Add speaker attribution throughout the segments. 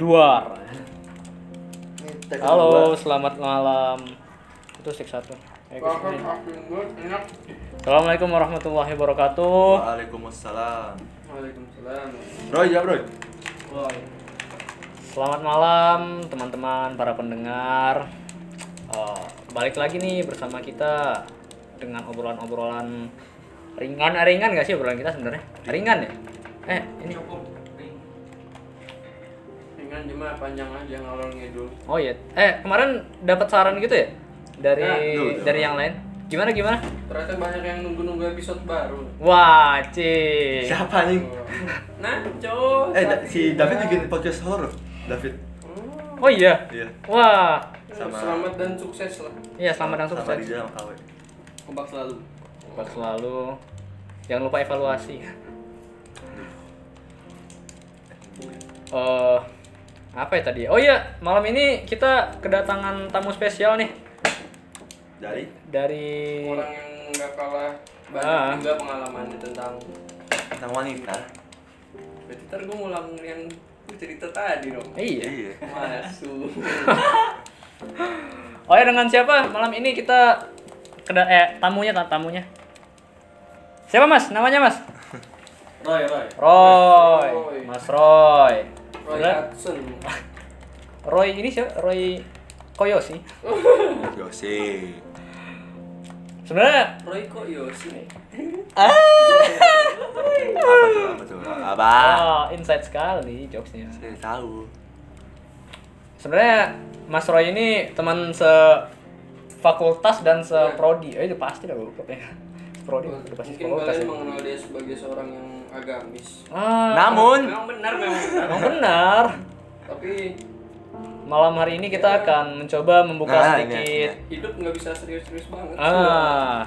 Speaker 1: Duar.
Speaker 2: Ini take kedua.
Speaker 1: Halo, selamat malam. Itu stik satu. Ya, ke
Speaker 3: Makan
Speaker 1: sini.
Speaker 3: kaki gue enak.
Speaker 1: Assalamualaikum warahmatullahi wabarakatuh.
Speaker 2: Waalaikumsalam.
Speaker 3: Waalaikumsalam.
Speaker 2: Bro, ya bro.
Speaker 3: Wah.
Speaker 1: Selamat malam teman-teman para pendengar. Eh, balik lagi nih bersama kita dengan obrolan-obrolan ringan, Eh, ringan gak sih obrolan kita sebenarnya? Ringan ya? Eh, ini.
Speaker 3: Cukup. Dengan cuma panjang aja ngalor ngidul.
Speaker 1: Oh iya. Eh, kemarin dapat saran gitu ya dari
Speaker 3: Ya,
Speaker 2: dulu.
Speaker 1: dari yang lain. Gimana gimana?
Speaker 3: Ternyata banyak yang nunggu-nunggu episode baru.
Speaker 1: Wah, cing.
Speaker 2: Siapa anjing?
Speaker 3: Nah, cowok.
Speaker 2: Eh, da- si David bikin podcast horor. David.
Speaker 1: Oh iya.
Speaker 2: Iya.
Speaker 1: Wah.
Speaker 2: Sama-
Speaker 3: Selamat dan sukses lah.
Speaker 1: Iya, selamat dan
Speaker 2: Sama
Speaker 1: sukses.
Speaker 2: Riza sama Kawe.
Speaker 3: Kompak selalu.
Speaker 1: Buat selalu jangan lupa evaluasi. Eh, apa ya tadi? Oh iya, malam ini kita kedatangan tamu spesial nih
Speaker 2: Dari
Speaker 1: dari
Speaker 3: Orang yang nggak kalah banyak
Speaker 1: Ah.
Speaker 3: juga pengalamannya tentang.
Speaker 2: tentang wanita.
Speaker 3: Berarti ntar gue ngulang yang gua cerita tadi dong.
Speaker 1: Eh, Iya.
Speaker 2: Iya.
Speaker 3: Masuk.
Speaker 1: Oh ya dengan siapa? Malam ini kita keda eh tamunya ta- tamunya. Siapa Mas? Namanya Mas?
Speaker 3: Roy, Roy.
Speaker 1: Roy.
Speaker 3: Roy.
Speaker 1: Mas Roy.
Speaker 3: Roy kan?
Speaker 1: Roy,
Speaker 3: Hudson.
Speaker 1: Roy ini siapa? Roy Koyosi.
Speaker 2: Yosi.
Speaker 1: Sebenarnya
Speaker 3: Roy kok Yosi?
Speaker 2: Apa tuh? Apa tuh? Apa?
Speaker 1: ah, insight sekali jokesnya.
Speaker 2: Saya tahu.
Speaker 1: Sebenarnya Mas Roy ini teman se fakultas dan se prodi. Eh itu pasti dah goblok ya. Prodi udah pasti
Speaker 3: Mungkin
Speaker 1: fakultas.
Speaker 3: kalian
Speaker 1: ya.
Speaker 3: mengenal dia sebagai seorang yang agamis.
Speaker 1: Ah,
Speaker 2: Namun,
Speaker 3: Memang benar, memang benar.
Speaker 1: emang benar.
Speaker 3: Tapi
Speaker 1: Malam hari ini
Speaker 3: Iya.
Speaker 1: kita akan mencoba membuka
Speaker 2: Nah, ini,
Speaker 1: sedikit
Speaker 3: hidup nggak bisa serius-serius banget.
Speaker 1: ah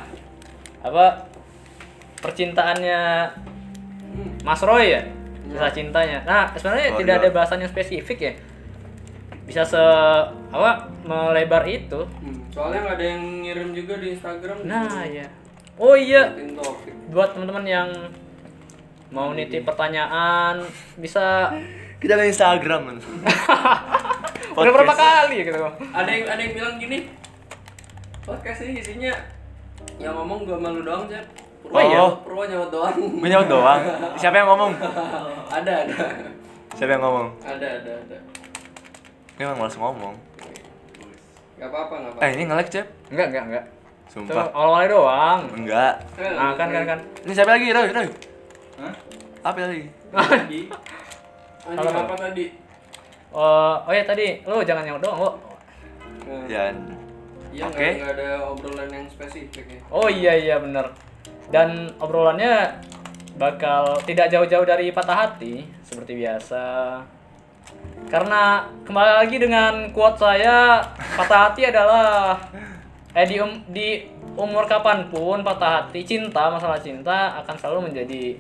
Speaker 1: apa percintaannya
Speaker 3: Hmm.
Speaker 1: Mas Roy ya kisah
Speaker 3: Iya.
Speaker 1: cintanya nah sebenarnya
Speaker 2: Oh,
Speaker 1: tidak
Speaker 2: iya.
Speaker 1: ada bahasan yang spesifik ya bisa se apa melebar itu
Speaker 3: Hmm. Soalnya nggak ada yang ngirim juga di Instagram.
Speaker 1: nah ya oh iya
Speaker 3: Bikin topik.
Speaker 1: buat teman-teman yang mau nitip pertanyaan bisa
Speaker 2: kita ada Instagram men.
Speaker 1: udah
Speaker 2: Podcast.
Speaker 1: berapa kali ya kita Bang?
Speaker 3: Ada yang ada yang bilang gini. Podcast ini isinya yang ngomong gua malu doang, Cep. Purwo,
Speaker 2: Oh, iya?
Speaker 3: Purwo nyawa doang.
Speaker 2: Gua nyaut doang. Siapa yang ngomong?
Speaker 3: ada, ada.
Speaker 2: Siapa yang ngomong?
Speaker 3: Ada, ada, ada.
Speaker 2: Ini emang malas ngomong.
Speaker 3: Gak apa-apa, gak apa-apa.
Speaker 2: Eh, ini nge-lag, Cep.
Speaker 1: enggak enggak enggak itu
Speaker 2: Sumpah.
Speaker 1: awal-awalnya doang
Speaker 2: Enggak.
Speaker 3: Eh,
Speaker 1: nah kan kan kan
Speaker 2: Ini siapa lagi? Roy, Roy.
Speaker 3: Hah?
Speaker 2: Apa lagi?
Speaker 3: Lagi.
Speaker 1: Halo.
Speaker 3: Anjing apa tadi?
Speaker 1: Eh, oh ya tadi lo jangan nyaut doang lo
Speaker 3: Nah,
Speaker 2: Dan
Speaker 3: Iya,
Speaker 2: Oke.
Speaker 3: nggak- nggak ada obrolan yang spesifik ya.
Speaker 1: Oh iya iya bener Dan obrolannya bakal tidak jauh-jauh dari patah hati seperti biasa. Karena kembali lagi dengan quote saya, patah hati adalah eh di, um- di umur kapanpun patah hati cinta masalah cinta akan selalu menjadi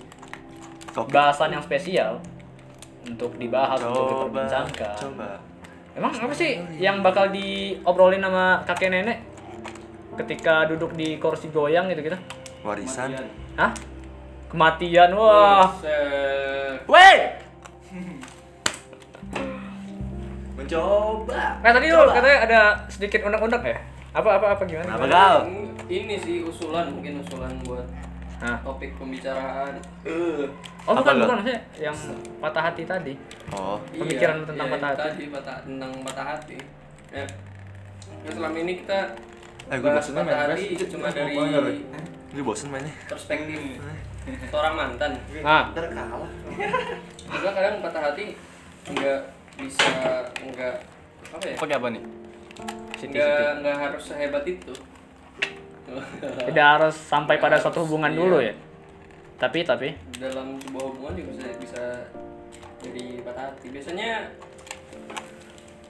Speaker 2: Topik.
Speaker 1: bahasan yang spesial untuk dibahas untuk
Speaker 2: coba
Speaker 1: diperbincangkan.
Speaker 2: coba
Speaker 1: Emang apa sih yang bakal diobrolin sama kakek nenek ketika duduk di kursi goyang gitu gitu?
Speaker 2: warisan.
Speaker 1: Hah? Kematian, wah.
Speaker 3: Buset.
Speaker 2: Weh! Mencoba.
Speaker 1: Eh tadi lo katanya ada sedikit unek-unek ya? Apa apa apa gimana?
Speaker 2: Apa kau?
Speaker 3: Ini sih usulan mungkin usulan buat
Speaker 1: Hah?
Speaker 3: topik pembicaraan.
Speaker 2: Eh,
Speaker 1: Oh
Speaker 2: Apa
Speaker 1: bukan
Speaker 2: lo?
Speaker 1: bukan maksudnya yang patah hati tadi.
Speaker 2: Oh,
Speaker 1: Pemikiran tentang patah hati.
Speaker 3: Iya, Tadi patah, tentang patah hati. Ya. Ya, selama ini kita
Speaker 2: Eh, gua
Speaker 3: bahas
Speaker 2: bosen
Speaker 3: patah
Speaker 2: main
Speaker 3: hati
Speaker 2: PS.
Speaker 3: cuma
Speaker 2: Gua
Speaker 3: dari
Speaker 2: mau banget, Roy. ini bosen mainnya.
Speaker 3: perspektif seorang mantan.
Speaker 1: Ah,
Speaker 2: Ntar kalah.
Speaker 3: Juga kadang patah hati nggak bisa nggak apa ya?
Speaker 4: pakai apa nih?
Speaker 1: Siti Siti.
Speaker 3: Nggak nggak harus sehebat itu.
Speaker 1: Tidak harus sampai pada
Speaker 3: Nggak
Speaker 1: suatu
Speaker 3: harus,
Speaker 1: hubungan
Speaker 3: iya.
Speaker 1: dulu ya. Tapi tapi
Speaker 3: dalam sebuah hubungan juga bisa bisa jadi patah hati biasanya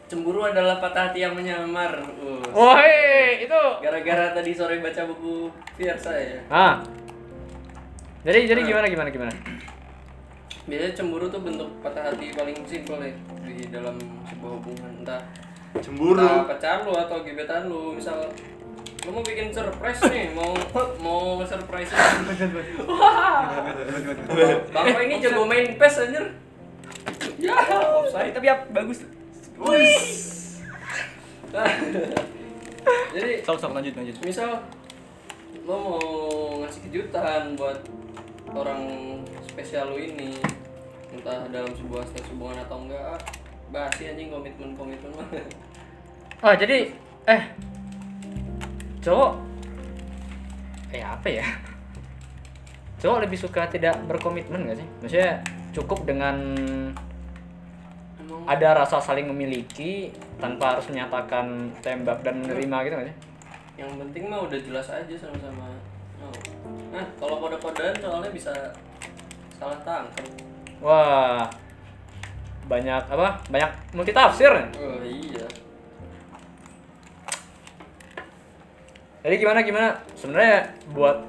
Speaker 3: cemburu adalah patah hati yang menyamar Us.
Speaker 1: Woi, itu
Speaker 3: gara-gara tadi sore baca buku Fiersa ya
Speaker 1: ah. Jadi jadi gimana gimana gimana?
Speaker 3: biasanya cemburu tuh bentuk patah hati paling simpel ya di dalam sebuah hubungan entah entah
Speaker 2: Cemburu.
Speaker 3: pacar lu atau gebetan lu misal lu mau bikin surprise nih mau mau surprise Wah. bapak ini jago main pes anjir Ya,
Speaker 5: offside tapi ya bagus.
Speaker 3: Jadi
Speaker 5: Sok sok lanjut lanjut.
Speaker 3: misal lo mau ngasih kejutan buat orang spesial lo ini entah dalam sebuah status hubungan atau enggak ah, basi anjing komitmen komitmen mah
Speaker 1: Oh jadi eh cowok eh apa ya cowok lebih suka tidak berkomitmen gak sih maksudnya cukup dengan
Speaker 3: emang
Speaker 1: ada rasa saling memiliki tanpa harus menyatakan tembak dan menerima gitu gak sih
Speaker 3: yang penting mah udah jelas aja sama-sama mau nah kalau kode-kodean soalnya bisa salah tangkap
Speaker 1: wah banyak apa banyak multitafsir
Speaker 3: oh iya
Speaker 1: jadi gimana gimana sebenarnya buat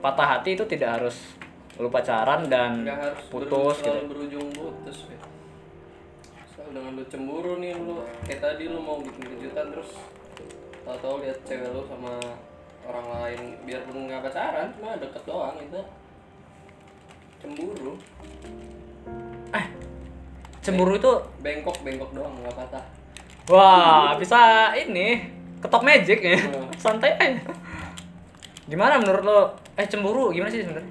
Speaker 1: patah hati itu tidak harus lu pacaran dan
Speaker 3: nggak harus beru-
Speaker 1: putus
Speaker 3: selalu
Speaker 1: gitu
Speaker 3: berujung putus ya. Misal dengan lu cemburu nih lu kayak tadi lu mau bikin kejutan terus tahu-tahu lihat cewek lu sama orang lain biarpun nggak pacaran cuma deket doang itu cemburu
Speaker 1: cemburu itu
Speaker 3: bengkok bengkok doang nggak patah
Speaker 1: Wah, bisa ini ketop magic ya.
Speaker 3: Hmm.
Speaker 1: Santai aja. Gimana menurut lo? Eh cemburu gimana sih sebenarnya?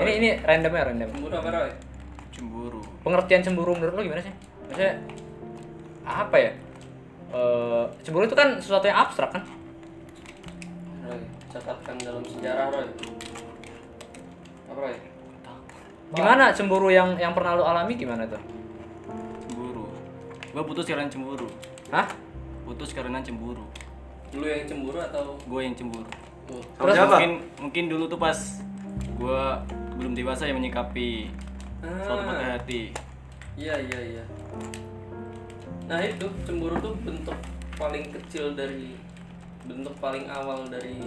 Speaker 1: Ini
Speaker 3: Roy?
Speaker 1: ini random ya random.
Speaker 3: cemburu apa Roy?
Speaker 2: Cemburu.
Speaker 1: Pengertian cemburu menurut lo gimana sih? Maksudnya apa ya? Eh, cemburu itu kan sesuatu yang abstrak kan?
Speaker 3: Roy catatkan dalam sejarah Roy apa Roy?
Speaker 1: Gimana cemburu yang yang pernah lo alami gimana tuh?
Speaker 5: Cemburu. Gua putus karena cemburu.
Speaker 1: Hah?
Speaker 5: Putus karena cemburu.
Speaker 3: lu yang cemburu atau
Speaker 5: Gue yang cemburu.
Speaker 3: tuh
Speaker 2: Sama siapa?
Speaker 5: Mungkin mungkin dulu tuh pas gua belum dewasa yang menyikapi
Speaker 3: Ah.
Speaker 5: suatu patah hati.
Speaker 3: Iya iya iya. Nah itu cemburu tuh bentuk paling kecil dari bentuk paling awal dari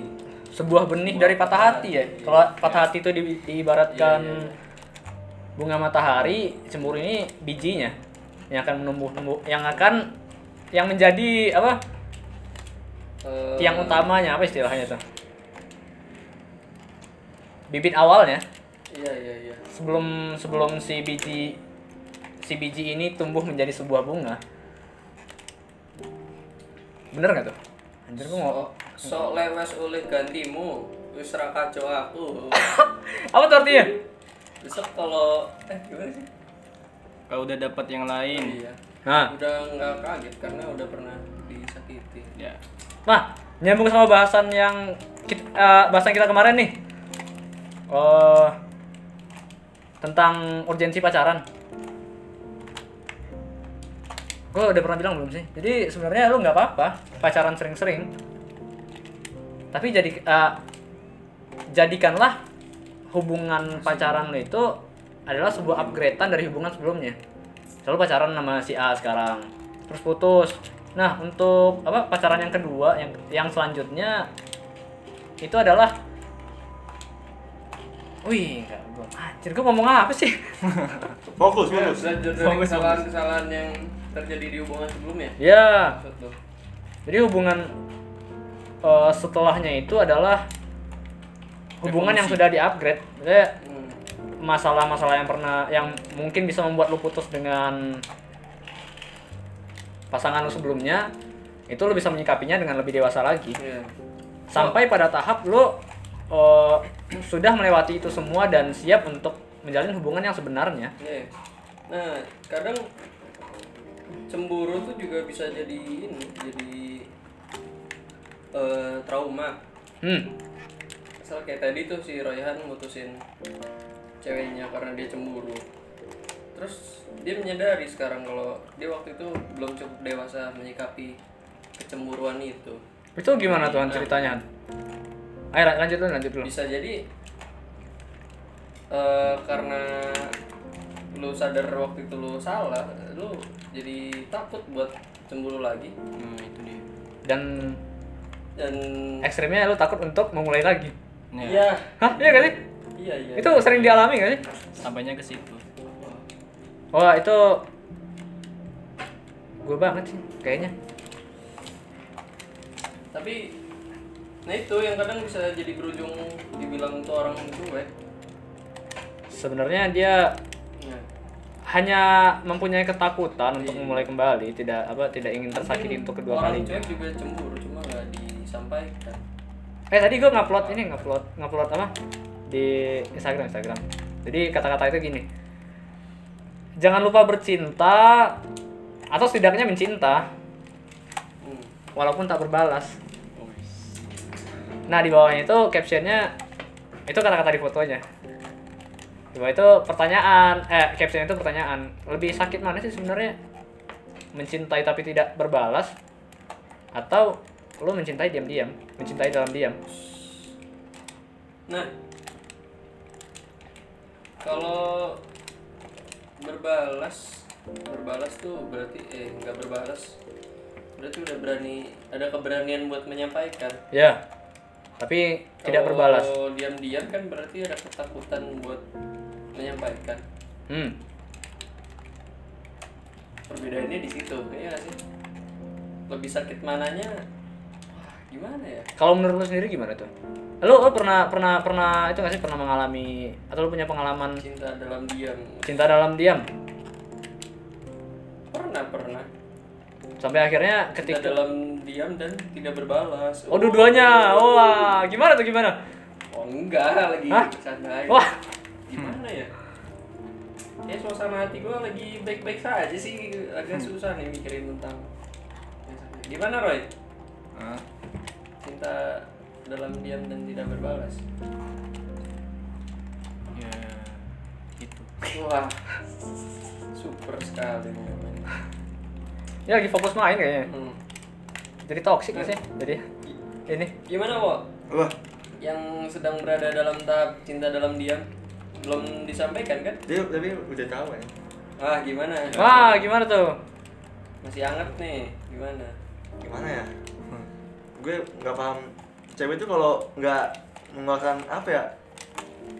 Speaker 1: Sebuah benih dari patah hati ya. Kalau patah hati itu di- diibaratkan
Speaker 3: iya,
Speaker 1: bunga matahari, cemburu ini bijinya yang akan menumbuh-tumbuh, yang akan yang menjadi apa?
Speaker 3: eh,
Speaker 1: Tiang utamanya apa istilahnya tuh? Bibit awalnya
Speaker 3: Iya iya iya.
Speaker 1: sebelum sebelum si biji si biji ini tumbuh menjadi sebuah bunga. Bener nggak tuh? Anjir gua mau
Speaker 3: Sok sok lewas oleh gantimu, wis ra kacau aku.
Speaker 1: apa tuh artinya?
Speaker 3: Besok kalau eh gimana sih?
Speaker 5: Kalau udah dapat yang lain,
Speaker 3: Iya.
Speaker 1: Nah,
Speaker 3: Udah nggak kaget karena udah pernah disakiti.
Speaker 5: ya
Speaker 1: Nah, nyambung sama bahasan yang kita, eh, bahasan kita kemarin nih. Eh, tentang urgensi pacaran. Gue udah pernah bilang belum sih? Jadi sebenarnya lu nggak apa-apa pacaran sering-sering. Tapi jadi eh, jadikanlah hubungan pacaran lu itu adalah sebuah upgradean dari hubungan sebelumnya. Selalu pacaran sama si A sekarang, terus putus. Nah, untuk apa pacaran yang kedua yang yang selanjutnya itu adalah Wih, enggak, gua anjir gua ngomong apa sih?
Speaker 2: Fokus,
Speaker 3: Ya,
Speaker 2: fokus.
Speaker 3: belajar dari kesalahan-kesalahan yang terjadi di hubungan sebelumnya.
Speaker 1: ya,
Speaker 3: Maksud lu?
Speaker 1: jadi hubungan eh, setelahnya itu adalah hubungan yang sudah di-upgrade. Maksudnya
Speaker 3: Hmm.
Speaker 1: masalah-masalah yang pernah yang mungkin bisa membuat lu putus dengan pasangan lu sebelumnya itu lu bisa menyikapinya dengan lebih dewasa lagi
Speaker 3: Iya.
Speaker 1: sampai pada tahap lu eh, sudah melewati itu semua dan siap untuk menjalin hubungan yang sebenarnya
Speaker 3: Iya. Nah, kadang cemburu tuh juga bisa jadi ini, jadi eh, trauma.
Speaker 1: hmm
Speaker 3: Misal kayak tadi tuh si Royhan mutusin ceweknya karena dia cemburu. Terus dia menyadari sekarang kalau dia waktu itu belum cukup dewasa menyikapi kecemburuan itu.
Speaker 1: itu gimana tuhan ceritanya ayo lan- lanjut dulu lanjut dulu
Speaker 3: Bisa jadi eh, karena lu sadar waktu itu lu salah, lu jadi takut buat cemburu lagi.
Speaker 5: nah itu dia.
Speaker 1: dan
Speaker 3: dan
Speaker 1: ekstrimnya lu takut untuk memulai lagi
Speaker 5: Nah,
Speaker 3: iya
Speaker 1: hah iya gak sih
Speaker 3: iya iya
Speaker 1: itu sering dialami gak sih
Speaker 5: sampainya ke situ.
Speaker 1: Wah itu gue banget sih kayaknya.
Speaker 3: tapi nah itu yang kadang bisa jadi berujung dibilang tuh orang cuek
Speaker 1: Sebenarnya dia
Speaker 3: nah,
Speaker 1: hanya mempunyai ketakutan untuk memulai kembali, tidak apa tidak ingin tersakiti
Speaker 3: Iya. Mungkin
Speaker 1: untuk kedua
Speaker 3: orang
Speaker 1: kalinya.
Speaker 3: cuek juga cemburu cuma nggak disampaikan
Speaker 1: Eh tadi gue ngupload ini ngupload ngupload apa di Instagram Instagram. Jadi kata-kata itu gini. Jangan lupa bercinta atau setidaknya mencinta
Speaker 3: hmm.
Speaker 1: walaupun tak berbalas. Nah di bawahnya itu captionnya itu kata-kata di fotonya. Di bawah itu pertanyaan eh captionnya itu pertanyaan lebih sakit mana sih sebenarnya mencintai tapi tidak berbalas atau lo mencintai diam-diam mencintai dalam diam
Speaker 3: nah kalau berbalas berbalas tuh berarti eh nggak berbalas berarti udah berani ada keberanian buat menyampaikan
Speaker 1: Ya. Tapi tidak
Speaker 3: Kalau
Speaker 1: berbalas.
Speaker 3: diam-diam kan berarti ada ketakutan buat menyampaikan
Speaker 1: Hmm.
Speaker 3: perbedaannya di situ ya nggak sih lebih sakit mananya wah, gimana ya
Speaker 1: Kalau menurut lu sendiri gimana tuh? Lu, lu pernah pernah pernah itu nggak sih pernah mengalami atau lu punya pengalaman
Speaker 3: cinta dalam diam
Speaker 1: cinta dalam diam
Speaker 3: pernah pernah
Speaker 1: sampai akhirnya
Speaker 3: cinta
Speaker 1: ketika
Speaker 3: dalam diam dan tidak berbalas
Speaker 1: Oh dua-duanya. Wah, gimana tuh gimana?
Speaker 3: oh enggak lagi
Speaker 1: Hah?
Speaker 3: bercanda aja.
Speaker 1: Wah.
Speaker 3: gimana ya ya suasana hati gua lagi baik-baik saja sih
Speaker 1: Hmm.
Speaker 3: agak susah nih mikirin tentang gimana Roy
Speaker 2: Hah?
Speaker 3: cinta dalam diam dan tidak berbalas
Speaker 5: ya gitu
Speaker 3: wah super sekali nih namanya.
Speaker 1: Ya lagi fokus main kayaknya.
Speaker 3: hmm.
Speaker 1: Jadi toksik nggak sih? Jadi ini
Speaker 3: gimana kok
Speaker 2: Wah,
Speaker 3: yang sedang berada dalam tahap cinta dalam diam belum disampaikan kan
Speaker 2: dia tapi udah tahu ya.
Speaker 3: ah gimana
Speaker 1: Wah, gimana tuh?
Speaker 3: masih anget nih gimana
Speaker 2: Gimana ya? Hmm. Gue nggak paham cewek itu kalau nggak mengeluarkan apa ya?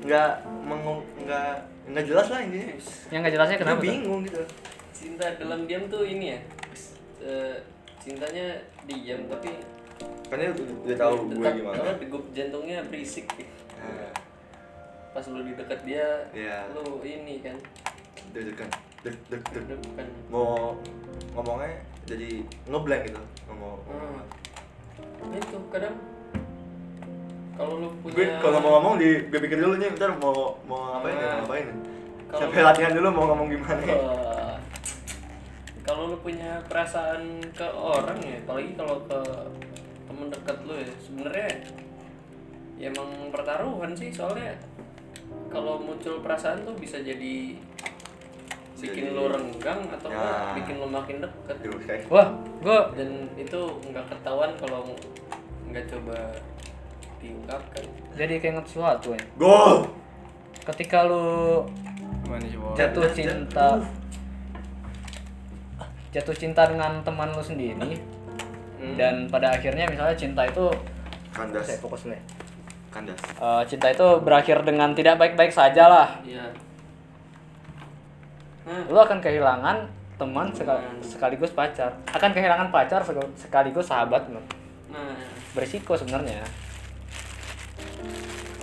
Speaker 2: Nggak mengu nggak nggak jelas lah ini.
Speaker 1: Yang nggak jelasnya
Speaker 2: Gue
Speaker 1: kenapa? tuh?
Speaker 2: bingung gitu.
Speaker 3: cinta dalam diam tuh ini ya eh, cintanya diam tapi
Speaker 2: Karena udah, Kan udah tahu gue
Speaker 3: tetap
Speaker 2: gimana.
Speaker 3: apa degup jantungnya berisik
Speaker 2: Nah,
Speaker 3: pas lu di dekat dia
Speaker 2: Iya.
Speaker 3: lu ini kan
Speaker 2: deg-degan, deg- deg- deg-
Speaker 3: depan
Speaker 2: mau ngomongnya jadi ngeblank gitu ngomong
Speaker 3: hmm. itu kadang kalau lu
Speaker 2: gue
Speaker 3: punya
Speaker 2: kalau mau ngomong di gue pikir dulu nih ntar mau mau ngapain ya
Speaker 3: Nah.
Speaker 2: mau ngapain ya
Speaker 3: Kalau-
Speaker 2: sampai latihan dulu mau ngomong gimana ya
Speaker 3: Wah. kalau lu punya perasaan ke orang ya apalagi kalau ke temen dekat lu ya sebenarnya ya emang pertaruhan sih soalnya kalau muncul perasaan tuh bisa jadi bikin
Speaker 2: Jadi-
Speaker 3: lu renggang atau
Speaker 2: Ya.
Speaker 3: nggak bikin lu makin deket
Speaker 2: Aduh, kayak
Speaker 1: Wah, gua
Speaker 3: dan itu nggak ketahuan kalau nggak coba diungkapkan
Speaker 1: jadi keinget sesuatu ya.
Speaker 2: go
Speaker 1: Ketika lu
Speaker 5: gimana sih Wak?
Speaker 1: jatuh cinta jatuh cinta dengan teman lu sendiri dan pada akhirnya misalnya cinta itu saya
Speaker 2: kandas
Speaker 1: fokus dulu Hmm. ya.
Speaker 2: kandas
Speaker 1: Eh, cinta itu berakhir dengan tidak baik-baik saja lah
Speaker 3: iya nah
Speaker 1: lu akan kehilangan teman seka- sekaligus pacar akan kehilangan pacar sek- sekaligus sahabat lu
Speaker 3: nah
Speaker 1: berisiko sebenarnya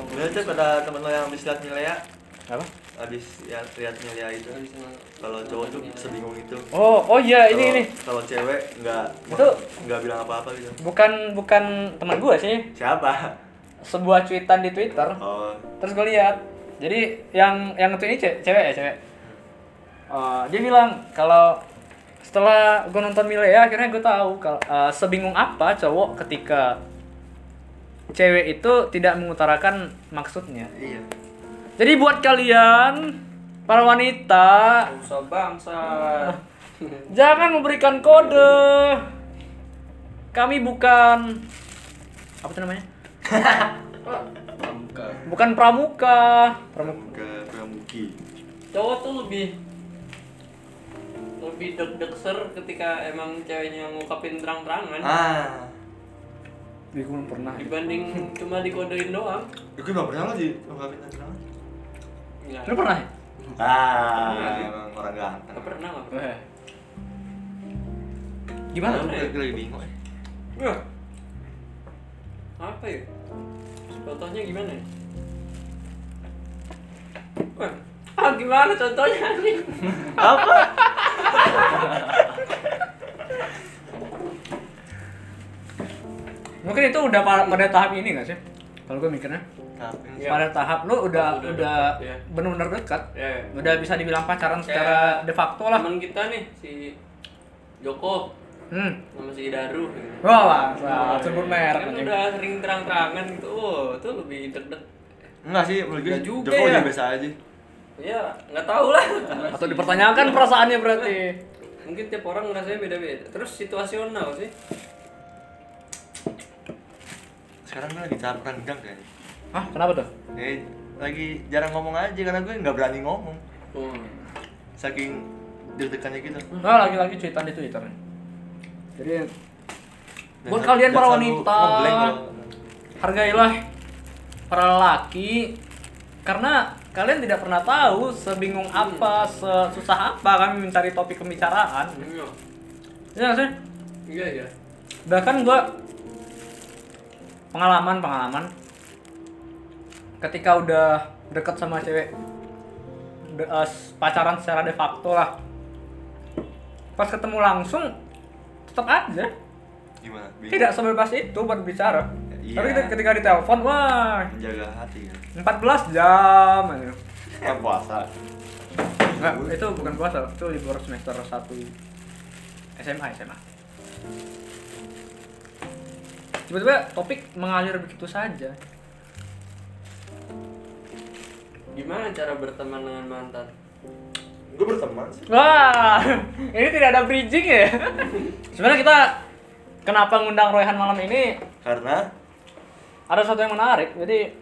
Speaker 2: Gimana tuh pada temen lo yang habis liat nilai ya
Speaker 1: apa
Speaker 2: habis ya, liat nilai itu kalau cowok tuh sebingung itu
Speaker 1: oh oh iya ini
Speaker 2: Kalau-
Speaker 1: ini
Speaker 2: kalau cewek nggak
Speaker 1: Itu-
Speaker 2: nggak bilang apa-apa gitu
Speaker 1: bukan bukan teman gue sih
Speaker 2: siapa
Speaker 1: sebuah cuitan di twitter
Speaker 2: oh
Speaker 1: terus gue lihat jadi yang yang itu ini ce- cewek ya cewek Eh, dia bilang kalau setelah gue nonton Milea akhirnya gue tahu kalau eh, sebingung apa cowok ketika cewek itu tidak mengutarakan maksudnya
Speaker 2: iya
Speaker 1: jadi buat kalian para wanita
Speaker 3: Gak usah bangsa
Speaker 1: jangan memberikan kode kami bukan apa tuh namanya
Speaker 3: pramuka
Speaker 1: bukan pramuka
Speaker 2: pramuka pramuki
Speaker 3: cowok tuh lebih lebih deg-deg ser ketika emang ceweknya ngungkapin terang-terangan
Speaker 2: ah
Speaker 1: Ih, gua belum pernah
Speaker 3: dibanding cuma dikodein doang
Speaker 2: Ya, gue nggak pernah lagi ngungkapin tentang
Speaker 3: ya
Speaker 1: lu pernah ya?
Speaker 2: Ah, emang orang ganteng.
Speaker 3: nggak pernah nggak pernah
Speaker 5: Wah,
Speaker 1: gimana
Speaker 2: Lu
Speaker 1: tuh?
Speaker 2: lagi lagi bingung. ya?
Speaker 3: Wah. apa ya contohnya gimana ya Wah, ah gimana contohnya anjing
Speaker 2: apa
Speaker 1: Mungkin itu udah pa- pada tahap ini gak sih? Kalau gue mikirnya
Speaker 2: Ngapain?
Speaker 3: Iya.
Speaker 1: pada tahap lu udah
Speaker 3: Udah
Speaker 1: udah
Speaker 3: dekat, iya.
Speaker 1: benar-benar dekat.
Speaker 3: ya ya.
Speaker 1: Udah bisa dibilang pacaran secara de facto lah.
Speaker 3: teman kita nih si Joko
Speaker 1: Hmm.
Speaker 3: sama si Daru gitu.
Speaker 1: Wah, wah, sebut merek
Speaker 3: kan
Speaker 1: anjing.
Speaker 3: udah sering terang-terangan gitu oh itu lebih deg-deg
Speaker 2: enggak sih menurut gue
Speaker 3: Enggak juga
Speaker 2: Joko
Speaker 3: ya.
Speaker 2: udah biasa aja
Speaker 3: ya nggak tahu lah
Speaker 1: Atau dipertanyakan perasaannya berarti.
Speaker 3: mungkin tiap orang ngerasanya beda-beda terus situasional sih
Speaker 2: sekarang gue lagi cara rendang kayaknya
Speaker 1: Hah, kenapa tuh?
Speaker 2: Eh, lagi jarang ngomong aja karena gue nggak berani ngomong
Speaker 3: hmm.
Speaker 2: saking deg-degannya gitu
Speaker 1: Nah, lagi-lagi cuitan di Twitter. Jadi
Speaker 2: Dan
Speaker 1: buat
Speaker 2: sel-
Speaker 1: kalian
Speaker 2: dan
Speaker 1: para
Speaker 2: selalu
Speaker 1: wanita,
Speaker 2: ngeblank kalau-
Speaker 1: hargailah para lelaki karena kalian tidak pernah tahu sebingung apa, sesusah apa kami mencari topik pembicaraan.
Speaker 3: Iya.
Speaker 1: Iya nggak sih?
Speaker 3: iya iya
Speaker 1: Bahkan gua pengalaman-pengalaman ketika udah deket sama cewek de- eh, pacaran secara de facto lah. Pas ketemu langsung tetap aja
Speaker 2: gimana Bingung.
Speaker 1: tidak sebebas itu buat bicara.
Speaker 2: Iya.
Speaker 1: Tapi ketika- ketika ditelepon, wah
Speaker 2: menjaga hati kan
Speaker 1: 14 jam aja.
Speaker 2: ya puasa
Speaker 1: Enggak, itu bukan puasa, itu libur semester 1 SMA, SMA. Tiba-tiba topik mengalir begitu saja.
Speaker 3: gimana cara berteman dengan mantan
Speaker 2: gue berteman sih
Speaker 1: Wah, ini tidak ada bridging ya. Sebenarnya kita kenapa ngundang Royhan malam ini
Speaker 2: karena
Speaker 1: ada satu yang menarik. Jadi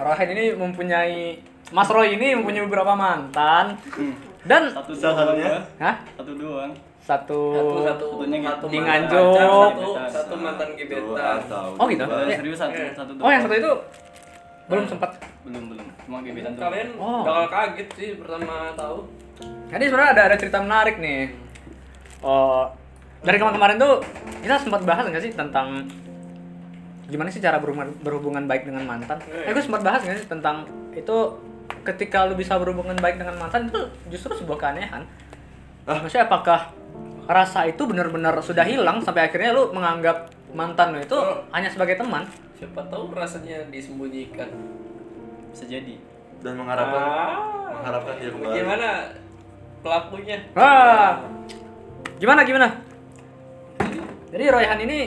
Speaker 1: Royhan ini mempunyai Mas Roy ini mempunyai beberapa mantan dan
Speaker 5: Satu
Speaker 2: Salah
Speaker 5: doang, ya?
Speaker 2: satunya.
Speaker 5: gua.
Speaker 1: hah?
Speaker 5: Satu doang.
Speaker 3: satu
Speaker 1: Satu,
Speaker 3: satu
Speaker 5: Satunya gitu.
Speaker 3: satu
Speaker 1: Di
Speaker 3: mantan
Speaker 1: Nganjuk.
Speaker 3: pacar, satu
Speaker 5: Gebetan.
Speaker 3: satu mantan gebetan
Speaker 1: Oh, gitu?
Speaker 5: Gua
Speaker 1: Iya.
Speaker 5: Eh, serius satu
Speaker 3: Iya.
Speaker 5: satu
Speaker 1: Oh,
Speaker 5: doang.
Speaker 1: yang satu itu belum sempat
Speaker 5: Belum belum. Cuma gebetan tuh.
Speaker 3: kalian
Speaker 1: Oh.
Speaker 3: bakal kaget sih pertama tahu
Speaker 1: Jadi sebenarnya ada ada cerita menarik nih. Oh, dari kemarin-kemarin tuh kita sempat bahas nggak sih tentang gimana sih cara berhubungan, berhubungan baik dengan mantan? Eh,
Speaker 3: Iya.
Speaker 1: gue sempat bahas nggak sih tentang itu ketika lu bisa berhubungan baik dengan mantan itu justru sebuah keanehan.
Speaker 2: Hah?
Speaker 1: Maksudnya apakah rasa itu benar-benar sudah hilang sampai akhirnya lu menganggap mantan lu itu
Speaker 3: Oh.
Speaker 1: hanya sebagai teman?
Speaker 3: siapa tahu rasanya disembunyikan
Speaker 5: Bisa jadi.
Speaker 2: dan mengharapkan
Speaker 3: Ah.
Speaker 2: mengharapkan dia kembali
Speaker 3: Bagaimana pelakunya?
Speaker 1: Wah, gimana gimana? Jadi Royhan ini,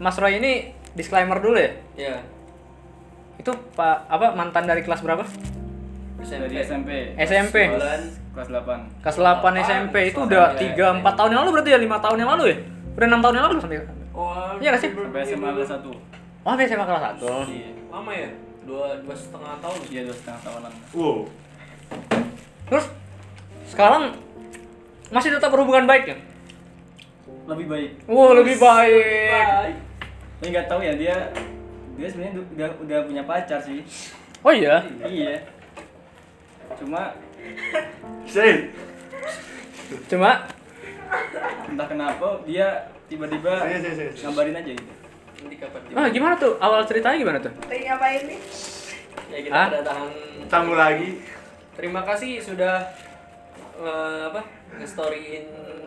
Speaker 1: Mas Roy ini disclaimer dulu ya.
Speaker 3: Ya,
Speaker 1: Itu pak apa mantan dari kelas berapa?
Speaker 3: SMP.
Speaker 5: Dari SMP.
Speaker 1: SMP.
Speaker 5: Kelas, kelas 8.
Speaker 1: Kelas 8
Speaker 3: Delapan,
Speaker 1: SMP itu
Speaker 3: delapan
Speaker 1: udah 3 4
Speaker 3: ya,
Speaker 1: tahun yang lalu berarti ya 5 tahun yang lalu ya? Udah 6 tahun yang lalu sampai.
Speaker 3: Wah,
Speaker 1: Iya nggak sih?
Speaker 5: Sampai SMA kelas 1.
Speaker 1: Oh, sampai SMA kelas 1.
Speaker 5: Iya.
Speaker 3: Lama ya? Dua dua setengah tahun.
Speaker 5: Iya dua setengah tahunan.
Speaker 2: wow
Speaker 1: Terus sekarang masih tetap berhubungan baik ya?
Speaker 5: Lebih baik.
Speaker 1: Wow, lebih baik.
Speaker 3: Baik.
Speaker 5: Tapi nggak tahu ya dia dia sebenarnya du- udah udah punya pacar sih.
Speaker 1: Oh iya.
Speaker 5: iya. Cuma
Speaker 2: sih
Speaker 1: Cuma
Speaker 5: entah kenapa dia tiba-tiba
Speaker 2: Serius, serius, serius.
Speaker 5: ngabarin aja gitu.
Speaker 3: Nanti kapan tiba?
Speaker 1: ah, gimana tuh? Awal ceritanya gimana tuh?
Speaker 6: Lagi ngapain nih?
Speaker 3: Ya kita
Speaker 1: Hah?
Speaker 3: kedatangan.
Speaker 2: tamu lagi
Speaker 3: Terima kasih sudah eh, apa? Ngestoryin.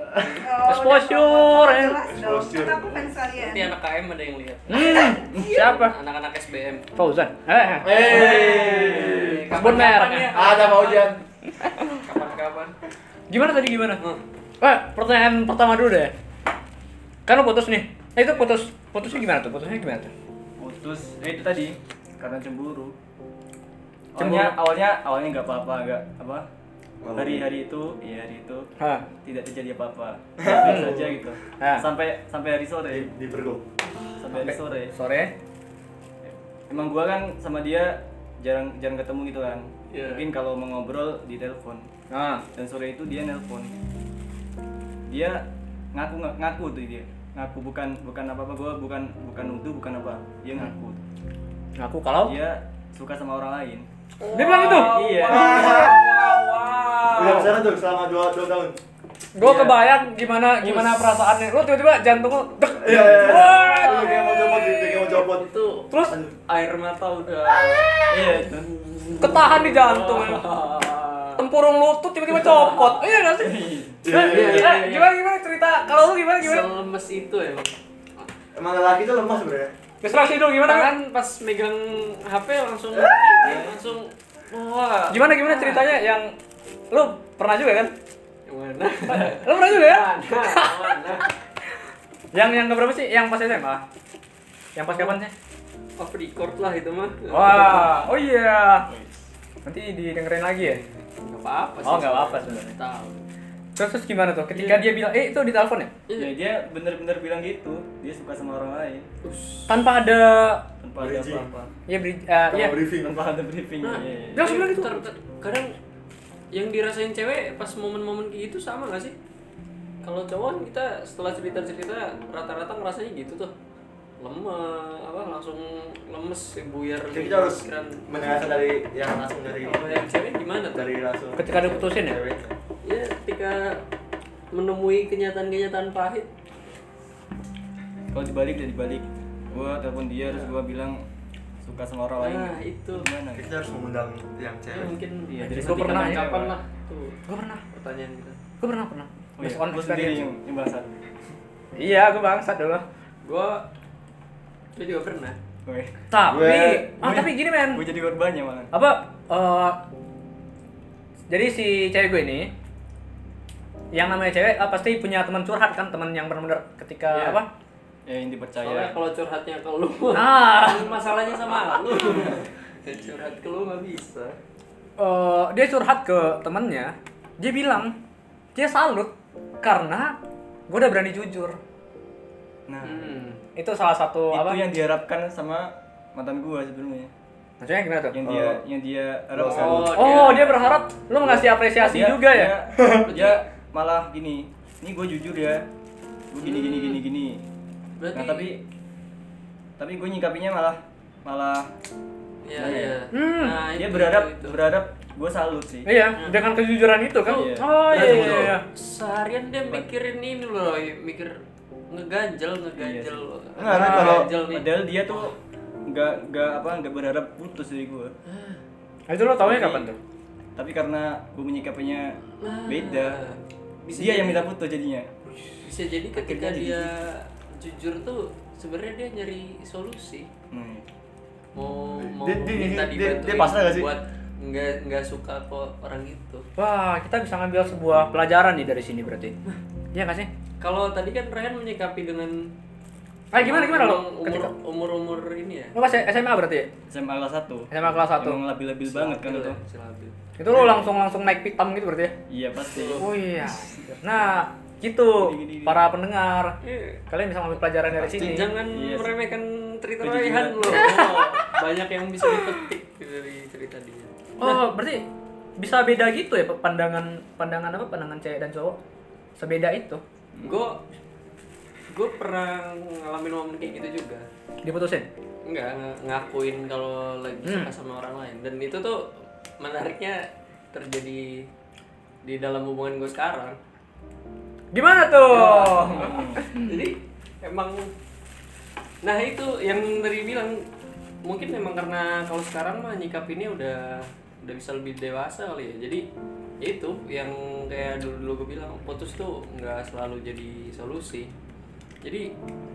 Speaker 6: Oh,
Speaker 1: Exposure,
Speaker 6: udah
Speaker 1: eh.
Speaker 6: jelas dong.
Speaker 2: Exposure.
Speaker 6: Kan aku fans kalian.
Speaker 3: Nanti anak KM ada yang lihat.
Speaker 1: Hmm, siapa?
Speaker 3: Anak-anak SBM.
Speaker 1: Fauzan. Eh.
Speaker 2: eh
Speaker 1: Sebut merek.
Speaker 3: ya?
Speaker 2: ada mau hujan
Speaker 3: Kapan-kapan.
Speaker 1: Gimana tadi gimana?
Speaker 3: Hmm.
Speaker 1: Eh, pertanyaan pertama dulu deh. Kan lo putus nih. Eh, itu putus putusnya gimana tuh? Putusnya gimana tuh?
Speaker 5: Putus. Eh itu tadi karena cemburu.
Speaker 1: Cemburu.
Speaker 5: Awalnya awalnya awalnya nggak apa-apa nggak apa.
Speaker 2: Malu.
Speaker 5: Hari-hari itu, iya hari itu
Speaker 1: Hah.
Speaker 5: tidak terjadi apa-apa. Biasa aja gitu.
Speaker 1: Ah.
Speaker 5: Sampai sampai hari sore.
Speaker 2: di, di pergok
Speaker 5: Sampai hari sore.
Speaker 1: Sore.
Speaker 5: Emang gua kan sama dia jarang jarang ketemu gitu kan.
Speaker 3: Iya.
Speaker 5: Mungkin kalau mau ngobrol di telepon.
Speaker 1: Nah,
Speaker 5: Dan sore itu dia nelpon. Dia ngaku ngaku tuh dia. Ngaku bukan bukan apa-apa gua bukan bukan nuduh bukan apa. Dia ngaku.
Speaker 1: aku kalau
Speaker 2: Iya.
Speaker 5: Dia suka sama orang lain.
Speaker 1: dia bilang gitu. itu.
Speaker 5: Iya.
Speaker 2: udah kesana tuh selama dua dua tahun
Speaker 1: Gue
Speaker 5: Iya.
Speaker 1: kebayang gimana gimana perasaannya. Lo tiba-tiba jantung lo dek.
Speaker 2: iya iya,
Speaker 1: Wah.
Speaker 2: iya. Lu kayak mau copot gitu kayak mau copot
Speaker 3: Itu
Speaker 1: Terus
Speaker 3: air mata udah.
Speaker 5: Iya itu.
Speaker 1: ketahan di jantung. ya.
Speaker 3: Wah.
Speaker 1: tempurung lutut tiba-tiba copot. Iya nggak sih?
Speaker 2: Iya, iya, iya.
Speaker 1: Eh, Gimana gimana cerita? Kalau lu gimana gimana?
Speaker 3: Selemes itu emang.
Speaker 2: Emang lelaki itu lemah sebenarnya.
Speaker 1: Terserah sih dulu gimana? Kan?
Speaker 3: Tangan pas megang HP langsung
Speaker 1: Ah.
Speaker 3: langsung wah.
Speaker 1: Gimana gimana ceritanya yang lu pernah juga kan?
Speaker 3: Gimana?
Speaker 1: Lu pernah juga ya?
Speaker 3: Mana? Mana?
Speaker 1: Yang yang keberapa sih? Yang pas SMA? Yang pas kapan sih?
Speaker 3: Off record lah itu mah.
Speaker 1: Wah, oh iya. Nanti didengerin lagi ya.
Speaker 3: Enggak apa-apa sih.
Speaker 1: Oh, nggak apa-apa sebenarnya.
Speaker 3: Tahu.
Speaker 1: Terus, terus gimana tuh? Ketika dia bilang, eh itu di telepon ya?
Speaker 5: ya dia bener-bener bilang gitu dia suka sama orang lain
Speaker 1: Tanpa ada,
Speaker 5: tanpa ada
Speaker 2: Bridging.
Speaker 5: apa-apa
Speaker 1: ya beri, eh,
Speaker 2: Sama
Speaker 1: iya.
Speaker 2: briefing.
Speaker 5: tanpa ada briefing
Speaker 3: Nah,
Speaker 5: iya, iya.
Speaker 1: Dia langsung bilang gitu.
Speaker 3: Ter- ter- kadang yang dirasain cewek pas momen-momen kayak gitu sama gak sih? Kalau cowok kan kita setelah cerita-cerita rata-rata ngerasanya gitu tuh lemah apa langsung lemes buyar
Speaker 2: Jadi
Speaker 3: gitu
Speaker 2: kita harus
Speaker 3: pikiran.
Speaker 2: mendengarkan dari yang langsung dari
Speaker 3: kalau yang cewek gimana tuh?
Speaker 2: dari langsung.
Speaker 1: Ketika diputusin ya?
Speaker 2: Cewek.
Speaker 3: Iya. ya ketika menemui kenyataan-kenyataan pahit
Speaker 5: kalau dibalik dia dibalik gua telepon dia terus gua bilang suka sama orang lain
Speaker 3: Nah, itu.
Speaker 5: gimana gitu
Speaker 2: Kita harus mengundang yang
Speaker 3: ya
Speaker 2: cewek.
Speaker 3: mungkin
Speaker 5: Iya,
Speaker 3: episode
Speaker 5: jadi
Speaker 1: gua pernah ya,
Speaker 3: kapan
Speaker 1: Pak.
Speaker 3: lah tuh
Speaker 1: Gue pernah,
Speaker 3: pertanyaan gitu. kita
Speaker 1: gue pernah, pernah.
Speaker 5: oh, iya.
Speaker 1: Based on
Speaker 5: Lu sendiri
Speaker 1: experience.
Speaker 5: yang, yang bangsat
Speaker 1: Iya, gue bangsat dulu.
Speaker 3: gua gua juga pernah
Speaker 5: gue
Speaker 1: Tapi,
Speaker 2: Gue-
Speaker 1: ah tapi gini men,
Speaker 5: gue jadi korbannya malah
Speaker 1: apa? eh, jadi si cewek gue ini, yang namanya cewek eh, pasti punya teman curhat kan, teman yang benar-benar ketika
Speaker 3: Iya.
Speaker 1: apa?
Speaker 5: ya
Speaker 1: Oh, iya.
Speaker 3: soalnya
Speaker 5: yang dipercaya
Speaker 3: kalau curhatnya ke lu
Speaker 1: Ah.
Speaker 3: masalahnya sama lu
Speaker 5: Iya.
Speaker 3: curhat ke lu nggak bisa
Speaker 1: eh, dia curhat ke temennya, dia bilang dia salut karena gue udah berani jujur.
Speaker 5: nah
Speaker 3: hmm.
Speaker 1: Itu salah satu
Speaker 5: itu
Speaker 1: apa?
Speaker 5: yang diharapkan sama mantan gua sebelumnya
Speaker 1: Maksudnya gimana tuh?
Speaker 5: yang dia yang dia harapkan
Speaker 1: Oh,
Speaker 3: Oh,
Speaker 1: dia berharap lu ngasih apresiasi
Speaker 5: Dia-
Speaker 1: juga ya?
Speaker 5: dia, dia malah gini ini gue jujur ya gue gini gini gini gini nah
Speaker 3: Berarti-
Speaker 5: tapi tapi gue nyikapinya malah malah
Speaker 3: ya
Speaker 5: Nah,
Speaker 3: ya
Speaker 1: Hmm.
Speaker 3: nah,
Speaker 5: dia
Speaker 3: itu-
Speaker 5: berharap
Speaker 3: itu.
Speaker 5: berharap gue salut sih
Speaker 1: Iya, dengan kejujuran itu kan.
Speaker 5: Iya.
Speaker 1: Oh iya iya. iya.
Speaker 3: seharian dia mikirin ini loh mikir ngeganjel
Speaker 1: Iya
Speaker 3: ngeganjel
Speaker 5: Enggak, karena kalau
Speaker 3: ngeganjel nih.
Speaker 5: padahal dia tuh nggak nggak apa nggak berharap putus dari gue
Speaker 1: Nah, Itu lo taunya kapan tuh?
Speaker 5: tapi karena gue menyikapinya
Speaker 3: Nah,
Speaker 5: beda
Speaker 3: bisa
Speaker 5: dia
Speaker 3: jadi-
Speaker 5: yang minta putus jadinya
Speaker 3: bisa jadi ketika
Speaker 5: Akhirnya jadi
Speaker 3: dia jujur tuh sebenarnya dia nyari solusi
Speaker 5: nah, iya.
Speaker 3: mau mau
Speaker 2: Dia- dia-
Speaker 3: minta
Speaker 2: dia-
Speaker 3: dibantuin
Speaker 2: dia pasrah nggak sih?
Speaker 3: buat nggak nggak suka ke orang itu
Speaker 1: Wah, kita bisa ngambil sebuah pelajaran nih dari sini berarti. Iya nggak sih?
Speaker 3: kalau tadi kan Ryan menyikapi dengan
Speaker 1: Ah, gimana gimana lo?
Speaker 3: Emang umur
Speaker 1: Ketika
Speaker 3: umur umur ini ya
Speaker 1: lo pas SMA berarti ya?
Speaker 5: SMA kelas satu
Speaker 1: SMA kelas 1.
Speaker 5: emang labil-labil banget kan itu
Speaker 3: Si labil.
Speaker 1: Itu lo langsung langsung naik pitam gitu berarti ya?
Speaker 5: iya pasti
Speaker 1: Oh iya. Nah, gitu
Speaker 5: Gini, gini, gini.
Speaker 1: para pendengar.
Speaker 3: Iya.
Speaker 1: Kalian bisa ngambil pelajaran dari
Speaker 2: Iya
Speaker 1: sini.
Speaker 3: jangan
Speaker 5: Yes.
Speaker 3: meremehkan cerita
Speaker 5: Kejujuran.
Speaker 3: Ryan lo banyak yang bisa dipetik dari cerita dia
Speaker 2: Hmm.
Speaker 1: Oh, berarti bisa beda gitu ya pandangan pandangan apa pandangan cewek dan cowok sebeda itu
Speaker 3: gue gue pernah ngalamin momen kayak gitu juga
Speaker 1: diputusin
Speaker 3: nggak ng- ngakuin kalau lagi suka sama orang lain dan itu tuh menariknya terjadi di dalam hubungan gue sekarang
Speaker 1: gimana tuh
Speaker 3: jadi emang nah itu yang dari bilang mungkin memang karena kalau sekarang mah nyikapinnya udah udah bisa lebih dewasa kali ya jadi ya itu yang kayak dulu dulu gue bilang putus tuh nggak selalu jadi solusi jadi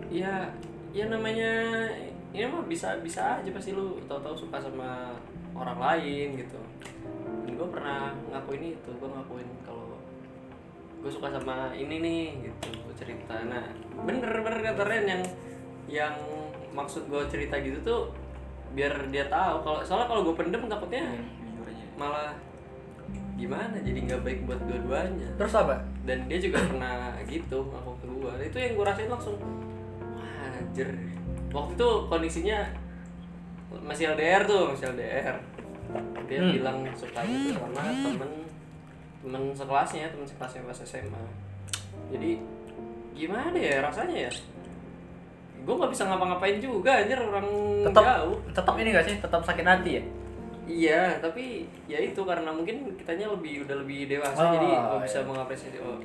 Speaker 3: ya ya namanya ini mah bisa bisa aja pasti lu tahu-tahu suka sama orang lain gitu dan gue pernah ngakuin itu gue ngakuin kalau gue suka sama ini nih gitu gua cerita nah bener bener kata Ren yang yang maksud gue cerita gitu tuh biar dia tahu kalau soalnya kalau gue pendem takutnya
Speaker 5: Jujur aja.
Speaker 3: malah gimana jadi nggak baik buat dua-duanya
Speaker 1: terus apa
Speaker 3: dan dia juga pernah gitu ngaku ke gua itu yang gue rasain langsung wah anjir waktu itu kondisinya masih LDR tuh masih LDR dia
Speaker 1: Hmm.
Speaker 3: bilang suka gitu sama temen temen sekelasnya temen sekelasnya pas SMA jadi gimana ya rasanya ya gue nggak bisa ngapa-ngapain juga anjir orang
Speaker 1: tetap
Speaker 3: jauh
Speaker 1: tetap ini gak sih tetap sakit hati ya
Speaker 3: Iya, tapi ya itu karena mungkin kitanya lebih udah lebih
Speaker 1: Oh,
Speaker 3: dewasa jadi nggak bisa
Speaker 1: iya.
Speaker 3: mengapresiasi oh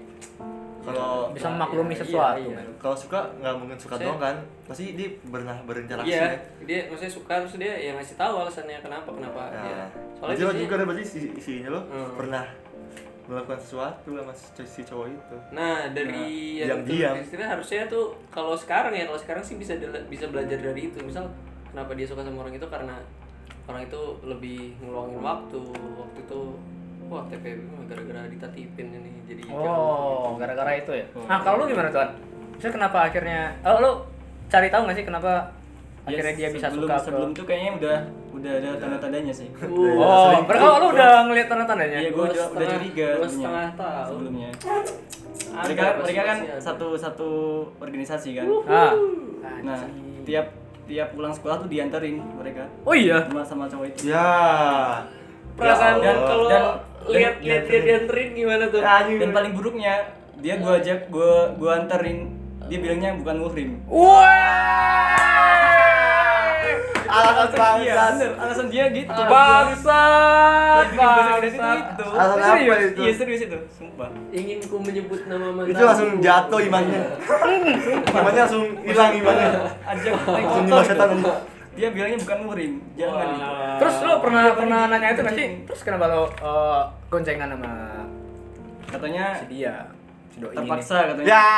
Speaker 2: kalau
Speaker 1: Bisa memaklumi
Speaker 3: Iya,
Speaker 1: sesuatu,
Speaker 3: iya.
Speaker 1: men.
Speaker 2: kalau suka nggak mungkin suka
Speaker 3: Saya-
Speaker 2: doang kan pasti dia pernah berinteraksi
Speaker 3: Iya,
Speaker 2: ya.
Speaker 3: dia maksudnya suka terus dia yang ngasih tahu alasannya kenapa kenapa
Speaker 5: Iya.
Speaker 2: Ya.
Speaker 3: dia. Soalnya
Speaker 2: Soalnya berarti lo
Speaker 3: biasanya-
Speaker 2: juga ada berarti si, si ini lo
Speaker 3: Hmm.
Speaker 2: pernah melakukan sesuatu sama si, si cowok itu.
Speaker 3: Nah, dari
Speaker 2: Nah,
Speaker 3: yang
Speaker 2: diam-diam.
Speaker 3: turun istri harusnya tuh kalau sekarang ya, kalau sekarang sih bisa dila- bisa belajar dari itu. Misal kenapa dia suka sama orang itu karena orang itu lebih ngeluangin waktu. Waktu itu wah TPB mah gara-gara ditatipin ini jadi
Speaker 1: Oh, gara-gara itu ya. Nah, kalau lu gimana, Tuan? Terus kenapa akhirnya eh, lu cari tahu nggak sih kenapa akhirnya dia bisa
Speaker 5: Ya, sebelum,
Speaker 1: suka ke-
Speaker 5: sebelum itu kayaknya udah udah ada tanda-tandanya sih
Speaker 3: Uh,
Speaker 1: Oh,
Speaker 5: sering-
Speaker 1: berarti lu udah ngeliat tanda-tandanya?
Speaker 5: Iya, gue udah, udah curiga
Speaker 3: dua
Speaker 5: sebenarnya.
Speaker 3: setengah tahun.
Speaker 5: sebelumnya.
Speaker 3: Ada
Speaker 5: Mereka mereka kan
Speaker 3: pasti-pasti ada. Uh.
Speaker 5: satu satu organisasi kan.
Speaker 1: Ah.
Speaker 5: Nah, tiap tiap pulang sekolah tuh dianterin mereka
Speaker 1: Oh iya.
Speaker 5: sama sama cowok itu.
Speaker 2: Ya.
Speaker 3: perasaan
Speaker 2: Ya Allah.
Speaker 3: kalau
Speaker 5: Dan-
Speaker 3: lihat-lihat dia
Speaker 2: dan-
Speaker 3: dianterin gimana tuh?
Speaker 5: Dan paling buruknya dia gua ajak gua gua anterin dia bilangnya bukan muhrim.
Speaker 1: Wah.
Speaker 2: Alasan
Speaker 5: Iya,
Speaker 2: bangsat.
Speaker 5: bener. Alasan dia gitu.
Speaker 1: Bangsat,
Speaker 5: Bikin bahasa Indonesia
Speaker 1: bangsat.
Speaker 5: itu.
Speaker 2: Alasan apa
Speaker 5: Serius,
Speaker 2: itu?
Speaker 5: Iya serius itu, sumpah.
Speaker 3: Ingin ku menyebut nama mantan.
Speaker 2: Itu langsung jatuh imannya. imannya langsung hilang imannya.
Speaker 5: Ajak naik
Speaker 2: Langsung
Speaker 5: motor
Speaker 2: nyembah setan.
Speaker 5: gitu. Dia bilangnya bukan muhrim, jangan. gitu.
Speaker 1: Terus lu pernah pernah nanya itu nggak sih? Terus kenapa lu eh, goncengan sama
Speaker 5: Katanya
Speaker 1: si dia? Si doi ini.
Speaker 5: terpaksa katanya.
Speaker 2: Ya.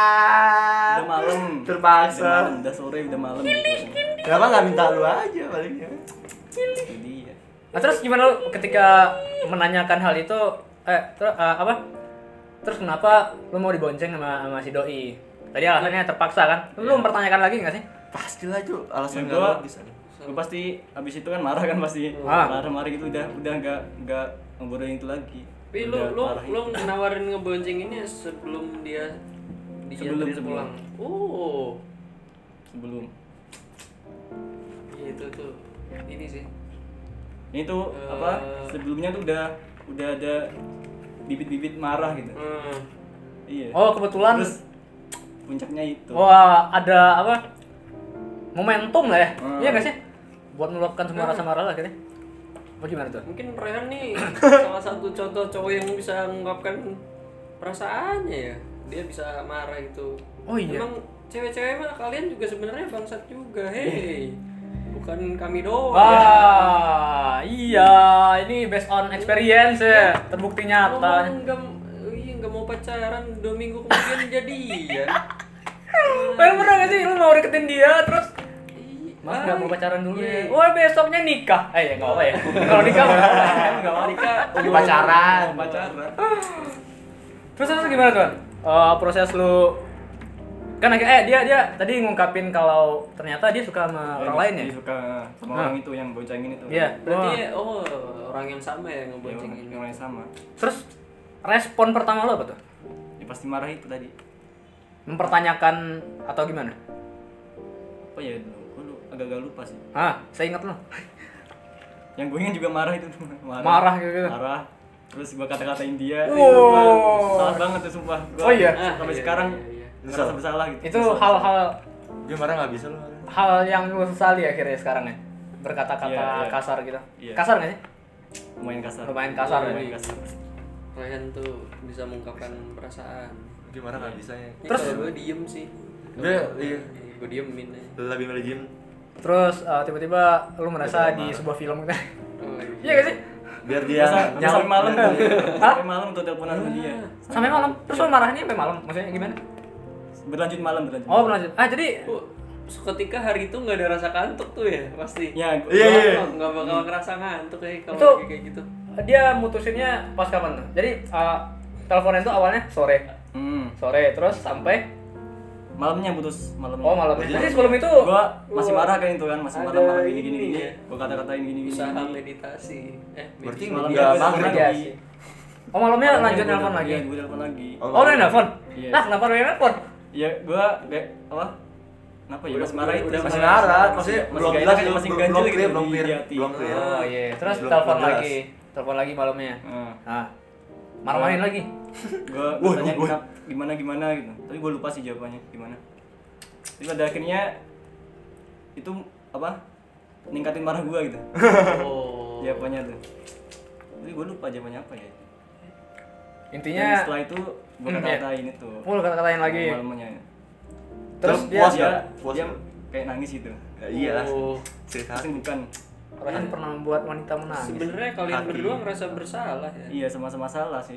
Speaker 5: Udah malam.
Speaker 2: Terpaksa.
Speaker 5: Udah malam, udah sore, udah malam. gitu.
Speaker 2: Kenapa nggak minta lu aja ya? palingnya?
Speaker 5: Itu dia.
Speaker 1: Nah, terus gimana lu ketika menanyakan hal itu eh ter- eh, apa? Terus kenapa lu mau dibonceng sama, sama si doi? Tadi alasannya terpaksa kan?
Speaker 5: Iya.
Speaker 1: Lu mempertanyakan lagi nggak sih?
Speaker 2: Pastilah itu alasan
Speaker 5: Ya,
Speaker 2: nggak
Speaker 5: gua-
Speaker 2: logis. ada.
Speaker 5: Gue pasti abis itu kan marah kan pasti
Speaker 1: Ah.
Speaker 5: marah-marah gitu udah udah nggak nggak ngobrolin itu lagi.
Speaker 3: Tapi lu
Speaker 5: Udah
Speaker 3: lu
Speaker 5: parah
Speaker 3: lu nawarin ngeboncenginnya sebelum dia
Speaker 5: Sebelum,
Speaker 3: dianterin
Speaker 5: sebelum.
Speaker 3: pulang. Oh.
Speaker 5: sebelum
Speaker 3: Iya, itu tuh. Ini sih.
Speaker 5: ini tuh
Speaker 3: Eh.
Speaker 5: apa sebelumnya tuh udah udah ada bibit-bibit marah gitu.
Speaker 3: Hmm.
Speaker 5: Iya.
Speaker 1: Oh, kebetulan
Speaker 5: Terus puncaknya itu.
Speaker 1: wah ada apa? Momentum lah ya.
Speaker 5: Hmm.
Speaker 1: Iya nggak sih? Buat meluapkan semua
Speaker 5: Iya.
Speaker 1: rasa marah lah akhirnya. Apa gimana tuh?
Speaker 3: Mungkin Rehan nih salah satu contoh cowok yang bisa mengungkapkan perasaannya ya. Dia bisa marah gitu.
Speaker 1: Oh, iya.
Speaker 3: Emang cewek-cewek mah kalian juga sebenarnya bangsat juga. Hei. Bukan kami doang.
Speaker 1: Wah, iya, ini based on experience ya,
Speaker 5: Iya.
Speaker 1: terbukti nyata.
Speaker 3: Ngomong nggak iya, nggak mau pacaran dua minggu kemudian ya. jadian.
Speaker 1: Lu pernah nggak sih lu mau deketin dia terus Mas
Speaker 3: Ay,
Speaker 1: nggak mau pacaran dulu ya?
Speaker 3: iya.
Speaker 1: Wah besoknya nikah. Eh ya nggak apa ya. Kalau nikah nggak apa-apa. nggak mau nikah. Pacaran.
Speaker 5: Iya. Pacaran.
Speaker 1: Terus terus gimana tuh? Eh, proses lu kan akhirnya eh dia dia tadi ngungkapin kalau ternyata dia suka
Speaker 5: Iya,
Speaker 1: sama orang lain ya.
Speaker 5: Dia suka sama
Speaker 1: Hah.
Speaker 5: orang itu yang boncengin itu.
Speaker 1: Iya. gitu.
Speaker 3: Berarti
Speaker 1: Wah.
Speaker 3: ya, oh orang yang sama ya
Speaker 5: Ya, orang
Speaker 3: ngeboncengin.
Speaker 5: orang yang sama.
Speaker 1: Terus respon pertama lu apa tuh?
Speaker 5: Ya pasti marah itu tadi.
Speaker 1: Mempertanyakan atau gimana?
Speaker 5: Apa ya dulu? Gua lu- agak-agak lupa sih.
Speaker 1: Hah, saya ingat lu.
Speaker 5: Yang gue ingin juga marah itu tuh.
Speaker 1: Marah gitu.
Speaker 5: Marah. Terus gua kata-katain dia.
Speaker 1: Wow.
Speaker 5: Ih, sumpah. Salah banget tuh sumpah. Gua
Speaker 1: Oh, iya?
Speaker 3: Ah,
Speaker 5: Sampai
Speaker 3: iya,
Speaker 5: sekarang
Speaker 3: iya, iya.
Speaker 5: ngerasa bersalah gitu.
Speaker 1: Itu
Speaker 5: Ngerasa
Speaker 1: hal-hal
Speaker 2: Dia marah nggak bisa lu.
Speaker 1: hal yang lu sesali akhirnya sekarang ya. Berkata-kata
Speaker 5: Iya, iya.
Speaker 1: kasar gitu.
Speaker 5: Iya.
Speaker 1: Kasar nggak sih?
Speaker 5: bersalah. lumayan kasar. Iya,
Speaker 1: Lumayan kasar ya.
Speaker 5: Lumayan kasar.
Speaker 3: Ryan tuh bisa mengungkapkan perasaan.
Speaker 2: Dia marah nggak bisa ya.
Speaker 3: Ini
Speaker 1: Terus-
Speaker 3: kalau gue diem sih.
Speaker 2: Dia iya.
Speaker 3: Gue diemin aja.
Speaker 2: lebih milih gym.
Speaker 1: Terus eh, tiba-tiba lu merasa
Speaker 2: Tiba-tiba
Speaker 1: di
Speaker 2: marah.
Speaker 1: sebuah film gitu.
Speaker 3: Oh,
Speaker 1: Iya gak sih?
Speaker 2: Biar dia Iya.
Speaker 5: Masa- masa
Speaker 2: nyampe
Speaker 5: sampai malam tuh.
Speaker 1: Hah?
Speaker 5: Iya. Sampai malam tuh teleponan sama dia.
Speaker 1: Sampai malam. Terus lu marahnya sampai malam. Maksudnya gimana?
Speaker 5: Berlanjut malam berlanjut.
Speaker 1: Oh,
Speaker 5: malam.
Speaker 1: berlanjut. Ah, jadi
Speaker 3: Oh, seketika hari itu nggak ada rasa kantuk tuh ya pasti.
Speaker 5: Ya, gua-
Speaker 2: Iya, iya.
Speaker 3: Nggak- Nggak bakal ngerasa ngantuk ya
Speaker 1: Itu-
Speaker 3: kalau lagi kayak gitu.
Speaker 1: dia mutusinnya pas kapan tuh? Jadi eh, teleponan tuh awalnya sore.
Speaker 5: Hmm.
Speaker 1: Sore terus sampai
Speaker 5: Malamnya putus, malamnya.
Speaker 1: oh malam. Jadi sebelum itu
Speaker 5: Gua masih marah kan itu kan, masih
Speaker 3: Ada
Speaker 5: marah-marah gini gini
Speaker 3: ini
Speaker 5: gini.
Speaker 3: ya.
Speaker 5: Gua kata-katain gini gini.
Speaker 3: Usaha
Speaker 5: gini.
Speaker 3: meditasi. Eh,
Speaker 2: Berarti
Speaker 3: meditasi.
Speaker 5: Malam
Speaker 2: nggak
Speaker 5: dia-
Speaker 2: bangun
Speaker 5: dia-
Speaker 1: lagi. Oh, malamnya lanjut
Speaker 5: gua
Speaker 1: nelpon
Speaker 5: udah-
Speaker 1: lagi.
Speaker 5: Iya, gua telepon lagi.
Speaker 1: Oh, lu yang nelpon?
Speaker 5: Iya.
Speaker 1: Nah, kenapa lu yang nelpon?
Speaker 5: Ya, gua kayak apa? Kenapa ya?
Speaker 3: Udah-
Speaker 5: Masih marah itu.
Speaker 3: udah
Speaker 2: masih
Speaker 5: masih
Speaker 2: marah,
Speaker 5: masih-
Speaker 2: maksudnya
Speaker 5: masih
Speaker 2: belum
Speaker 5: ganjil
Speaker 2: jelas,
Speaker 5: gitu,
Speaker 2: belum
Speaker 5: masih
Speaker 2: belum
Speaker 5: ganjil
Speaker 2: clear,
Speaker 5: gitu
Speaker 2: belum
Speaker 5: di-
Speaker 2: clear,
Speaker 5: di hati.
Speaker 2: belum clear.
Speaker 1: Oh, iya. Terus
Speaker 2: Belum-
Speaker 1: telepon
Speaker 2: belum jelas.
Speaker 1: lagi. Telepon lagi malamnya.
Speaker 5: Heeh.
Speaker 1: Nah, marah-marahin lagi.
Speaker 5: gue
Speaker 2: Woi,
Speaker 5: tanya
Speaker 2: woi, woi.
Speaker 5: kenapa- gimana gimana gitu tapi gue lupa sih jawabannya gimana tapi pada akhirnya itu apa ningkatin marah gue gitu
Speaker 3: Oh.
Speaker 5: jawabannya tuh tapi gue lupa jawabannya apa ya Dan
Speaker 1: Intinya
Speaker 5: setelah itu gue
Speaker 1: Hmm, iya.
Speaker 5: kata-katain itu
Speaker 1: full kata-katain lagi.
Speaker 5: malamnya
Speaker 1: Terus
Speaker 2: Terus
Speaker 1: dia
Speaker 2: puas
Speaker 5: dia,
Speaker 2: nggak? Puas
Speaker 5: dia
Speaker 2: nggak?
Speaker 5: kayak nangis gitu
Speaker 2: Ya, iya lah
Speaker 3: Oh.
Speaker 2: cerita
Speaker 5: pasti bukan
Speaker 1: Rohan pernah membuat wanita menangis.
Speaker 3: Sebenarnya kalian
Speaker 2: Hati.
Speaker 3: berdua ngerasa bersalah ya.
Speaker 5: iya sama-sama salah sih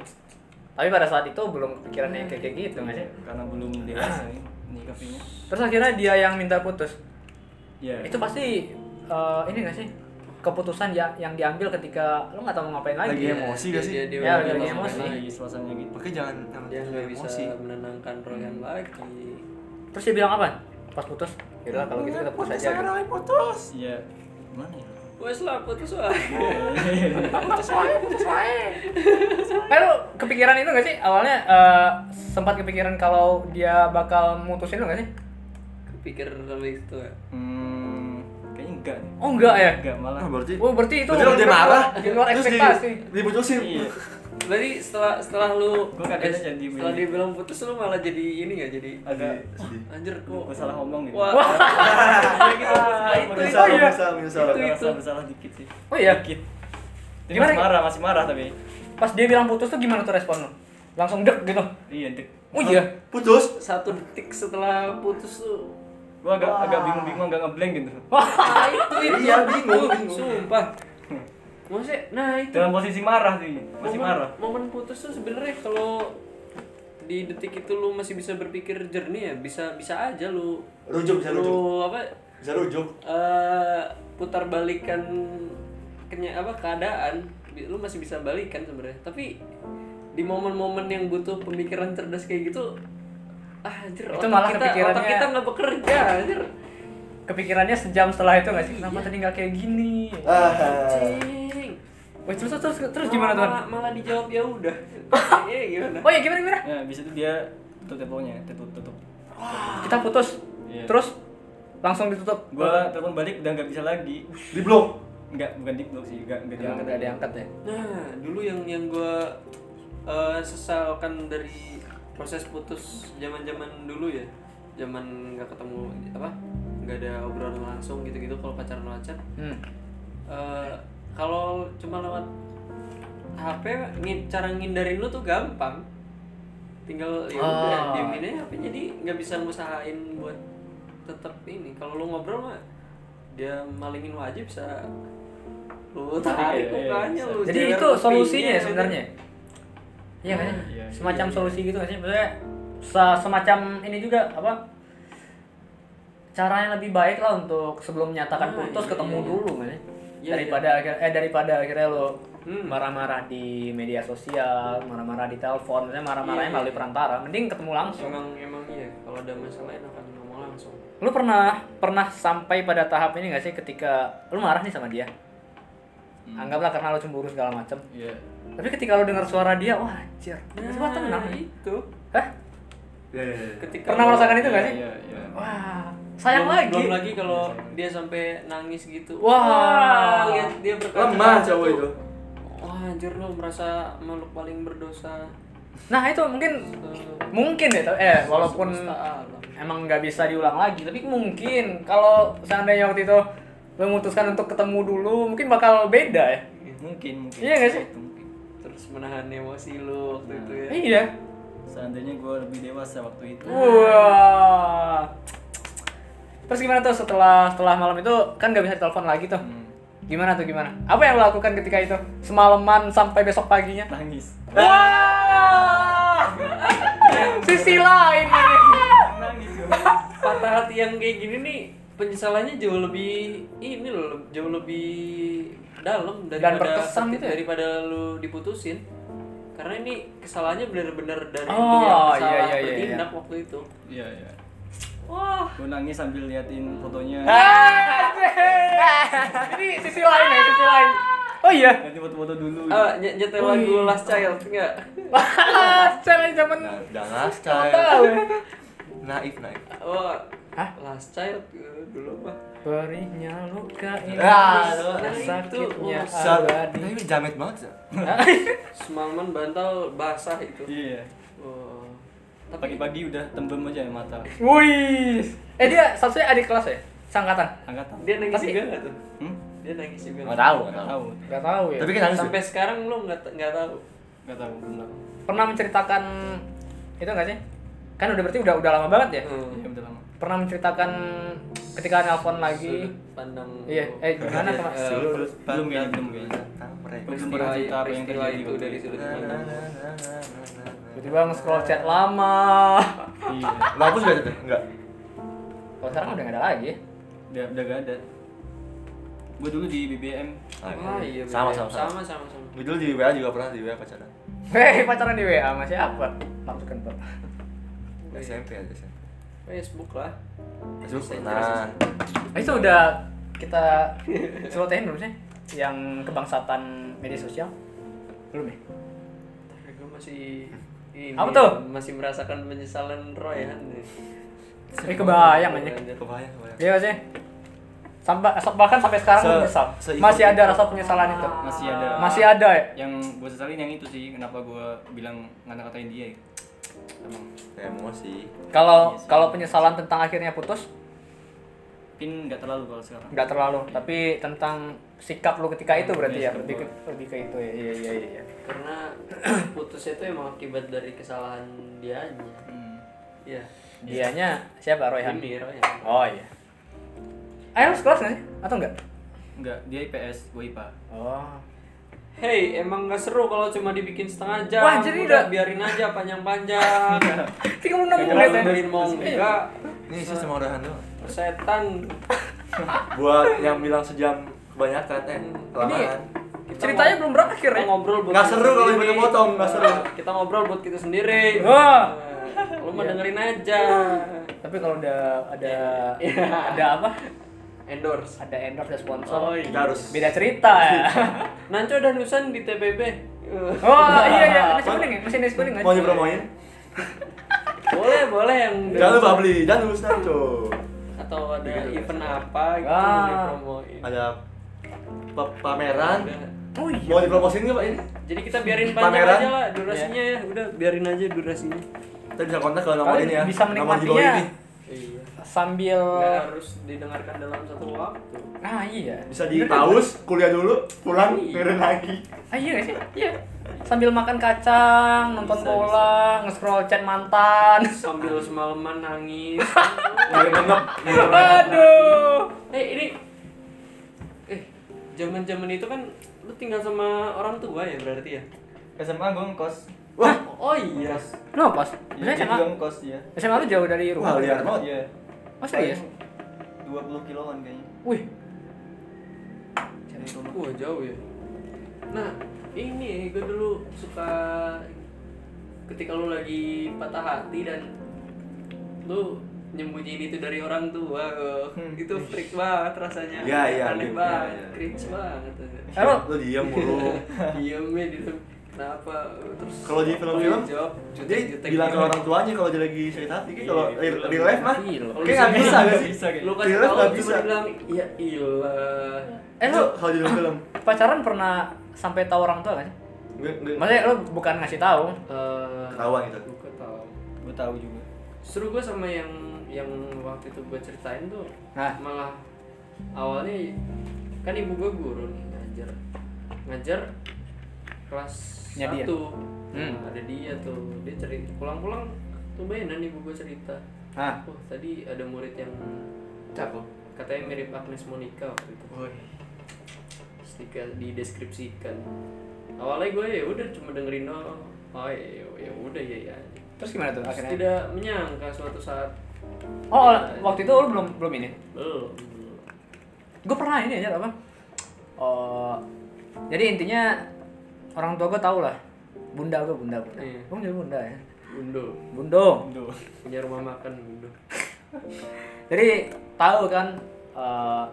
Speaker 1: Tapi pada saat itu belum kepikiran yang kayak kayak gitu nggak sih?
Speaker 5: karena belum dewasa nih nyikapinya
Speaker 1: Terus akhirnya dia yang minta putus.
Speaker 5: iya
Speaker 1: Itu pasti eh, ini nggak sih? Keputusan ya yang diambil ketika lu nggak tahu mau ngapain lagi.
Speaker 2: Lagi emosi
Speaker 3: Dia-
Speaker 2: gak sih?
Speaker 3: Eh, Dia, dia,
Speaker 1: Ya,
Speaker 3: dia
Speaker 1: lagi
Speaker 3: nggak
Speaker 1: emosi.
Speaker 3: main
Speaker 5: lagi
Speaker 3: lagi.
Speaker 5: suasananya gitu
Speaker 2: Makanya jangan jangan
Speaker 3: Dia nggak bisa
Speaker 2: emosi.
Speaker 3: menenangkan Royan lagi.
Speaker 1: Terus dia bilang apa? Pas putus? Yaudah kalau gitu kita putus aja. gitu.
Speaker 2: putus.
Speaker 5: iya gimana ya
Speaker 3: Wes lah putus lah.
Speaker 1: Eh lu kepikiran itu gak sih? Awalnya eh, sempat kepikiran kalau dia bakal mutusin lu gak sih?
Speaker 3: Pikir lebih itu ya.
Speaker 5: hmm kayaknya enggak deh. Ah,
Speaker 1: Oh enggak ya?
Speaker 5: Eh, enggak malah
Speaker 2: Nah, berarti
Speaker 1: Oh berarti itu
Speaker 2: berarti kalau dia
Speaker 1: bener-bener
Speaker 2: marah
Speaker 1: di luar
Speaker 2: terus di-
Speaker 1: ekspektasi.
Speaker 2: diputusin.
Speaker 5: iya
Speaker 3: Berarti setelah setelah lu
Speaker 5: Gua kagetnya jadi
Speaker 3: setelah
Speaker 5: begini.
Speaker 3: dibilang putus lu malah jadi ini nggak jadi
Speaker 5: agak
Speaker 2: Sedih.
Speaker 3: anjir kok.
Speaker 5: gue salah ngomong gitu
Speaker 3: Wah. Gitu, nah, itu
Speaker 2: Menyesal,
Speaker 3: itu ya.
Speaker 2: menyesal, menyesal.
Speaker 3: Itu, itu.
Speaker 5: merasa bersalah dikit sih
Speaker 1: Oh iya.
Speaker 5: dikit Tapi
Speaker 1: Gimana?
Speaker 5: masih marah masih marah tapi
Speaker 1: Pas dia bilang putus tuh gimana tuh respon lu? Langsung dek gitu.
Speaker 5: iya dek
Speaker 1: Oh iya.
Speaker 2: Putus.
Speaker 3: Satu detik setelah putus tuh.
Speaker 5: gue agak agak bingung-bingung agak ngeblank gitu
Speaker 3: Nah, itu itu
Speaker 2: Iya, bingung,
Speaker 3: Tuh,
Speaker 2: bingung.
Speaker 3: Sumpah. Maksudnya, nah itu
Speaker 5: dalam posisi marah sih Hmm.
Speaker 1: Oh,
Speaker 5: masih
Speaker 3: momen,
Speaker 5: marah
Speaker 3: momen putus tuh sebenarnya kalau di detik itu lu masih bisa berpikir jernih ya bisa bisa aja lu
Speaker 2: Rujuk, bisa
Speaker 3: lu apa
Speaker 2: Bisa rujuk.
Speaker 3: eh, putar balikan kenya apa keadaan Bi- lu masih bisa balikan sebenarnya tapi di momen-momen yang butuh pemikiran cerdas kayak gitu ah anjir
Speaker 1: Itu
Speaker 3: otak
Speaker 1: malah
Speaker 3: kita otak
Speaker 1: kepikirannya-
Speaker 3: kita nggak bekerja anjir
Speaker 1: Kepikirannya sejam setelah itu gak sih? Kenapa tadi gak kayak gini?
Speaker 2: Ah.
Speaker 3: Cing.
Speaker 1: Wih, terus terus terus gimana tuh?
Speaker 3: malah, malah dijawab ya udah iya gimana
Speaker 1: Oh iya gimana gimana?
Speaker 5: ya bisa itu dia tutup teleponnya tutup tutup
Speaker 1: Kita putus.
Speaker 5: Iya.
Speaker 1: Terus langsung ditutup.
Speaker 5: gue telepon balik udah nggak bisa lagi
Speaker 2: Di blok.
Speaker 5: nggak bukan di blok sih nggak nggak
Speaker 1: Jangan
Speaker 5: diangkat
Speaker 1: ada diangkat ya.
Speaker 3: Nah, dulu yang yang gua eh, sesalkan dari proses putus zaman-zaman dulu ya. Zaman nggak ketemu apa? nggak ada obrolan langsung gitu-gitu kalau pacaran pacaran.
Speaker 1: Hmm.
Speaker 3: Eh kalau cuma lewat HP ngi- cara ngindarin lu tuh gampang. Tinggal ya
Speaker 1: Ah.
Speaker 3: udah diemin aja HP jadi nggak bisa ngusahain buat tetap ini. Kalau lu ngobrol mah dia malingin wajah bisa lu tarik
Speaker 5: Iya, iya,
Speaker 3: mukanya
Speaker 5: bisa.
Speaker 3: lu gitu.
Speaker 1: Jadi
Speaker 3: jewer
Speaker 1: itu solusinya
Speaker 3: pipinya,
Speaker 1: ya sebenarnya. Iya kan?
Speaker 5: Iya, iya,
Speaker 1: Semacam
Speaker 5: iya.
Speaker 1: solusi gitu nggak sih? Maksudnya se- semacam ini juga apa? Cara yang lebih baik lah untuk sebelum menyatakan
Speaker 3: Ah,
Speaker 1: putus
Speaker 3: iya,
Speaker 1: ketemu
Speaker 3: iya, iya.
Speaker 1: dulu kan? ya?
Speaker 3: Iya,
Speaker 1: daripada akhir- eh daripada akhirnya lo
Speaker 3: Hmm.
Speaker 1: marah-marah di media sosial, marah-marah di telepon, maksudnya marah-marahnya
Speaker 3: Iya, iya.
Speaker 1: melalui perantara, mending ketemu langsung.
Speaker 3: Emang emang iya kalau ada masalah enakan ngomong langsung.
Speaker 1: Lu pernah pernah sampai pada tahap ini gak sih ketika lu marah nih sama dia? Anggaplah karena lu cemburu segala macem
Speaker 5: iya
Speaker 1: Tapi ketika lu dengar suara dia, wah anjir. Nah, tenang. ya.
Speaker 3: itu.
Speaker 1: Hah?
Speaker 2: Ya,
Speaker 3: Ketika
Speaker 1: Pernah merasakan itu gak sih?
Speaker 5: iya iya
Speaker 1: Wah, sayang
Speaker 3: belum,
Speaker 1: lagi.
Speaker 3: Belum lagi kalau dia sampai nangis gitu.
Speaker 1: Wah.
Speaker 3: lihat dia berkaca
Speaker 2: Lemah
Speaker 3: kaca
Speaker 2: cowok
Speaker 3: tuh.
Speaker 2: itu.
Speaker 3: Wah, anjir lu merasa makhluk paling berdosa.
Speaker 1: Nah, itu mungkin
Speaker 3: Eh,
Speaker 1: mungkin ya, tau- eh walaupun
Speaker 3: semesta alam.
Speaker 1: emang nggak bisa diulang lagi, tapi mungkin kalau seandainya waktu itu lu memutuskan untuk ketemu dulu, mungkin bakal beda ya.
Speaker 5: mungkin mungkin
Speaker 1: Iya nggak sih?
Speaker 5: Itu mungkin.
Speaker 3: terus menahan emosi lu waktu itu ya.
Speaker 1: Iya.
Speaker 5: seandainya gue lebih dewasa waktu itu
Speaker 1: Wah. Terus gimana tuh setelah setelah malam itu kan nggak bisa telepon lagi tuh.
Speaker 5: Hmm,
Speaker 1: Gimana tuh gimana? Apa yang lo lakukan ketika itu? Semalaman sampai besok paginya?
Speaker 5: nangis
Speaker 1: Wah. Sisi lain ini.
Speaker 5: nangis gue
Speaker 3: Patah hati yang kayak gini nih penyesalannya jauh lebih ini loh, jauh lebih dalam daripada
Speaker 1: berkesan gitu ya?
Speaker 3: daripada lu diputusin. Karena ini kesalahannya benar-benar dari
Speaker 1: Oh,
Speaker 3: dia yang salah
Speaker 1: iya, iya, iya,
Speaker 3: bertindak waktu itu.
Speaker 5: iya iya
Speaker 3: Wah,
Speaker 5: gue nangis sambil liatin fotonya
Speaker 1: Ah, Ini sisi lain ya, sisi lain. Oh iya.
Speaker 5: liatin foto-foto dulu
Speaker 1: Oh.
Speaker 3: ah, ny- nyetel lagu Last Child enggak?
Speaker 1: Wah, challenge zaman
Speaker 2: Nah, jangan
Speaker 1: tahu.
Speaker 2: sekali. Naif, naif.
Speaker 3: Wah,
Speaker 1: Hah?
Speaker 3: Oh, Last Child eh, dulu mah.
Speaker 1: Perihnya luka ini.
Speaker 2: Ah, lu.
Speaker 1: sakitnya
Speaker 3: Itu,
Speaker 2: Sal-
Speaker 1: abadi.
Speaker 2: Tapi jamet banget sih.
Speaker 3: Semalaman bantal basah itu.
Speaker 5: iya
Speaker 3: Wah. Tapi
Speaker 5: pagi-pagi udah tembem aja ya mata
Speaker 1: Wih. Eh dia satunya adik kelas ya? Sangkatan.
Speaker 5: angkatan
Speaker 3: dia nangis
Speaker 1: Tapi-
Speaker 3: juga enggak tuh?
Speaker 5: hmm?
Speaker 3: Dia nangis juga.
Speaker 2: Nggak tahu, nggak
Speaker 5: nggak
Speaker 2: tahu.
Speaker 5: tahu
Speaker 1: Gak tahu ya.
Speaker 2: Tapi kan nangis.
Speaker 3: Sampai sekarang lu nggak nggak tahu.
Speaker 5: nggak tahu belum tahu
Speaker 1: pernah menceritakan itu enggak sih? Kan udah berarti udah udah lama banget ya?
Speaker 3: Hmm.
Speaker 5: Iya, udah lama.
Speaker 1: Pernah menceritakan ketika nelpon lagi.
Speaker 3: Sudut pandang
Speaker 1: Iya, eh gimana
Speaker 2: Iya,
Speaker 1: kemarin?
Speaker 2: sudut
Speaker 5: belum, belum kayaknya, belum kayaknya.
Speaker 2: Tamre.
Speaker 5: Belum
Speaker 3: peristiwa,
Speaker 5: pernah cerita apa yang
Speaker 3: peristiwa
Speaker 5: terjadi
Speaker 3: itu
Speaker 5: waktu
Speaker 3: dari
Speaker 5: itu.
Speaker 3: sudut
Speaker 2: Na, na,
Speaker 3: pandang
Speaker 2: na, na, na, na, na.
Speaker 1: Tiba-tiba nge-scroll chat lama.
Speaker 5: Iya.
Speaker 2: Lo hapus gak chatnya? Enggak
Speaker 1: Kalau sekarang udah nggak ada lagi. ya?
Speaker 5: Udah udah gak ada. Gue dulu di BBM
Speaker 3: Wah, iya,
Speaker 2: Sama sama
Speaker 3: bener.
Speaker 2: sama
Speaker 3: sama sama sama
Speaker 2: Gue dulu di WA juga pernah di WA pacaran
Speaker 1: Hei, pacaran di WA sama siapa? kan, Mark Zuckerberg.
Speaker 3: Iya.
Speaker 2: SMP aja SMP
Speaker 3: Facebook lah
Speaker 2: Iya. Facebook
Speaker 3: Messenger,
Speaker 2: pernah
Speaker 1: Nah, itu udah kita selotehin belum sih? Yang kebangsatan media sosial? Belum ya?
Speaker 3: gue masih ini
Speaker 1: Apa tuh?
Speaker 3: masih merasakan penyesalan Royhan nih
Speaker 1: Eh, kebayang aja.
Speaker 2: Kebayang kebayang
Speaker 1: Iya sih. Sampai bahkan sampai sekarang
Speaker 2: Se-
Speaker 1: gue menyesal.
Speaker 2: se-
Speaker 1: Masih ada rasa penyesalan itu.
Speaker 5: masih ada.
Speaker 1: Masih ada ya.
Speaker 5: yang gue sesalin yang itu sih kenapa gue bilang ngata-ngatain dia ya. Emang
Speaker 2: Emosi
Speaker 1: Kalau
Speaker 5: Iya sih.
Speaker 1: kalau penyesalan tentang akhirnya putus
Speaker 5: pin nggak terlalu kalau sekarang.
Speaker 1: nggak terlalu, tapi tentang sikap lu ketika itu berarti
Speaker 5: Iya,
Speaker 1: ya,
Speaker 5: sikap
Speaker 1: lebih ke,
Speaker 5: gua.
Speaker 1: lebih ke itu ya. Iya iya iya. iya.
Speaker 3: karena putusnya itu emang akibat dari kesalahan dia aja
Speaker 5: Hmm.
Speaker 3: ya
Speaker 1: Dianya siapa Royhan?
Speaker 3: ini ya. Royhan
Speaker 1: Oh iya. Ayo lu sekelas nggak sih? Atau enggak?
Speaker 5: Enggak, dia IPS, gue IPA.
Speaker 1: Oh.
Speaker 3: Hey, emang gak seru kalau cuma dibikin setengah jam.
Speaker 1: Wah, jadi Iya.
Speaker 3: Udah
Speaker 1: udah-
Speaker 3: bijerin aja panjang-panjang.
Speaker 1: Tiga puluh enam
Speaker 3: Kira
Speaker 1: menit ya.
Speaker 3: dengerin mau enggak
Speaker 2: Ini sih cuma udahan doang
Speaker 3: persetan.
Speaker 2: Buat yang bilang sejam kebanyakan Eh kelamaan
Speaker 3: Kita
Speaker 1: Ceritanya
Speaker 3: ngob-
Speaker 1: belum berakhir
Speaker 3: kita
Speaker 1: ya.
Speaker 3: ngobrol buat
Speaker 2: Nggak
Speaker 3: kita
Speaker 2: seru kalau
Speaker 3: sendiri. Nah,
Speaker 2: dipotong-potong, nggak seru.
Speaker 3: Kita ngobrol buat kita sendiri.
Speaker 1: Wah. Iya.
Speaker 3: Nah, Lu mah dengerin aja.
Speaker 1: Tapi kalau udah ada
Speaker 3: Iya.
Speaker 1: ada apa?
Speaker 3: Endorse.
Speaker 1: Ada endorse, ada sponsor.
Speaker 3: Oh,
Speaker 2: Kita harus
Speaker 1: Beda cerita ya.
Speaker 3: Nanco dan Nusan di TPB.
Speaker 1: Oh iya iya, nasi kuning ya? Mesin nasi kuning kan?
Speaker 2: Mau nyepromoin?
Speaker 3: boleh, boleh yang
Speaker 2: Jangan lupa beli, jangan lupa tuh
Speaker 3: atau ada
Speaker 2: Gitu. Ah.
Speaker 3: event apa gitu
Speaker 1: Wah.
Speaker 3: mau dipromoin.
Speaker 2: Ada pe- pameran
Speaker 3: Ada.
Speaker 1: Oh iya.
Speaker 2: Mau dipromosin nggak pak ini?
Speaker 3: Jadi kita biarin panjang
Speaker 2: Pameran?
Speaker 3: aja lah durasinya ya. Udah biarin aja durasinya.
Speaker 2: Kita bisa kontak ke nomor
Speaker 1: Kalian
Speaker 2: ini ya
Speaker 1: bisa
Speaker 2: Nomor di bawah
Speaker 1: menikmatinya.
Speaker 2: ini
Speaker 3: Iya.
Speaker 1: Sambil
Speaker 3: Nggak harus didengarkan dalam satu waktu.
Speaker 1: ah iya.
Speaker 2: Bisa di pause, kuliah dulu, pulang,
Speaker 3: Iya.
Speaker 2: turun lagi
Speaker 1: Ah iya nggak sih? Iya. Sambil makan kacang, nonton
Speaker 3: Bisa,
Speaker 1: bola, nge-scroll chat mantan.
Speaker 3: Sambil semalaman nangis.
Speaker 2: Nggak Iya, bener
Speaker 1: Aduh.
Speaker 3: eh ini eh zaman-zaman itu kan lu tinggal sama orang tua ya berarti ya?
Speaker 5: SMA gue ngkos.
Speaker 2: Wah,
Speaker 3: Oh iya.
Speaker 1: No, pas.
Speaker 5: Iya,
Speaker 1: Biasanya
Speaker 5: dia
Speaker 1: SMA.
Speaker 5: juga ngkos dia.
Speaker 1: SMA lu jauh dari
Speaker 2: gitu. wah
Speaker 1: rumah.
Speaker 2: liar banget
Speaker 5: Iya.
Speaker 1: Oh serius?
Speaker 5: 20 kiloan kayaknya.
Speaker 1: Wih.
Speaker 5: Dari rumah.
Speaker 3: Wah jauh ya. Nah ini gue dulu suka ketika lu lagi patah hati dan lu nyembunyiin itu dari orang tua loh.
Speaker 2: Hmm.
Speaker 3: itu freak banget rasanya
Speaker 2: Iya, iya,
Speaker 3: aneh
Speaker 2: iya,
Speaker 3: banget
Speaker 2: iya, iya.
Speaker 3: cringe banget
Speaker 1: Emang
Speaker 2: Lu diam mulu
Speaker 3: diem ya di dalam. kenapa terus
Speaker 2: Kalau di film-film,
Speaker 3: tanggung jawab
Speaker 2: Jadi
Speaker 3: jutek-jutek
Speaker 2: bilang ke
Speaker 3: gitu.
Speaker 2: orang tuanya kalau dia lagi sakit hati kayak kalau
Speaker 5: Iya,
Speaker 2: real
Speaker 5: film.
Speaker 2: real life mah
Speaker 1: Film.
Speaker 2: kayak nggak bisa nggak sih?
Speaker 5: Bisa
Speaker 3: lu
Speaker 5: kayaknya.
Speaker 3: kasih
Speaker 2: Di live
Speaker 3: tau
Speaker 2: nggak
Speaker 3: cuma
Speaker 2: bisa.
Speaker 3: bilang ya ilah
Speaker 1: Eh
Speaker 2: Itu
Speaker 1: lu
Speaker 2: kalau di dalam film
Speaker 1: pacaran pernah sampai tahu orang tua nggak sih?
Speaker 2: gue gue
Speaker 1: Maksudnya lu bukan ngasih tahu.
Speaker 3: Eh,
Speaker 2: Ketahuan gitu.
Speaker 3: gua ketahuan.
Speaker 5: Gue tahu juga.
Speaker 3: seru gue sama yang yang waktu itu gue ceritain tuh
Speaker 1: Nah.
Speaker 3: malah awalnya kan ibu gue guru nih ngajar ngajar kelas
Speaker 1: Nya dia.
Speaker 3: satu
Speaker 1: Hmm.
Speaker 3: Nah, ada dia tuh dia cerita pulang-pulang tuh benan ibu gue cerita
Speaker 1: Nah.
Speaker 3: Wah, tadi ada murid yang cakep katanya mirip Agnes Monica waktu itu Terus dika- dideskripsikan awalnya gue ya udah cuma dengerin doang oh ya ya udah ya ya aja."
Speaker 1: Terus gimana tuh
Speaker 3: Terus
Speaker 1: akhirnya?
Speaker 3: tidak menyangka suatu saat
Speaker 1: Oh, waktu itu lu belum belum ini.
Speaker 3: belum
Speaker 1: gue pernah ini aja apa oh jadi intinya orang tua gue tau lah bunda gue bunda bunda
Speaker 3: Iya.
Speaker 1: gue jadi bunda ya
Speaker 3: Undo
Speaker 1: bundo
Speaker 5: Aduh.
Speaker 3: punya rumah makan Undo
Speaker 1: jadi tahu kan eh,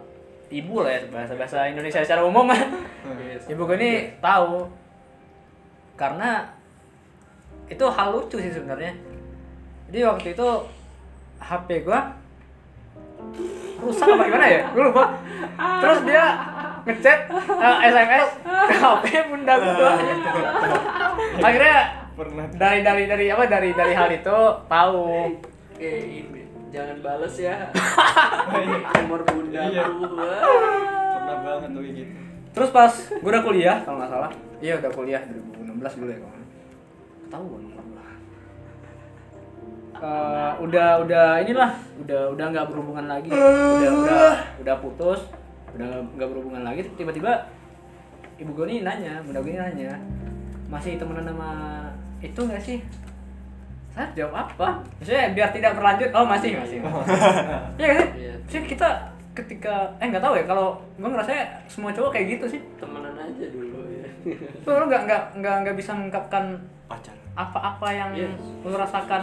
Speaker 1: ibu lah ya bahasa bahasa Indonesia secara umum
Speaker 5: Hmm.
Speaker 3: Yes.
Speaker 1: ibu gue Ya, ini tahu karena itu hal lucu sih sebenarnya jadi waktu itu HP gue rusak apa gimana ya gue lupa terus dia ngechat eh, SMS ke HP bunda gue gitu. akhirnya
Speaker 5: Pernah.
Speaker 1: dari dari dari apa dari dari hal itu tahu
Speaker 3: Oke ini jangan bales ya nomor bunda
Speaker 5: Iya.
Speaker 3: lu Wah.
Speaker 5: Pernah banget tuh kayak gitu.
Speaker 1: terus pas gue udah kuliah kalau nggak salah iya udah kuliah 2016 dulu ya kalau nggak salah. tahu gua nomor gua. Eh, udah udah inilah udah udah nggak berhubungan lagi udah udah udah putus udah nggak berhubungan lagi tiba-tiba ibu gue ini nanya bunda gue ini nanya masih temenan sama itu nggak sih saya jawab apa maksudnya biar tidak berlanjut oh masih masih, masih. Iya kan sih?
Speaker 3: Iya.
Speaker 1: Sih kita ketika eh nggak tahu ya kalau gue ngerasa semua cowok kayak gitu sih.
Speaker 3: temenan aja dulu ya
Speaker 1: Tuh lo nggak nggak nggak nggak bisa mengungkapkan
Speaker 2: pacar
Speaker 1: apa-apa yang
Speaker 2: Iya.
Speaker 3: Yes.
Speaker 1: lo rasakan.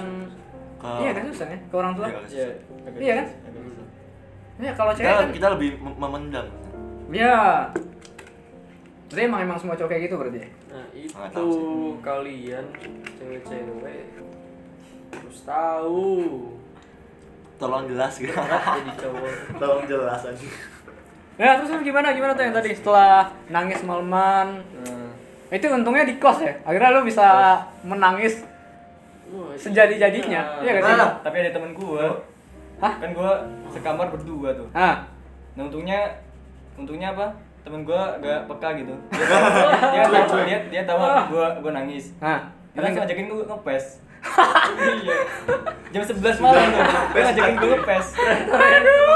Speaker 2: Ke-
Speaker 1: Iya kan susah ya ke orang tua.
Speaker 2: Iya,
Speaker 5: Iya.
Speaker 1: Iya kan? Iya kalau cewek
Speaker 2: kita,
Speaker 1: kan.
Speaker 2: kita lebih mem- memendam
Speaker 1: Iya. Berarti emang emang semua cowok kayak gitu berarti. ya?
Speaker 3: nah
Speaker 2: Nggak
Speaker 3: itu
Speaker 2: tahu
Speaker 5: Hmm.
Speaker 3: kalian cewek-cewek harus tahu
Speaker 2: tolong jelas gitu
Speaker 3: jadi cowok
Speaker 2: tolong jelas aja
Speaker 1: Ya terus lu gimana gimana tuh yang tadi setelah nangis malaman itu untungnya di kos ya akhirnya lo bisa menangis
Speaker 3: Wah, itu-
Speaker 1: sejadi-jadinya iya kan sih?
Speaker 2: Nah.
Speaker 5: tapi ada teman gua
Speaker 1: Hah?
Speaker 5: kan gua sekamar berdua tuh
Speaker 1: ah
Speaker 5: nah untungnya untungnya apa temen gua gak peka gitu dia tahu- dia tahu dia, dia tahu apa gua gua nangis
Speaker 1: ah
Speaker 2: Iya,
Speaker 5: dia langsung ngajakin gua ngepes iya jam 11 malam tuh dia ngajakin gua ngepes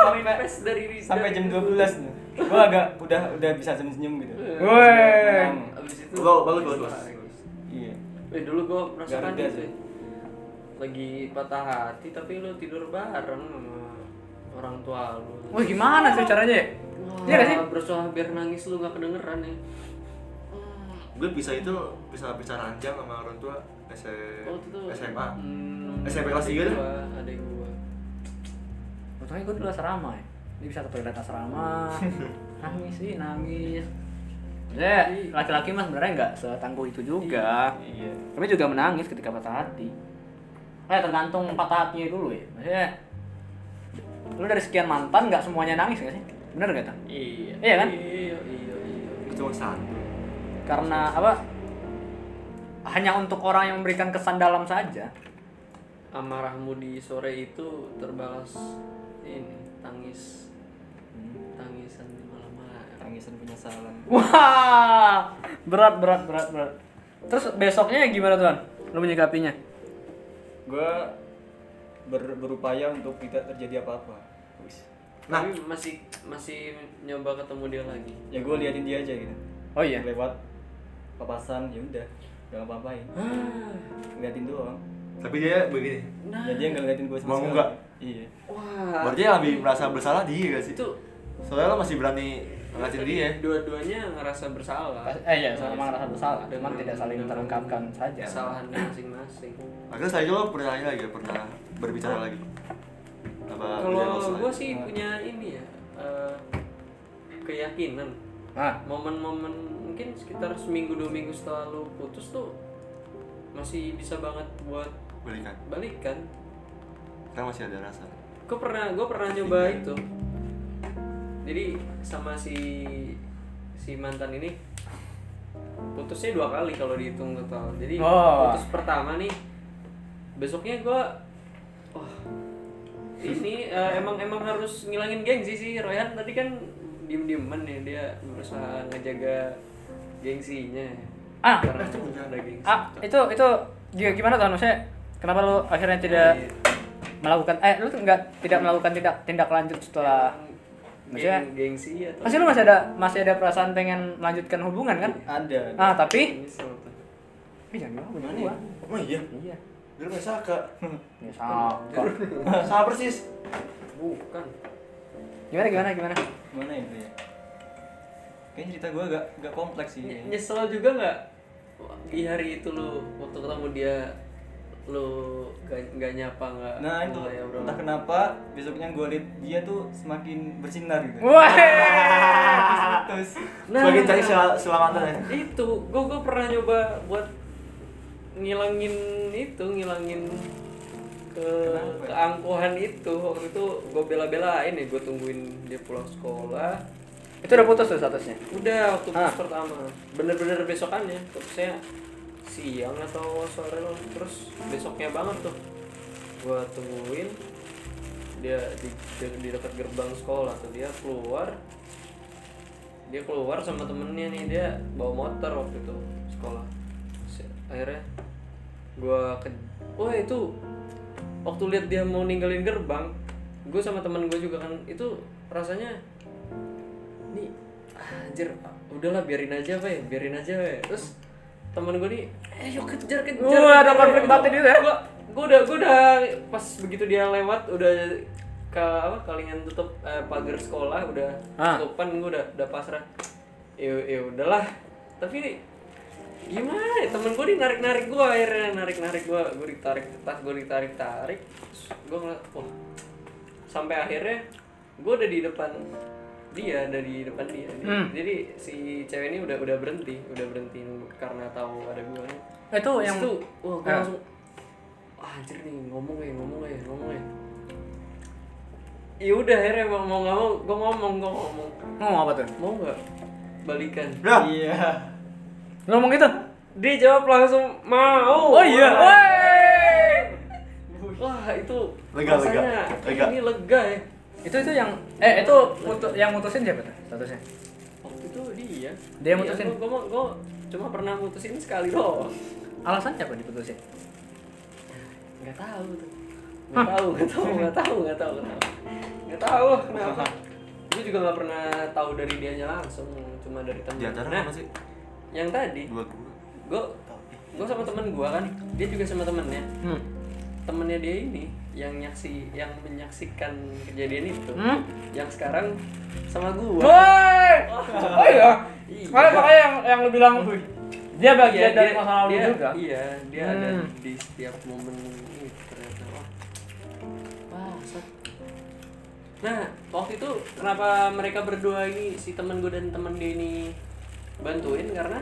Speaker 5: sampai
Speaker 3: Pes dari Rizal
Speaker 5: sampai jam
Speaker 3: itu.
Speaker 5: 12 tuh gua agak udah udah bisa senyum senyum gitu
Speaker 1: Iya.
Speaker 2: Iya,
Speaker 1: Woi.
Speaker 3: Abis itu
Speaker 2: Bagus, bagus, bagus.
Speaker 5: iya
Speaker 3: Eh dulu gue merasakan
Speaker 5: Garuda
Speaker 3: itu
Speaker 5: sih.
Speaker 3: ya. Lagi patah hati tapi lu tidur bareng sama orang tua lu
Speaker 1: Wah gimana sih caranya ya?
Speaker 3: Wah,
Speaker 1: Iya gak sih?
Speaker 3: bersuara biar nangis lu gak kedengeran ya
Speaker 2: gue bisa itu bisa bisa ranjang sama orang tua S
Speaker 3: Oh, itu tuh.
Speaker 2: SMA
Speaker 3: hmm,
Speaker 2: SMP kelas
Speaker 3: adik
Speaker 2: tiga dah.
Speaker 3: gua, adik gua
Speaker 1: Untungnya gue dulu asrama ya Dia bisa ke toilet asrama Nangis sih, nangis Ya, laki-laki mah sebenarnya nggak setangguh itu juga
Speaker 5: iya
Speaker 1: Tapi juga menangis ketika patah hati Eh tergantung patah hatinya dulu ya Maksudnya Lu dari sekian mantan nggak semuanya nangis nggak sih? Bener gak Tan?
Speaker 3: Iya
Speaker 1: Iya kan?
Speaker 3: Iya iya iya
Speaker 2: itu cuma satu
Speaker 1: Karena apa? Hanya untuk orang yang memberikan kesan dalam saja
Speaker 3: Amarahmu di sore itu terbalas ini tangis Tangisan di malam-malam
Speaker 5: tangisan penyesalan
Speaker 1: Wah, berat berat berat berat. Terus besoknya gimana tuan? Lo menyikapinya?
Speaker 5: gua ber- berupaya untuk tidak terjadi apa-apa Wis.
Speaker 2: Nah.
Speaker 3: Tapi masih masih nyoba ketemu dia lagi
Speaker 5: ya gua liatin dia aja gitu
Speaker 1: Oh iya.
Speaker 5: lewat papasan ya udah gak ngapa-ngapain ngeliatin doang
Speaker 2: tapi dia begini
Speaker 3: Nah,
Speaker 5: ya dia nggak ngeliatin gue sama
Speaker 2: Mau
Speaker 5: sekali.
Speaker 2: nggak?
Speaker 5: iya
Speaker 3: wah
Speaker 2: berarti dia lebih merasa bersalah dia gak sih
Speaker 3: Nah. itu
Speaker 2: soalnya lo masih berani ngeliatin dia ya.
Speaker 3: Iya, dua-duanya ngerasa bersalah
Speaker 1: Eh iya, sama Nah, Iya, rasa bersalah.
Speaker 3: Dengan-
Speaker 1: Cuman tidak saling
Speaker 3: dengan
Speaker 1: terungkapkan saja.
Speaker 3: kesalahannya masing-masing
Speaker 2: akhirnya saya lo pernah ini lagi ya, pernah berbicara lagi apa
Speaker 1: Nah,
Speaker 2: udah
Speaker 3: kalau
Speaker 2: lo selesai?
Speaker 3: gue sih punya ini ya eh, keyakinan
Speaker 1: Ah,
Speaker 3: momen-momen mungkin sekitar seminggu dua minggu setelah lu putus tuh masih bisa banget buat kan?
Speaker 2: belikan
Speaker 3: balikan
Speaker 2: karena masih ada rasa
Speaker 3: gue pernah gue pernah nyoba itu jadi sama si si mantan ini putusnya dua kali kalau dihitung total jadi
Speaker 1: Oh.
Speaker 3: putus pertama nih besoknya gue wah ini eh, emang emang harus ngilangin gengsi sih Royhan tadi kan diem dieman ya dia berusaha ngejaga gengsinya
Speaker 1: Ah.
Speaker 3: karena kan ada gengsi
Speaker 1: ah itu itu gi- gimana tuan? Maksudnya kenapa lo akhirnya tidak
Speaker 3: Iya.
Speaker 1: melakukan? Eh lo nggak tidak melakukan tindak tindak lanjut setelah? Maksudnya
Speaker 3: Geng- gengsi atau
Speaker 1: pasti lo masih ada masih ada perasaan pengen melanjutkan hubungan kan?
Speaker 5: ada
Speaker 1: Ah tapi
Speaker 3: Nyesel tuh.
Speaker 1: eh, jangan gua, jangan gua.
Speaker 2: oh iya
Speaker 1: Iya.
Speaker 2: dia nggak saka
Speaker 1: Ya sabar.
Speaker 2: sama persis
Speaker 3: bukan
Speaker 1: Gimana gimana gimana?
Speaker 5: gimana ya Bro, ya kayaknya cerita gue agak agak kompleks sih
Speaker 3: Ny-
Speaker 1: Iya,
Speaker 5: kayaknya.
Speaker 3: nyesel juga nggak di hari itu lu waktu ketemu dia lu gak, gak nyapa nggak
Speaker 5: nah itu
Speaker 3: mulai obrolan?
Speaker 5: entah kenapa besoknya gue liat dia tuh semakin bersinar gitu
Speaker 1: Wah.
Speaker 5: terus
Speaker 3: Nah.
Speaker 2: sebagai cari sel- selamatan ya
Speaker 3: itu gua gua pernah nyoba buat ngilangin itu ngilangin ke
Speaker 5: Kenapa?
Speaker 3: keangkuhan itu waktu itu gua bela-belain ya gua tungguin dia pulang sekolah
Speaker 1: Itu udah putus tuh statusnya.
Speaker 3: udah waktu putus
Speaker 1: Ah.
Speaker 3: pertama Iya. bener-bener besokannya putusnya siang atau sore loh terus besoknya banget tuh gua tungguin dia di, di- di dekat gerbang sekolah tuh dia keluar dia keluar sama temennya nih dia bawa motor waktu itu sekolah Se- akhirnya gua ke wah itu waktu lihat dia mau ninggalin gerbang gue sama teman gue juga kan itu rasanya nih ah, anjir udahlah biarin aja apa ya biarin aja apa ya." terus teman gue nih ayo kejar kejar
Speaker 1: Wah, ada
Speaker 3: kejar."
Speaker 1: konflik batin itu ya?
Speaker 3: Gua- gue udah gue udah pas begitu dia lewat udah ke apa kalingan tutup eh, pagar sekolah udah
Speaker 1: Ah.
Speaker 3: tutupan gue udah udah pasrah ya ya udahlah tapi gimana ya, temen gue nih narik narik gue akhirnya narik narik gue gue ditarik tas gue ditarik tarik gue ngeliat wah sampai akhirnya gue udah di depan dia ada di depan dia
Speaker 1: Hmm.
Speaker 3: jadi si cewek ini udah udah berhenti udah berhenti karena tahu ada gue
Speaker 1: Itu
Speaker 3: Terus
Speaker 1: yang
Speaker 3: tuh, wah gue
Speaker 1: Ah.
Speaker 3: langsung wah anjir nih ngomong ya ngomong ya ngomong ya ya udah akhirnya mau mau nggak mau gue ngomong gue ngomong
Speaker 1: ngomong apa tuh?
Speaker 3: mau nggak balikan
Speaker 5: Iya.
Speaker 1: Lu ngomong gitu?
Speaker 3: dia jawab langsung mau
Speaker 1: Oh iya.
Speaker 3: Wah.
Speaker 1: Wey!
Speaker 3: wah itu
Speaker 2: Lega, lega,
Speaker 3: rasanya
Speaker 2: lega.
Speaker 3: ini lega ya
Speaker 1: Itu itu yang eh itu mutu- yang mutusin siapa tuh? Statusnya.
Speaker 3: waktu itu dia Iya,
Speaker 1: Dia yang mutusin?
Speaker 3: gue gue cuma pernah mutusin sekali doang
Speaker 1: Alasannya apa diputusin?
Speaker 3: nggak tahu tuh nggak tahu nggak tahu nggak tahu nggak tahu nggak tahu nggak tahu kenapa gue juga nggak pernah tahu dari dianya langsung cuma dari teman
Speaker 2: Di acara
Speaker 3: nah
Speaker 2: apa sih?
Speaker 3: yang tadi
Speaker 2: Dua gua.
Speaker 3: gue gue sama temen gue kan dia juga sama temennya
Speaker 1: Hmm.
Speaker 3: temennya dia ini yang nyaksi yang menyaksikan kejadian itu
Speaker 1: Hmm?
Speaker 3: yang sekarang sama gue
Speaker 1: Woi. Oh iya.
Speaker 3: Iya.
Speaker 1: Makanya makanya yang yang lu bilang dia bagian dari masa lalu
Speaker 3: dia-
Speaker 1: Iya, juga.
Speaker 3: Iya, dia ada
Speaker 1: Hmm.
Speaker 3: di setiap momen ini ternyata. Oh. Wah, Wah, set. Nah, waktu itu kenapa mereka berdua ini si teman gue dan teman dia ini bantuin karena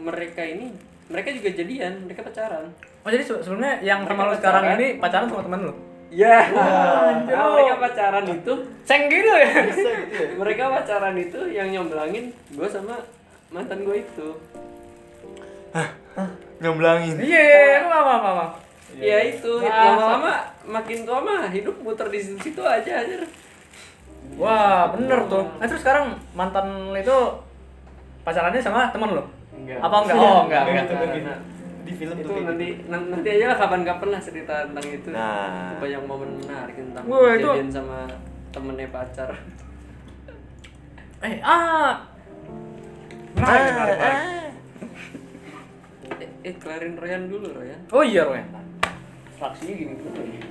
Speaker 3: mereka ini mereka juga jadian, mereka pacaran.
Speaker 1: Oh jadi se- sebelumnya yang sama lu
Speaker 3: Mereka
Speaker 1: sekarang kan?
Speaker 3: pacaran.
Speaker 1: ini pacaran sama temen lu?
Speaker 3: Ya. Karena mereka pacaran itu,
Speaker 1: Ceng gitu ya?
Speaker 2: Bisa gitu ya?
Speaker 3: mereka pacaran itu yang nyomblangin gue sama mantan gue itu.
Speaker 2: Nyomblangin.
Speaker 1: Iya, apa apa apa.
Speaker 3: Ya itu,
Speaker 1: Wah.
Speaker 3: lama-lama makin tua mah hidup muter di situ-situ aja anjir.
Speaker 1: Wah, bener tuh. Nah, terus sekarang mantan lu itu pacarannya sama temen lu?
Speaker 3: Enggak.
Speaker 1: Apa enggak? Oh, enggak, enggak.
Speaker 2: Gitu,
Speaker 3: Nah,
Speaker 2: gitu.
Speaker 3: nah.
Speaker 2: Di film
Speaker 3: itu
Speaker 2: tuh kayak
Speaker 3: nanti
Speaker 2: gitu.
Speaker 3: nan- nanti aja lah kapan-kapan lah cerita tentang itu.
Speaker 2: Nah.
Speaker 3: Banyak momen menarik tentang
Speaker 1: Wah, itu-
Speaker 3: kejadian sama temennya pacar.
Speaker 1: Eh, ah. Menarik, menarik, menarik.
Speaker 3: Eh, eh kelarin Royan dulu Royan.
Speaker 1: Oh iya, Roy.
Speaker 3: Faksinya gini ya. dulu nih.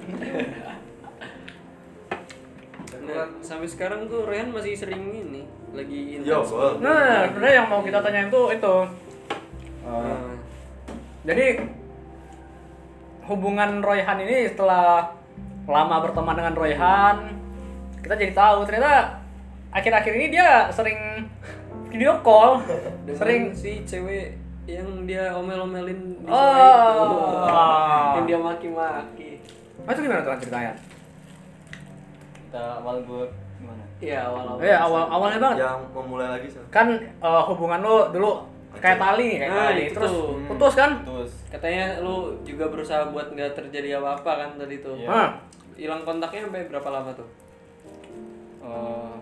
Speaker 3: Nah, sampai sekarang tuh Royan masih sering ini lagi
Speaker 2: Yo,
Speaker 3: intens.
Speaker 2: well.
Speaker 1: Nah, sebenarnya yang mau kita tanyain tuh itu.
Speaker 3: Nah,
Speaker 1: Jadi hubungan Royhan ini setelah lama berteman dengan Royhan, kita jadi tahu ternyata akhir-akhir ini dia sering video call,
Speaker 3: dengan
Speaker 1: sering
Speaker 3: si cewek yang dia omel-omelin di
Speaker 1: Oh. Ah.
Speaker 3: sungai itu. yang dia maki-maki.
Speaker 1: Nah, itu gimana tuh ceritanya?
Speaker 5: Kita awal gua gimana?
Speaker 3: Iya, awal-awal.
Speaker 1: Eh, awal awalnya banget.
Speaker 2: Yang memulai lagi sih.
Speaker 1: Kan eh, hubungan lo dulu kayak tali, kayak
Speaker 3: Nah,
Speaker 1: tali.
Speaker 3: itu
Speaker 1: Terus
Speaker 3: tuh.
Speaker 1: putus kan?
Speaker 5: Terus
Speaker 3: Katanya lu juga berusaha buat nggak terjadi apa-apa kan tadi tuh.
Speaker 5: Iya.
Speaker 1: Hah.
Speaker 3: Hilang kontaknya sampai berapa lama tuh?
Speaker 5: eh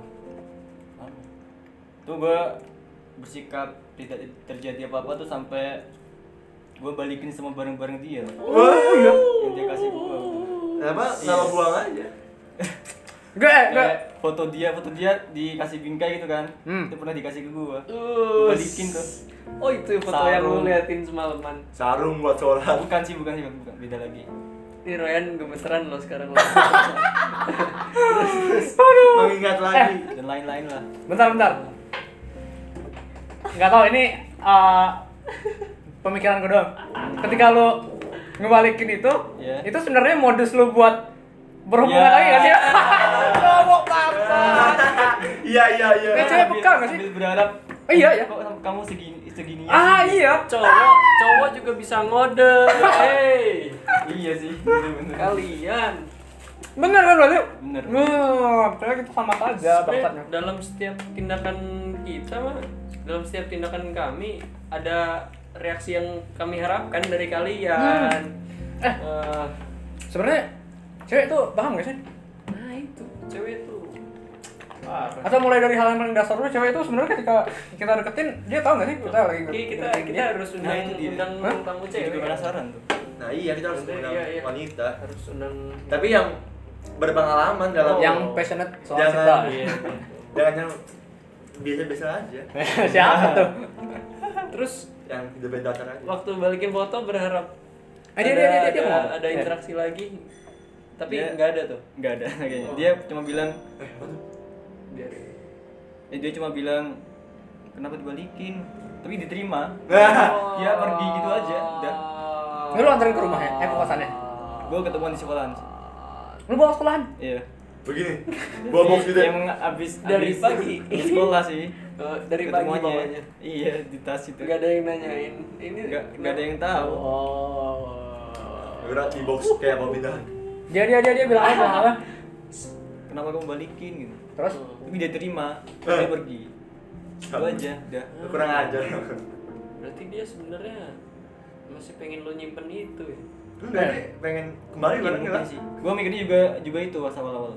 Speaker 5: apa? tuh gue bersikap tidak terjadi apa-apa tuh sampai gue balikin semua barang-barang dia
Speaker 2: Wah, iya.
Speaker 5: yang dia kasih gue
Speaker 2: Eh, Apa? Nama buang aja.
Speaker 1: Gue gue
Speaker 5: kayak foto dia foto dia dikasih bingkai gitu kan
Speaker 1: Hmm.
Speaker 5: itu pernah dikasih ke gue
Speaker 3: Uh,
Speaker 5: balikin tuh
Speaker 3: Oh itu foto yang lu
Speaker 5: Sarung.
Speaker 3: liatin semalaman.
Speaker 2: Sarung buat sholat.
Speaker 5: bukan sih bukan sih bukan, bukan. beda lagi
Speaker 3: Ini Ryan gemeteran lo sekarang. lo.
Speaker 2: Mengingat lagi.
Speaker 5: dan lain-lain lah
Speaker 1: Bentar, bentar. Nggak tahu ini eh, pemikiran gue doang. Ketika lu ngebalikin itu,
Speaker 5: Iya.
Speaker 1: itu sebenarnya modus lu buat berhubungan
Speaker 5: Iya.
Speaker 1: lagi nggak sih? Ngomong bangsa.
Speaker 2: Iya, iya, iya.
Speaker 1: Eh, cewek
Speaker 5: Sambil-
Speaker 1: peka nggak sih?
Speaker 5: sambil berharap
Speaker 1: Oh, iya, iya.
Speaker 5: kok sama kamu segini segininya
Speaker 1: Ah
Speaker 5: sih?"
Speaker 1: iya.
Speaker 3: cowok, cowok juga bisa ngode. Hey,
Speaker 5: iya sih bener-bener
Speaker 3: kalian.
Speaker 1: Bener kan Balu?
Speaker 5: Bener.
Speaker 1: Wah, ternyata kita sama saja bangsatnya.
Speaker 3: Sebenarnya dalam setiap tindakan kita mah, dalam setiap tindakan kami ada reaksi yang kami harapkan dari kalian.
Speaker 1: Eh.
Speaker 3: Eh,
Speaker 1: Sebenarnya cewek tuh paham nggak sih?
Speaker 3: nah itu cewek tuh
Speaker 7: Parah.
Speaker 1: Atau mulai dari hal yang paling dasar dulu cewek itu sebenarnya ketika kita deketin dia tahu nggak sih kita lagi
Speaker 3: Oke, kita
Speaker 1: deketin
Speaker 3: kita
Speaker 1: dia?
Speaker 3: harus
Speaker 5: Nah,
Speaker 3: undang
Speaker 5: itu dia.
Speaker 3: undang
Speaker 1: Hah?
Speaker 3: tamu
Speaker 5: Jadi
Speaker 3: cewek.
Speaker 5: gue penasaran tuh.
Speaker 2: nah iya kita harus
Speaker 3: Iya,
Speaker 2: mengundang
Speaker 3: iya, iya.
Speaker 2: wanita
Speaker 3: Harus undang
Speaker 2: tapi yang berpengalaman dalam
Speaker 1: yang passionate soal
Speaker 2: Jangan,
Speaker 1: cinta.
Speaker 3: Iya.
Speaker 2: jangan yang biasa-biasa aja
Speaker 1: Siapa tuh?
Speaker 3: Terus
Speaker 2: yang tidak beda aja
Speaker 3: waktu balikin foto berharap
Speaker 1: Ah, dia- dia-
Speaker 3: ada,
Speaker 1: dia- dia
Speaker 3: ada,
Speaker 1: ngomong.
Speaker 3: ada
Speaker 1: Iya.
Speaker 3: interaksi lagi. Tapi
Speaker 5: Dia-
Speaker 3: nggak ada tuh.
Speaker 5: Gak ada kayaknya. Dia cuma bilang,
Speaker 3: Dia.
Speaker 5: eh, dia cuma bilang kenapa dibalikin? Tapi diterima.
Speaker 2: Nah.
Speaker 5: Dia pergi gitu aja. Udah.
Speaker 1: Ini Oh. lu anterin ke rumahnya, eh ke kosannya.
Speaker 5: Gue ketemuan di sekolahan. sih.
Speaker 1: Lu bawa sekolahan.
Speaker 5: Iya.
Speaker 2: begini bawa box gitu ya.
Speaker 5: Emang abis
Speaker 3: Dari
Speaker 5: abis
Speaker 3: pagi.
Speaker 5: di sekolah sih.
Speaker 3: Eh, dari pagi
Speaker 5: ketemuannya.
Speaker 3: bawanya.
Speaker 5: Iya di tas itu.
Speaker 3: Nggak ada yang nanyain. Ini
Speaker 5: Nggak- nggak ada yang tahu.
Speaker 3: Oh.
Speaker 2: berat di box kayak mau pindahan
Speaker 1: Dia dia dia dia bilang apa? apa?
Speaker 5: Kenapa kamu balikin gitu?
Speaker 1: Terus
Speaker 5: Tapi dia terima.
Speaker 2: Eh.
Speaker 5: Dia pergi. Itu aja. Udah.
Speaker 2: Lu kurang ajar
Speaker 3: Berarti dia sebenarnya masih pengen lo nyimpen itu ya.
Speaker 2: enggak sih Nah, pengen kembali bareng
Speaker 5: Mungkin
Speaker 2: kita
Speaker 5: sih. Gue mikirnya juga juga itu pas awal-awal.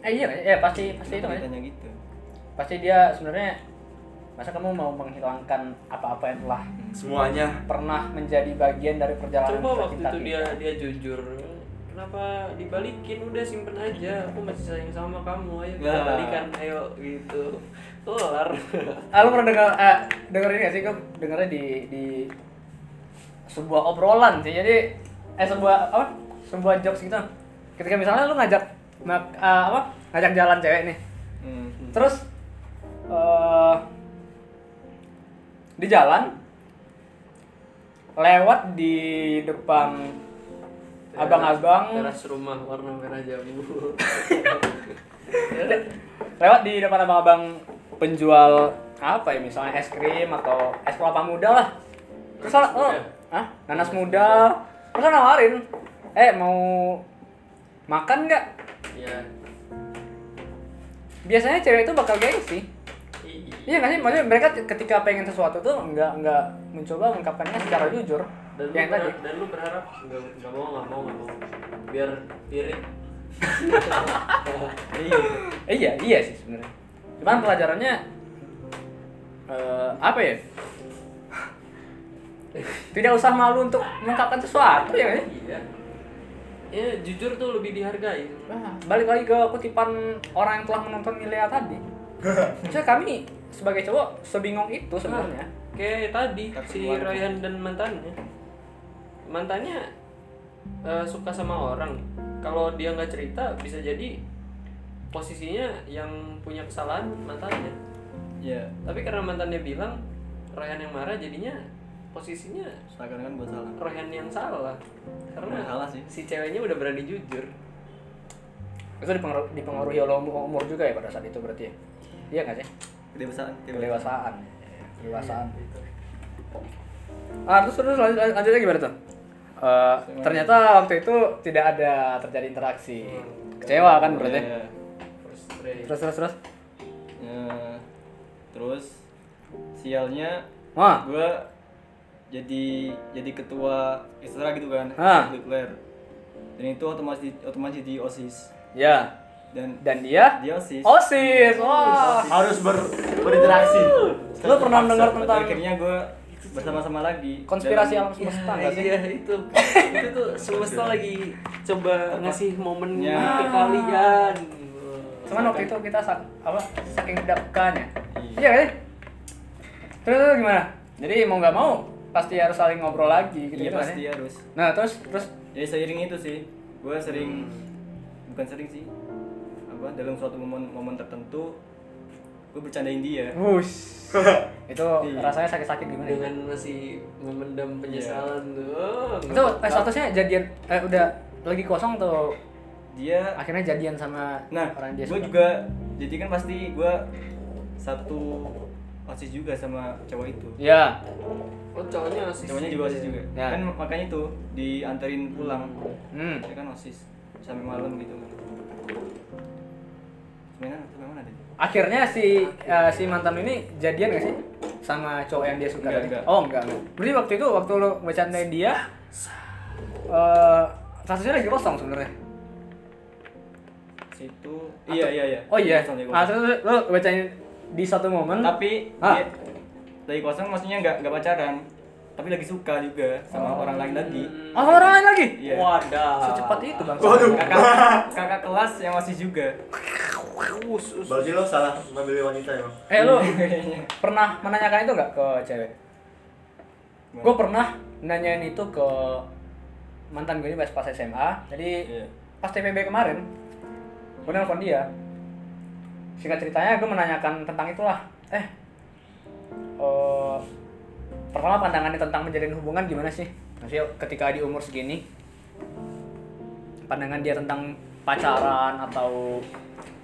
Speaker 1: eh iya ya pasti pasti itu kan.
Speaker 5: Ditanya gitu.
Speaker 1: Pasti dia sebenarnya masa kamu mau menghilangkan apa-apa yang telah
Speaker 2: semuanya
Speaker 1: pernah menjadi bagian dari perjalanan
Speaker 3: Coba
Speaker 1: kisah
Speaker 3: waktu
Speaker 1: cinta
Speaker 3: itu dia
Speaker 1: kita.
Speaker 3: dia jujur. Kenapa dibalikin? Udah simpen aja. Aku masih sayang sama kamu. Ayo kita
Speaker 5: Nah.
Speaker 3: balikan. Ayo gitu. Kelar.
Speaker 1: Ah, lu pernah dengar eh, dengerin gak sih? Gue dengernya di di sebuah obrolan sih. Jadi eh sebuah apa? Sebuah jokes gitu. Ketika misalnya lu ngajak mak, eh, apa? Ngajak jalan cewek nih.
Speaker 5: Hmm.
Speaker 1: Terus eh di jalan lewat di depan abang-abang
Speaker 3: Teras rumah warna merah jambu.
Speaker 1: lewat di depan abang-abang penjual apa ya misalnya es krim atau es kelapa muda lah terus
Speaker 3: Nanas
Speaker 1: nanas muda,
Speaker 3: muda.
Speaker 1: Hah? nanas muda. terus saya nawarin eh mau makan nggak
Speaker 3: ya.
Speaker 1: biasanya cewek itu bakal gengsi iya
Speaker 3: Iya.
Speaker 1: nggak sih maksudnya mereka ketika pengen sesuatu tuh nggak nggak mencoba mengungkapkannya secara jujur
Speaker 3: Dan lu,
Speaker 1: yang tadi
Speaker 3: berharap, dan lu berharap nggak nggak mau nggak mau nggak mau. Biar irit.
Speaker 1: Eh, iya iya sih sebenarnya cuman pelajarannya eh, apa ya tidak usah malu untuk mengungkapkan sesuatu ya nggak sih?
Speaker 3: Iya. Ya jujur tuh lebih dihargai.
Speaker 1: Nah, balik lagi ke kutipan orang yang telah menonton Milea tadi Maksudnya kami sebagai cowok sebingung itu sebenarnya
Speaker 3: Kayak tadi
Speaker 5: Tapi
Speaker 3: si
Speaker 5: keluar.
Speaker 3: Royan dan mantannya. Mantannya eh, suka sama orang. Kalau dia nggak cerita bisa jadi posisinya yang punya kesalahan mantannya.
Speaker 5: Ya.
Speaker 3: Tapi karena mantannya bilang Royan yang marah jadinya posisinya
Speaker 5: Seakan kan buat salah.
Speaker 3: Royan yang salah. Karena
Speaker 5: Nah, salah sih.
Speaker 3: si ceweknya udah berani jujur.
Speaker 1: Itu dipengaruh- dipengaruhi oleh umur, umur juga ya pada saat itu berarti ya Iya nggak sih?
Speaker 5: Kedewasaan.
Speaker 1: Kedewasaan Kedewasaan ya.
Speaker 5: Iya,
Speaker 1: Ah terus terus lanjut, lanjut- lanjutnya gimana tuh? Eh, ternyata waktu itu tidak ada terjadi interaksi Kecewa kan berarti?
Speaker 5: Ya.
Speaker 3: Frustrate.
Speaker 1: Terus terus terus
Speaker 5: Eh, terus sialnya
Speaker 1: Wah
Speaker 5: gue jadi jadi ketua ekstra gitu kan
Speaker 1: Ah.
Speaker 5: nuklir dan itu otomatis otomatis di osis
Speaker 1: ya
Speaker 5: dan
Speaker 1: Dan dia?
Speaker 5: di osis
Speaker 1: Oh. Osis! Wah!
Speaker 2: harus ber- berinteraksi
Speaker 1: Lu pernah mendengar
Speaker 5: Pada
Speaker 1: tentang
Speaker 5: akhirnya gue bersama-sama lagi
Speaker 1: konspirasi
Speaker 5: dalam-
Speaker 1: alam semesta nggak sih?
Speaker 3: Iya itu, itu tuh semesta lagi coba ngasih momennya
Speaker 5: Ya.
Speaker 3: ke kalian. Iya.
Speaker 1: Cuman waktu itu kita sak- apa saking tidak pekanya.
Speaker 5: Iya.
Speaker 1: Iya kan? Terus, terus gimana? Jadi mau nggak mau pasti harus saling ngobrol lagi gitu
Speaker 5: iya
Speaker 1: gitu kan
Speaker 5: pasti
Speaker 1: ya.
Speaker 5: harus
Speaker 1: Nah terus terus
Speaker 5: jadi seiring itu sih gue sering
Speaker 1: Hmm.
Speaker 5: bukan sering sih apa dalam suatu momen momen tertentu gue bercandain dia
Speaker 1: wush itu
Speaker 5: Iya.
Speaker 1: rasanya sakit-sakit gimana? ya?
Speaker 3: dengan masih memendam penyesalan tuh. Oh,
Speaker 1: Itu
Speaker 3: nggak-
Speaker 1: eh, statusnya jadian eh, udah lagi kosong tuh
Speaker 5: dia
Speaker 1: akhirnya jadian sama
Speaker 5: Nah,
Speaker 1: orang dia
Speaker 5: gue
Speaker 1: suka.
Speaker 5: juga jadi kan pasti gue satu osis juga sama cowok itu.
Speaker 1: Ya.
Speaker 3: Oh, cowoknya masih.
Speaker 5: Cowoknya juga osis juga.
Speaker 1: Ya.
Speaker 5: Kan makanya itu dianterin pulang.
Speaker 1: Hmm.
Speaker 5: Dia kan osis sampai malam gitu kan. Sebenarnya sampai mana deh?
Speaker 1: Akhirnya si eh, si mantan ini jadian gak sih sama cowok yang dia suka
Speaker 5: Enggak,
Speaker 1: tadi?
Speaker 5: enggak.
Speaker 1: Oh enggak. enggak. Berarti waktu itu waktu lo bercandain dia eh statusnya lagi kosong sebenarnya.
Speaker 5: itu iya iya iya
Speaker 1: Oh iya,
Speaker 5: Kosong, dari
Speaker 1: ah,
Speaker 5: kosong.
Speaker 1: terus lu bacain di satu momen.
Speaker 5: tapi
Speaker 1: Ah.
Speaker 5: dia dari kosong maksudnya nggak nggak pacaran tapi lagi suka juga sama orang lain lagi
Speaker 1: Oh, sama orang lain lagi.
Speaker 5: iya
Speaker 3: Oh, Wadah.
Speaker 1: Secepat itu bang.
Speaker 5: kakak kakak kelas yang masih juga
Speaker 2: Berarti lo salah memilih wanita ya?
Speaker 1: Eh lu pernah menanyakan itu nggak ke cewek? Gue pernah nanyain itu ke mantan gue ini pas pas SMA. Jadi
Speaker 5: Iya.
Speaker 1: pas TPB kemarin, gue nelfon dia. Singkat ceritanya gue menanyakan tentang itulah. Eh, eh, pertama pandangannya tentang menjalin hubungan gimana sih? Maksudnya ketika di umur segini, pandangan dia tentang pacaran atau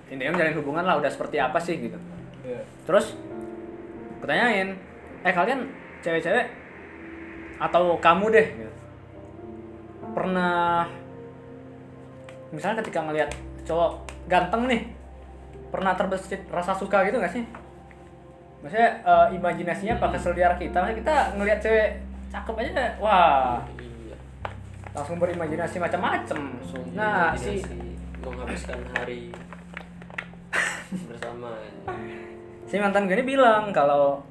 Speaker 1: intinya menjalin hubungan lah udah seperti apa sih gitu
Speaker 5: Iya.
Speaker 1: terus kutanyain eh kalian cewek-cewek atau kamu deh gitu. pernah misalnya ketika ngelihat cowok ganteng nih pernah terbesit rasa suka gitu gak sih maksudnya eh, imajinasinya pakai seliar kita maksudnya kita ngelihat cewek cakep aja wah
Speaker 3: Iya.
Speaker 1: langsung berimajinasi macam-macam
Speaker 3: Langsung
Speaker 1: nah si
Speaker 3: imajinasi menghabiskan hari bersama.
Speaker 1: si mantan gue ini bilang kalau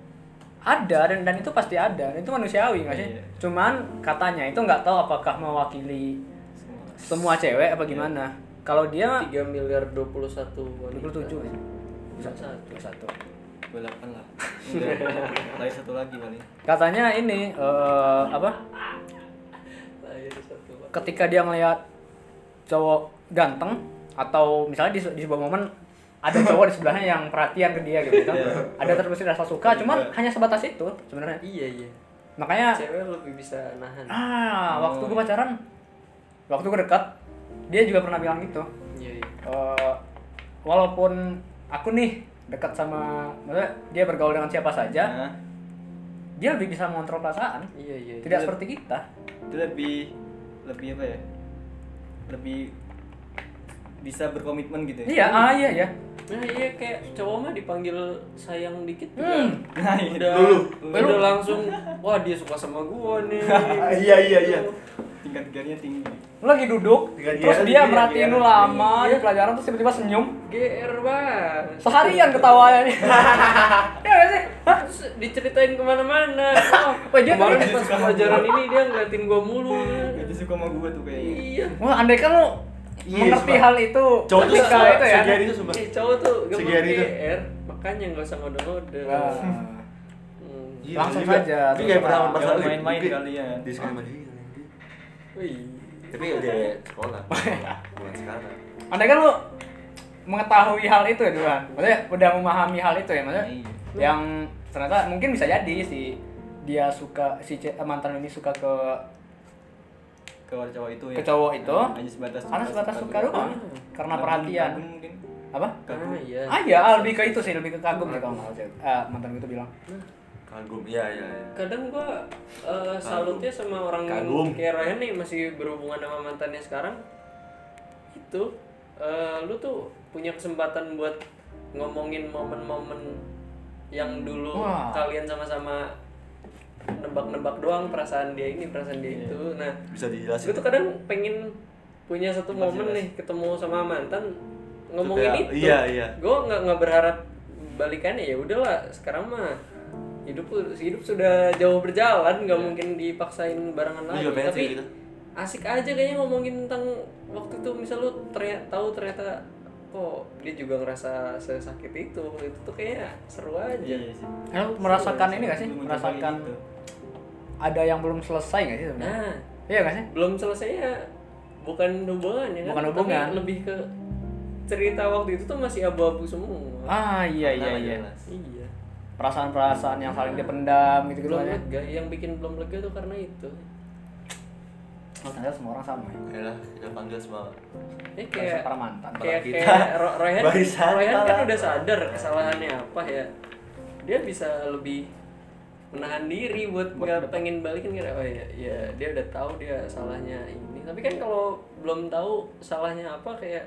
Speaker 1: ada dan dan itu pasti ada dan itu manusiawi nggak sih
Speaker 5: Iya.
Speaker 1: cuman katanya itu nggak tahu apakah mewakili semua cewek apa
Speaker 5: Iya.
Speaker 1: gimana kalau dia
Speaker 3: 3 miliar 21 wanita.
Speaker 1: 27 ya?
Speaker 3: Bisa satu.
Speaker 1: 21.
Speaker 5: balapan lah enggak lagi satu lagi paling
Speaker 1: katanya ini eh, apa
Speaker 3: Lahir iya, satu.
Speaker 1: ketika dia ngelihat cowok ganteng atau misalnya di, se- di sebuah momen ada cowok di sebelahnya yang perhatian ke dia gitu kan
Speaker 5: Iya.
Speaker 1: ada terbesit rasa suka cuman hanya sebatas itu sebenarnya
Speaker 3: Iya iya.
Speaker 1: makanya
Speaker 3: Cewek lebih bisa nahan.
Speaker 1: Ah,
Speaker 5: Oh,
Speaker 1: waktu gue
Speaker 5: iya.
Speaker 1: pacaran, waktu gue dekat, dia juga pernah bilang gitu.
Speaker 3: Iya iya.
Speaker 1: Eh, walaupun aku nih dekat sama, maksudnya dia bergaul dengan siapa saja,
Speaker 5: Nah,
Speaker 1: dia lebih bisa mengontrol perasaan.
Speaker 3: Iya iya.
Speaker 1: Tidak seperti kita.
Speaker 5: itu lebih lebih apa ya lebih bisa berkomitmen gitu ya
Speaker 1: Iya, ah iya ya.
Speaker 3: Nah iya kayak cowok mah dipanggil sayang dikit juga.
Speaker 1: Hmm.
Speaker 5: nah itu
Speaker 3: Udah,
Speaker 2: Dulu.
Speaker 3: udah langsung, wah dia suka sama gua nih.
Speaker 2: Iya iya iya.
Speaker 5: tingkat tiganya tinggi
Speaker 1: Lu lagi duduk,
Speaker 2: Tiga
Speaker 1: terus
Speaker 2: dia,
Speaker 1: dia
Speaker 2: tiga
Speaker 1: merhatiin
Speaker 2: dia.
Speaker 1: lu lama di pelajaran terus tiba-tiba senyum.
Speaker 3: GR banget.
Speaker 1: Seharian ketawanya nih. Iya gak sih? Hah?
Speaker 3: Terus diceritain kemana-mana. Oh,
Speaker 1: Wah, dia
Speaker 3: kemarin
Speaker 1: tadi-
Speaker 3: pas pelajaran ini dia ngeliatin gua mulu.
Speaker 5: itu suka sama gue tuh kayaknya
Speaker 3: Iya.
Speaker 1: Wah, andai kan lu
Speaker 2: Iya,
Speaker 1: mengerti
Speaker 2: sumpah.
Speaker 1: hal itu
Speaker 2: Cowok tuh
Speaker 1: ketika
Speaker 2: suka-
Speaker 1: itu ya.
Speaker 2: suka- Segeri itu, sumpah.
Speaker 3: Eh, cowok tuh gemar
Speaker 2: Segeri itu.
Speaker 3: GR, makanya nggak usah ngode-ngode.
Speaker 1: Wah.
Speaker 3: Hmm.
Speaker 2: Iya,
Speaker 1: Langsung
Speaker 2: juga.
Speaker 1: saja,
Speaker 2: Ini
Speaker 1: terus
Speaker 2: kayak
Speaker 1: orang
Speaker 2: pengalaman masa
Speaker 5: jangan
Speaker 2: lalu.
Speaker 5: main-main
Speaker 2: Mungkin
Speaker 1: ya.
Speaker 5: kalian.
Speaker 2: Di sekolah
Speaker 1: Ah.
Speaker 2: mandiri.
Speaker 3: Wih.
Speaker 2: Tapi udah sekolah. Bukan sekarang.
Speaker 1: Andai kan lu mengetahui hal itu ya duluan. Maksudnya udah memahami hal itu ya, maksudnya
Speaker 5: Iya.
Speaker 1: yang ternyata mungkin bisa jadi si dia suka si ce- mantan ini suka ke
Speaker 5: ke cowok itu ya
Speaker 1: Ke cowok itu.
Speaker 5: hanya sebatas
Speaker 1: karena sebatas suka
Speaker 5: juga.
Speaker 1: doang karena
Speaker 5: Kagum-
Speaker 1: perhatian.
Speaker 5: kagum mungkin
Speaker 1: Apa?
Speaker 5: kagum
Speaker 3: Ah, iya.
Speaker 1: Ah iya, lebih ke itu sih, lebih ke kagum ya kalau nggak salah. Eh, mantan gue itu bilang.
Speaker 2: Kagum. Iya iya. iya.
Speaker 3: kadang gua eh, salutnya sama orang
Speaker 2: Kagum.
Speaker 3: kayak Ryan nih masih berhubungan sama mantannya sekarang itu eh, lu tuh punya kesempatan buat ngomongin momen-momen yang dulu
Speaker 1: Wah.
Speaker 3: kalian sama-sama nebak-nebak doang perasaan dia ini perasaan dia itu nah
Speaker 2: Bisa
Speaker 3: gue
Speaker 2: dijelasin.
Speaker 3: tuh kadang pengen punya satu momen nih ketemu sama mantan ngomongin
Speaker 2: ya? kayak-
Speaker 3: itu
Speaker 2: iya, iya.
Speaker 3: gue nggak nggak berharap balikannya ya udahlah sekarang mah hidup hidup sudah jauh berjalan nggak mungkin dipaksain barengan
Speaker 2: Iya. Lu
Speaker 3: lagi
Speaker 2: juga pengen sih
Speaker 3: tapi
Speaker 2: gitu.
Speaker 3: asik aja kayaknya ngomongin tentang waktu itu misal lu ternyata tahu ternyata kok dia juga ngerasa sesakit itu itu tuh kayaknya seru aja
Speaker 5: iya iya sih
Speaker 1: Eh, lu merasakan ini gak sih?
Speaker 5: Lu mencoba
Speaker 1: Merasakan
Speaker 5: gitu.
Speaker 1: ada yang belum selesai gak sih sebenarnya?
Speaker 3: nah
Speaker 1: Iya gak sih?
Speaker 3: belum selesainya bukan hubungan ya kan?
Speaker 1: Bukan
Speaker 3: Tapi
Speaker 1: hubungan.
Speaker 3: lebih ke cerita waktu itu tuh masih abu-abu semua
Speaker 1: Ah iya iya
Speaker 5: Karena nggak
Speaker 1: iya.
Speaker 5: jelas.
Speaker 3: iya
Speaker 1: Perasaan-perasaan yang saling dipendam gitu-gitu
Speaker 3: belum
Speaker 1: aja.
Speaker 3: lega yang bikin belum lega tuh karena itu
Speaker 1: Oh, ternyata semua orang sama ya.
Speaker 2: Yalah, kita panggil semua.
Speaker 3: eh
Speaker 1: Kayak
Speaker 3: kayak
Speaker 1: para mantan.
Speaker 3: kayak
Speaker 2: Kita
Speaker 3: kayak Ro- Royhan
Speaker 2: barisan
Speaker 3: Royhan kan
Speaker 2: malah.
Speaker 3: udah sadar kesalahannya apa ya dia bisa lebih menahan diri buat nggak pengen balikin kira oh ya ya dia udah tahu dia salahnya ini tapi kan kalau belum tahu salahnya apa kayak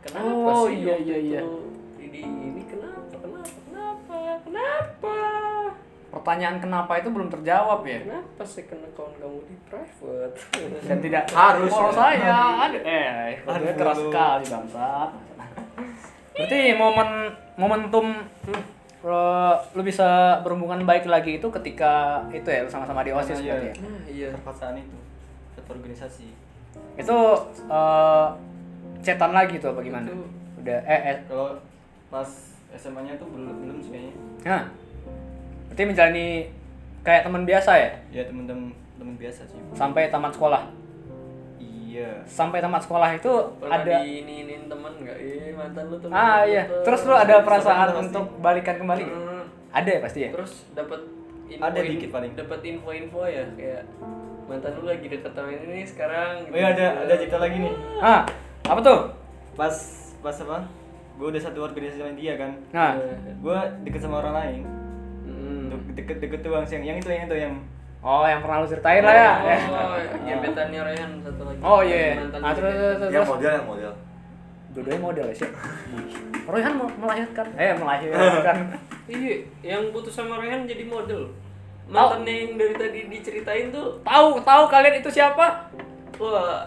Speaker 3: kenapa
Speaker 1: Oh,
Speaker 3: sih
Speaker 1: iya,
Speaker 3: waktu
Speaker 1: iya, iya.
Speaker 3: itu ini, ini kenapa kenapa kenapa kenapa
Speaker 1: pertanyaan kenapa itu belum terjawab ya
Speaker 3: Kenapa second account kamu di private?
Speaker 1: dan tidak
Speaker 2: Harus,
Speaker 1: kalau
Speaker 2: ya.
Speaker 1: saya ada eh keluarga
Speaker 2: Aduh.
Speaker 1: keras sekali bangsat berarti momen momentum hmm, lo lu bisa berhubungan baik lagi itu ketika itu ya lu sama-sama di osis
Speaker 5: Iya.
Speaker 1: berarti ya?
Speaker 3: nah iya.
Speaker 5: perpaksaan itu satu organisasi
Speaker 1: itu eh, cetan lagi tuh apa gimana
Speaker 3: Itu-
Speaker 1: udah eh, eh
Speaker 5: kalau pas SMA nya tuh belum belum sih kayaknya
Speaker 1: nah berarti menjalani kayak teman biasa ya
Speaker 5: ya temen-temen temen biasa sih
Speaker 1: sampai tamat sekolah
Speaker 5: iya
Speaker 1: sampai tamat sekolah itu
Speaker 3: Pernah
Speaker 1: ada
Speaker 3: di ini temen nggak? Iya mantan lu temen.
Speaker 1: ah
Speaker 3: lu
Speaker 1: iya
Speaker 3: temen.
Speaker 1: terus lu ada perasaan
Speaker 5: pasti.
Speaker 1: untuk balikan kembali nggak?
Speaker 3: Hmm,
Speaker 1: ada ya pasti ya
Speaker 3: terus dapat
Speaker 5: Ada dikit paling.
Speaker 3: Dapat info-info ya kayak mantan lu lagi deket sama ini nih sekarang.
Speaker 5: oh iya ada ada cerita lagi nih
Speaker 1: ah apa tuh
Speaker 5: pas pas apa gue udah satu organisasi sama dia kan
Speaker 1: nah
Speaker 5: gue deket sama orang lain
Speaker 3: Hmm.
Speaker 5: Dek- deket-deket tuh bang siang yang itu yang itu yang
Speaker 1: oh yang pernah lu ceritain lah ya Eh.
Speaker 3: Oh, gebetannya Ryan satu lagi.
Speaker 1: oh iya
Speaker 3: Mantan ya.
Speaker 1: nah terus
Speaker 3: gebetan.
Speaker 1: terus terus,
Speaker 2: yang
Speaker 1: terus
Speaker 2: model yang model
Speaker 1: dua-duanya model ya sih Royhan mau melahirkan eh melahirkan
Speaker 3: Iya, yang putus sama Ryan jadi model.
Speaker 1: Oh.
Speaker 3: Mantannya yang dari tadi diceritain tuh,
Speaker 1: tahu tahu kalian itu siapa
Speaker 3: wah,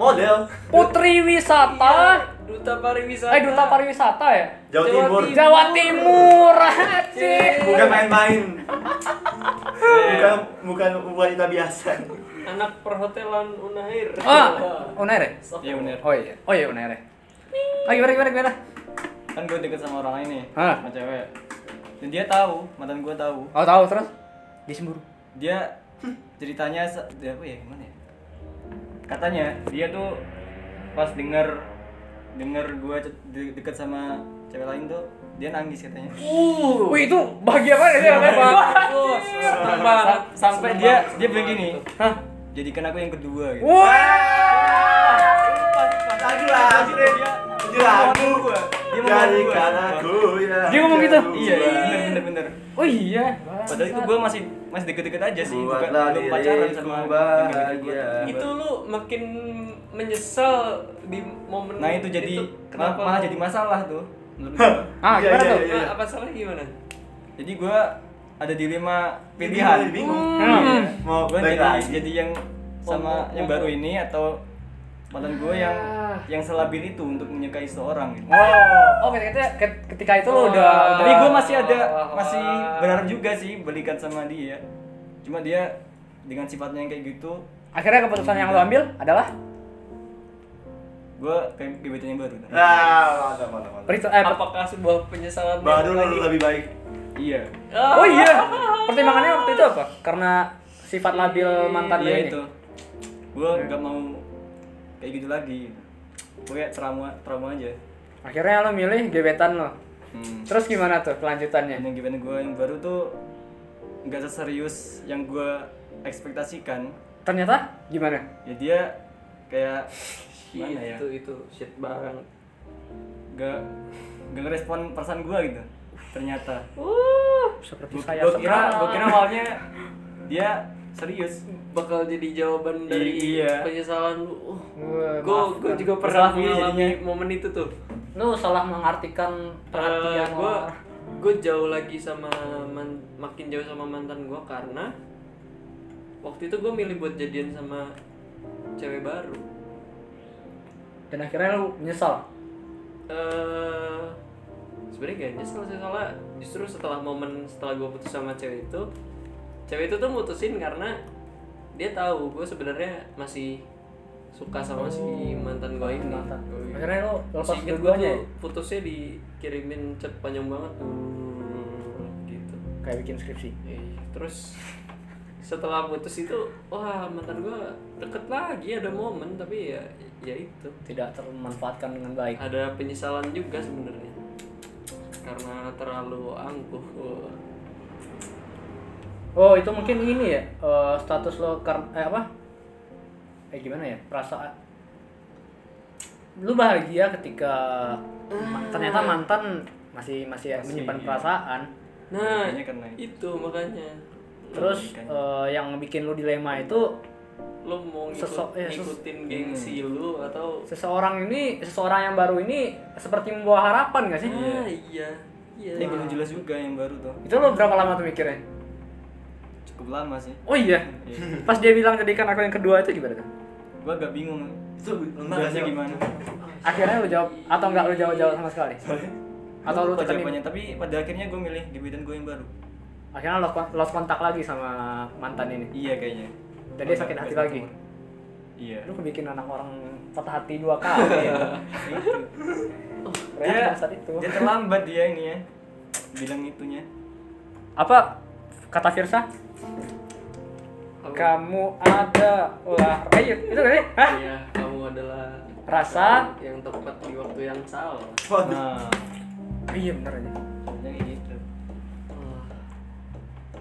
Speaker 2: model
Speaker 1: Putri Wisata
Speaker 3: iya, duta pariwisata.
Speaker 1: Ah. eh duta pariwisata ya
Speaker 2: Jawa
Speaker 3: Jawa
Speaker 2: Timur
Speaker 3: Timur.
Speaker 1: Jawa Timur Ah,
Speaker 3: Iya.
Speaker 1: acik
Speaker 2: bukan main-main bukan bukan wanita biasa
Speaker 3: Anak perhotelan Unair.
Speaker 1: ah Unair ya?
Speaker 5: iya bener
Speaker 1: oh iya oh iya Unair ya. ah gimana gimana gimana
Speaker 5: kan gue deket sama orang lain nih
Speaker 1: Hah?
Speaker 5: sama cewek dan dia tahu mantan gue tahu
Speaker 1: oh tahu terus dia cemburu
Speaker 5: dia ceritanya se- dia apa ya gimana ya katanya dia tuh pas denger denger gue deket sama cewek lain tuh dia nangis katanya
Speaker 1: wih itu bahagia banget ya
Speaker 3: Oh, seneng banget.
Speaker 5: Sa- sampai
Speaker 3: Seneng
Speaker 5: dia
Speaker 3: banget,
Speaker 5: dia
Speaker 3: seneng
Speaker 5: bilang
Speaker 3: banget
Speaker 5: gini
Speaker 3: tuh.
Speaker 5: hah jadikan aku yang kedua gitu
Speaker 1: wah
Speaker 2: lagi lagi
Speaker 5: Akhirnya dia
Speaker 2: Dia lagu.
Speaker 5: mau gua. dia mau
Speaker 2: dari
Speaker 5: gua.
Speaker 2: kanaku ya
Speaker 1: Dia ngomong gitu?
Speaker 5: iya iya, bener bener bener
Speaker 1: oh iya
Speaker 5: padahal itu gue masih masih deket-deket aja sih bukan
Speaker 2: Buatlah
Speaker 5: belum pacaran
Speaker 2: diriku
Speaker 5: sama yang
Speaker 2: bahagia.
Speaker 5: gitu-gitu.
Speaker 3: Itu lu makin menyesal di momen
Speaker 5: nah itu jadi
Speaker 3: kenapa
Speaker 5: malah
Speaker 3: lu-
Speaker 5: jadi masalah tuh menurut gua.
Speaker 2: Iya,
Speaker 1: ah gimana
Speaker 2: iya,
Speaker 1: tuh
Speaker 2: iya.
Speaker 3: Nah, apa salah gimana?
Speaker 1: Eh,
Speaker 5: jadi gue ada dilema pilihan
Speaker 2: Jadi Iya, bingung iya.
Speaker 1: Hmm.
Speaker 2: mau
Speaker 5: gue
Speaker 2: balik
Speaker 5: jadi
Speaker 2: lagi
Speaker 5: jadi yang
Speaker 3: Oh,
Speaker 5: sama
Speaker 3: oh,
Speaker 5: yang
Speaker 3: oh.
Speaker 5: baru ini atau mantan gue yang
Speaker 2: Ah.
Speaker 5: yang selabil itu untuk menyukai seorang gitu.
Speaker 1: Oh, oh ketika, ketika itu lo udah,
Speaker 3: Wah.
Speaker 1: udah
Speaker 5: tapi gue masih ada masih
Speaker 2: Ah.
Speaker 5: berharap juga sih belikan sama dia cuma dia dengan sifatnya yang kayak gitu
Speaker 1: akhirnya keputusan yang lo ambil adalah
Speaker 5: gue kayak gebetan yang baru
Speaker 2: nah mantap mantap mantap
Speaker 1: perhitu- eh, per-
Speaker 3: Apakah sebuah penyesalan yang-
Speaker 2: baru lagi lebih baik
Speaker 5: iya
Speaker 3: Ah,
Speaker 1: oh iya pertimbangannya waktu itu apa karena sifat labil mantan lo
Speaker 5: iya
Speaker 1: ini
Speaker 5: itu gue
Speaker 2: Hmm.
Speaker 5: gak mau kayak gitu lagi gue kayak trauma trauma aja
Speaker 1: akhirnya lo milih gebetan lo
Speaker 5: hmm.
Speaker 1: terus gimana tuh kelanjutannya
Speaker 5: yang gebetan gue yang baru tuh nggak seserius yang gue ekspektasikan
Speaker 1: ternyata gimana
Speaker 5: ya dia kayak
Speaker 3: Iya,
Speaker 5: gimana ya
Speaker 1: Gitu.
Speaker 3: itu itu shit banget.
Speaker 5: gak gak ngerespon perasaan gue gitu ternyata
Speaker 1: Uh. seperti
Speaker 5: gue
Speaker 1: saya
Speaker 5: kira gue
Speaker 1: sekarang
Speaker 5: kira awalnya dia serius
Speaker 3: bakal jadi jawaban dari
Speaker 5: Iya.
Speaker 3: penyesalan lu.
Speaker 1: Wah,
Speaker 3: gue gue
Speaker 1: maafkan.
Speaker 3: juga pernah
Speaker 5: Bersalah diri
Speaker 3: mengalami
Speaker 5: jadinya.
Speaker 3: momen itu tuh.
Speaker 1: lo salah mengartikan perhatian
Speaker 3: gue
Speaker 1: orang.
Speaker 3: gue jauh lagi sama man- makin jauh sama mantan gue karena waktu itu gue milih buat jadian sama cewek baru.
Speaker 1: dan akhirnya lo menyesal
Speaker 3: eh sebenarnya gak nyesel sih soalnya justru setelah momen setelah gue putus sama cewek itu cewek itu tuh mutusin karena dia tahu gue sebenarnya masih suka sama si mantan gue ini
Speaker 1: mantan.
Speaker 3: Oh, iya.
Speaker 1: Akhirnya lo lepas
Speaker 3: Seinget gua
Speaker 1: dua-duanya
Speaker 3: tuh
Speaker 1: ya?
Speaker 3: putusnya dikirimin chat panjang banget gitu
Speaker 1: kayak bikin skripsi
Speaker 3: Eh, terus setelah putus itu wah mantan gue deket lagi ada momen tapi ya ya itu
Speaker 1: tidak termanfaatkan dengan baik
Speaker 3: ada penyesalan juga sebenarnya karena terlalu angkuh Wah.
Speaker 1: Oh itu mungkin ini ya eh, status lo karena eh, apa? Eh gimana ya perasaan? Lu bahagia ketika ma- ternyata mantan masih masih
Speaker 5: Masih,
Speaker 1: menyimpan
Speaker 5: iya.
Speaker 1: perasaan.
Speaker 3: nah
Speaker 5: Makanya karena itu.
Speaker 3: itu makanya
Speaker 1: Terus
Speaker 5: Makanya.
Speaker 1: eh, yang bikin lu dilema itu
Speaker 3: lo mau ngikut,
Speaker 1: Sesok- ya, ses-
Speaker 3: ngikutin gengsi lu atau
Speaker 1: seseorang ini seseorang yang baru ini seperti membawa harapan gak sih?
Speaker 3: ah iya iya
Speaker 5: ini belum jelas juga yang baru tuh
Speaker 1: Itu lo berapa lama tuh mikirnya?
Speaker 5: cukup lama sih
Speaker 1: Oh iya.
Speaker 5: Iya.
Speaker 1: Pas dia bilang jadikan aku yang kedua itu gimana kan? tuh?
Speaker 5: gua agak bingung
Speaker 2: itu enak
Speaker 5: jawabnya gimana iya.
Speaker 1: Akhirnya lu jawab atau enggak lu jawab-jawab sama sekali? Atau lu
Speaker 5: Lupa
Speaker 1: tekenin?
Speaker 5: jawabannya tapi pada akhirnya gua milih di bidan gua yang baru
Speaker 1: Akhirnya lost, kon- lost kontak lagi sama mantan ini.
Speaker 5: iya kayaknya
Speaker 1: Dan dia sakit hati lagi.
Speaker 5: iya
Speaker 1: Lu kebikin anak orang patah hati dua kali. ya.
Speaker 5: gitu.
Speaker 1: Reaksi
Speaker 5: dia,
Speaker 1: pada saat itu.
Speaker 5: dia terlambat dia ini ya bilang itunya
Speaker 1: Apa kata Firsa? Kamu ada ulah eh, itu kan? ya? Hah?
Speaker 3: Iya, kamu adalah
Speaker 1: Rasa?
Speaker 3: yang tepat di waktu yang salah.
Speaker 5: nah
Speaker 1: Iya bener aja.
Speaker 5: sebenarnya kayak gitu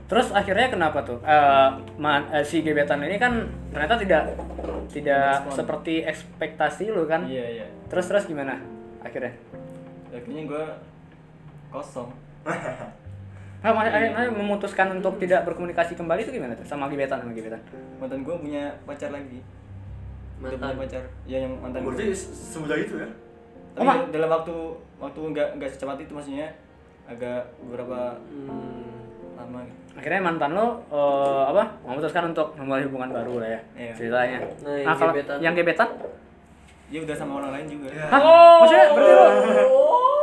Speaker 1: Terus akhirnya kenapa tuh? Eh, man- eh, si gebetan ini kan ternyata tidak tidak
Speaker 5: Merespon.
Speaker 1: seperti ekspektasi lu kan?
Speaker 5: iya iya
Speaker 1: Terus terus gimana? Akhirnya?
Speaker 5: akhirnya gua kosong
Speaker 1: Nah, mak-
Speaker 5: Iya.
Speaker 1: akhirnya memutuskan untuk tidak berkomunikasi kembali itu gimana tuh? Sama gebetan sama gebetan.
Speaker 5: mantan gua punya pacar lagi Udah
Speaker 3: Mantan.
Speaker 5: punya pacar ya yang mantan gua.
Speaker 2: berarti se- semudah itu ya
Speaker 1: Oh,
Speaker 5: tapi
Speaker 1: ma-
Speaker 5: dalam waktu waktu nggak nggak secepat itu maksudnya agak beberapa
Speaker 3: Hmm.
Speaker 5: lama gitu
Speaker 1: Akhirnya mantan lo eh, apa? Memutuskan untuk memulai hubungan baru lah ya.
Speaker 5: Iya.
Speaker 1: Ceritanya.
Speaker 3: Nah, yang
Speaker 1: kalau
Speaker 3: gebetan.
Speaker 1: yang gebetan?
Speaker 5: dia udah sama orang lain juga
Speaker 2: Ya.
Speaker 1: Hah?
Speaker 5: Oh!
Speaker 1: Maksudnya berarti lo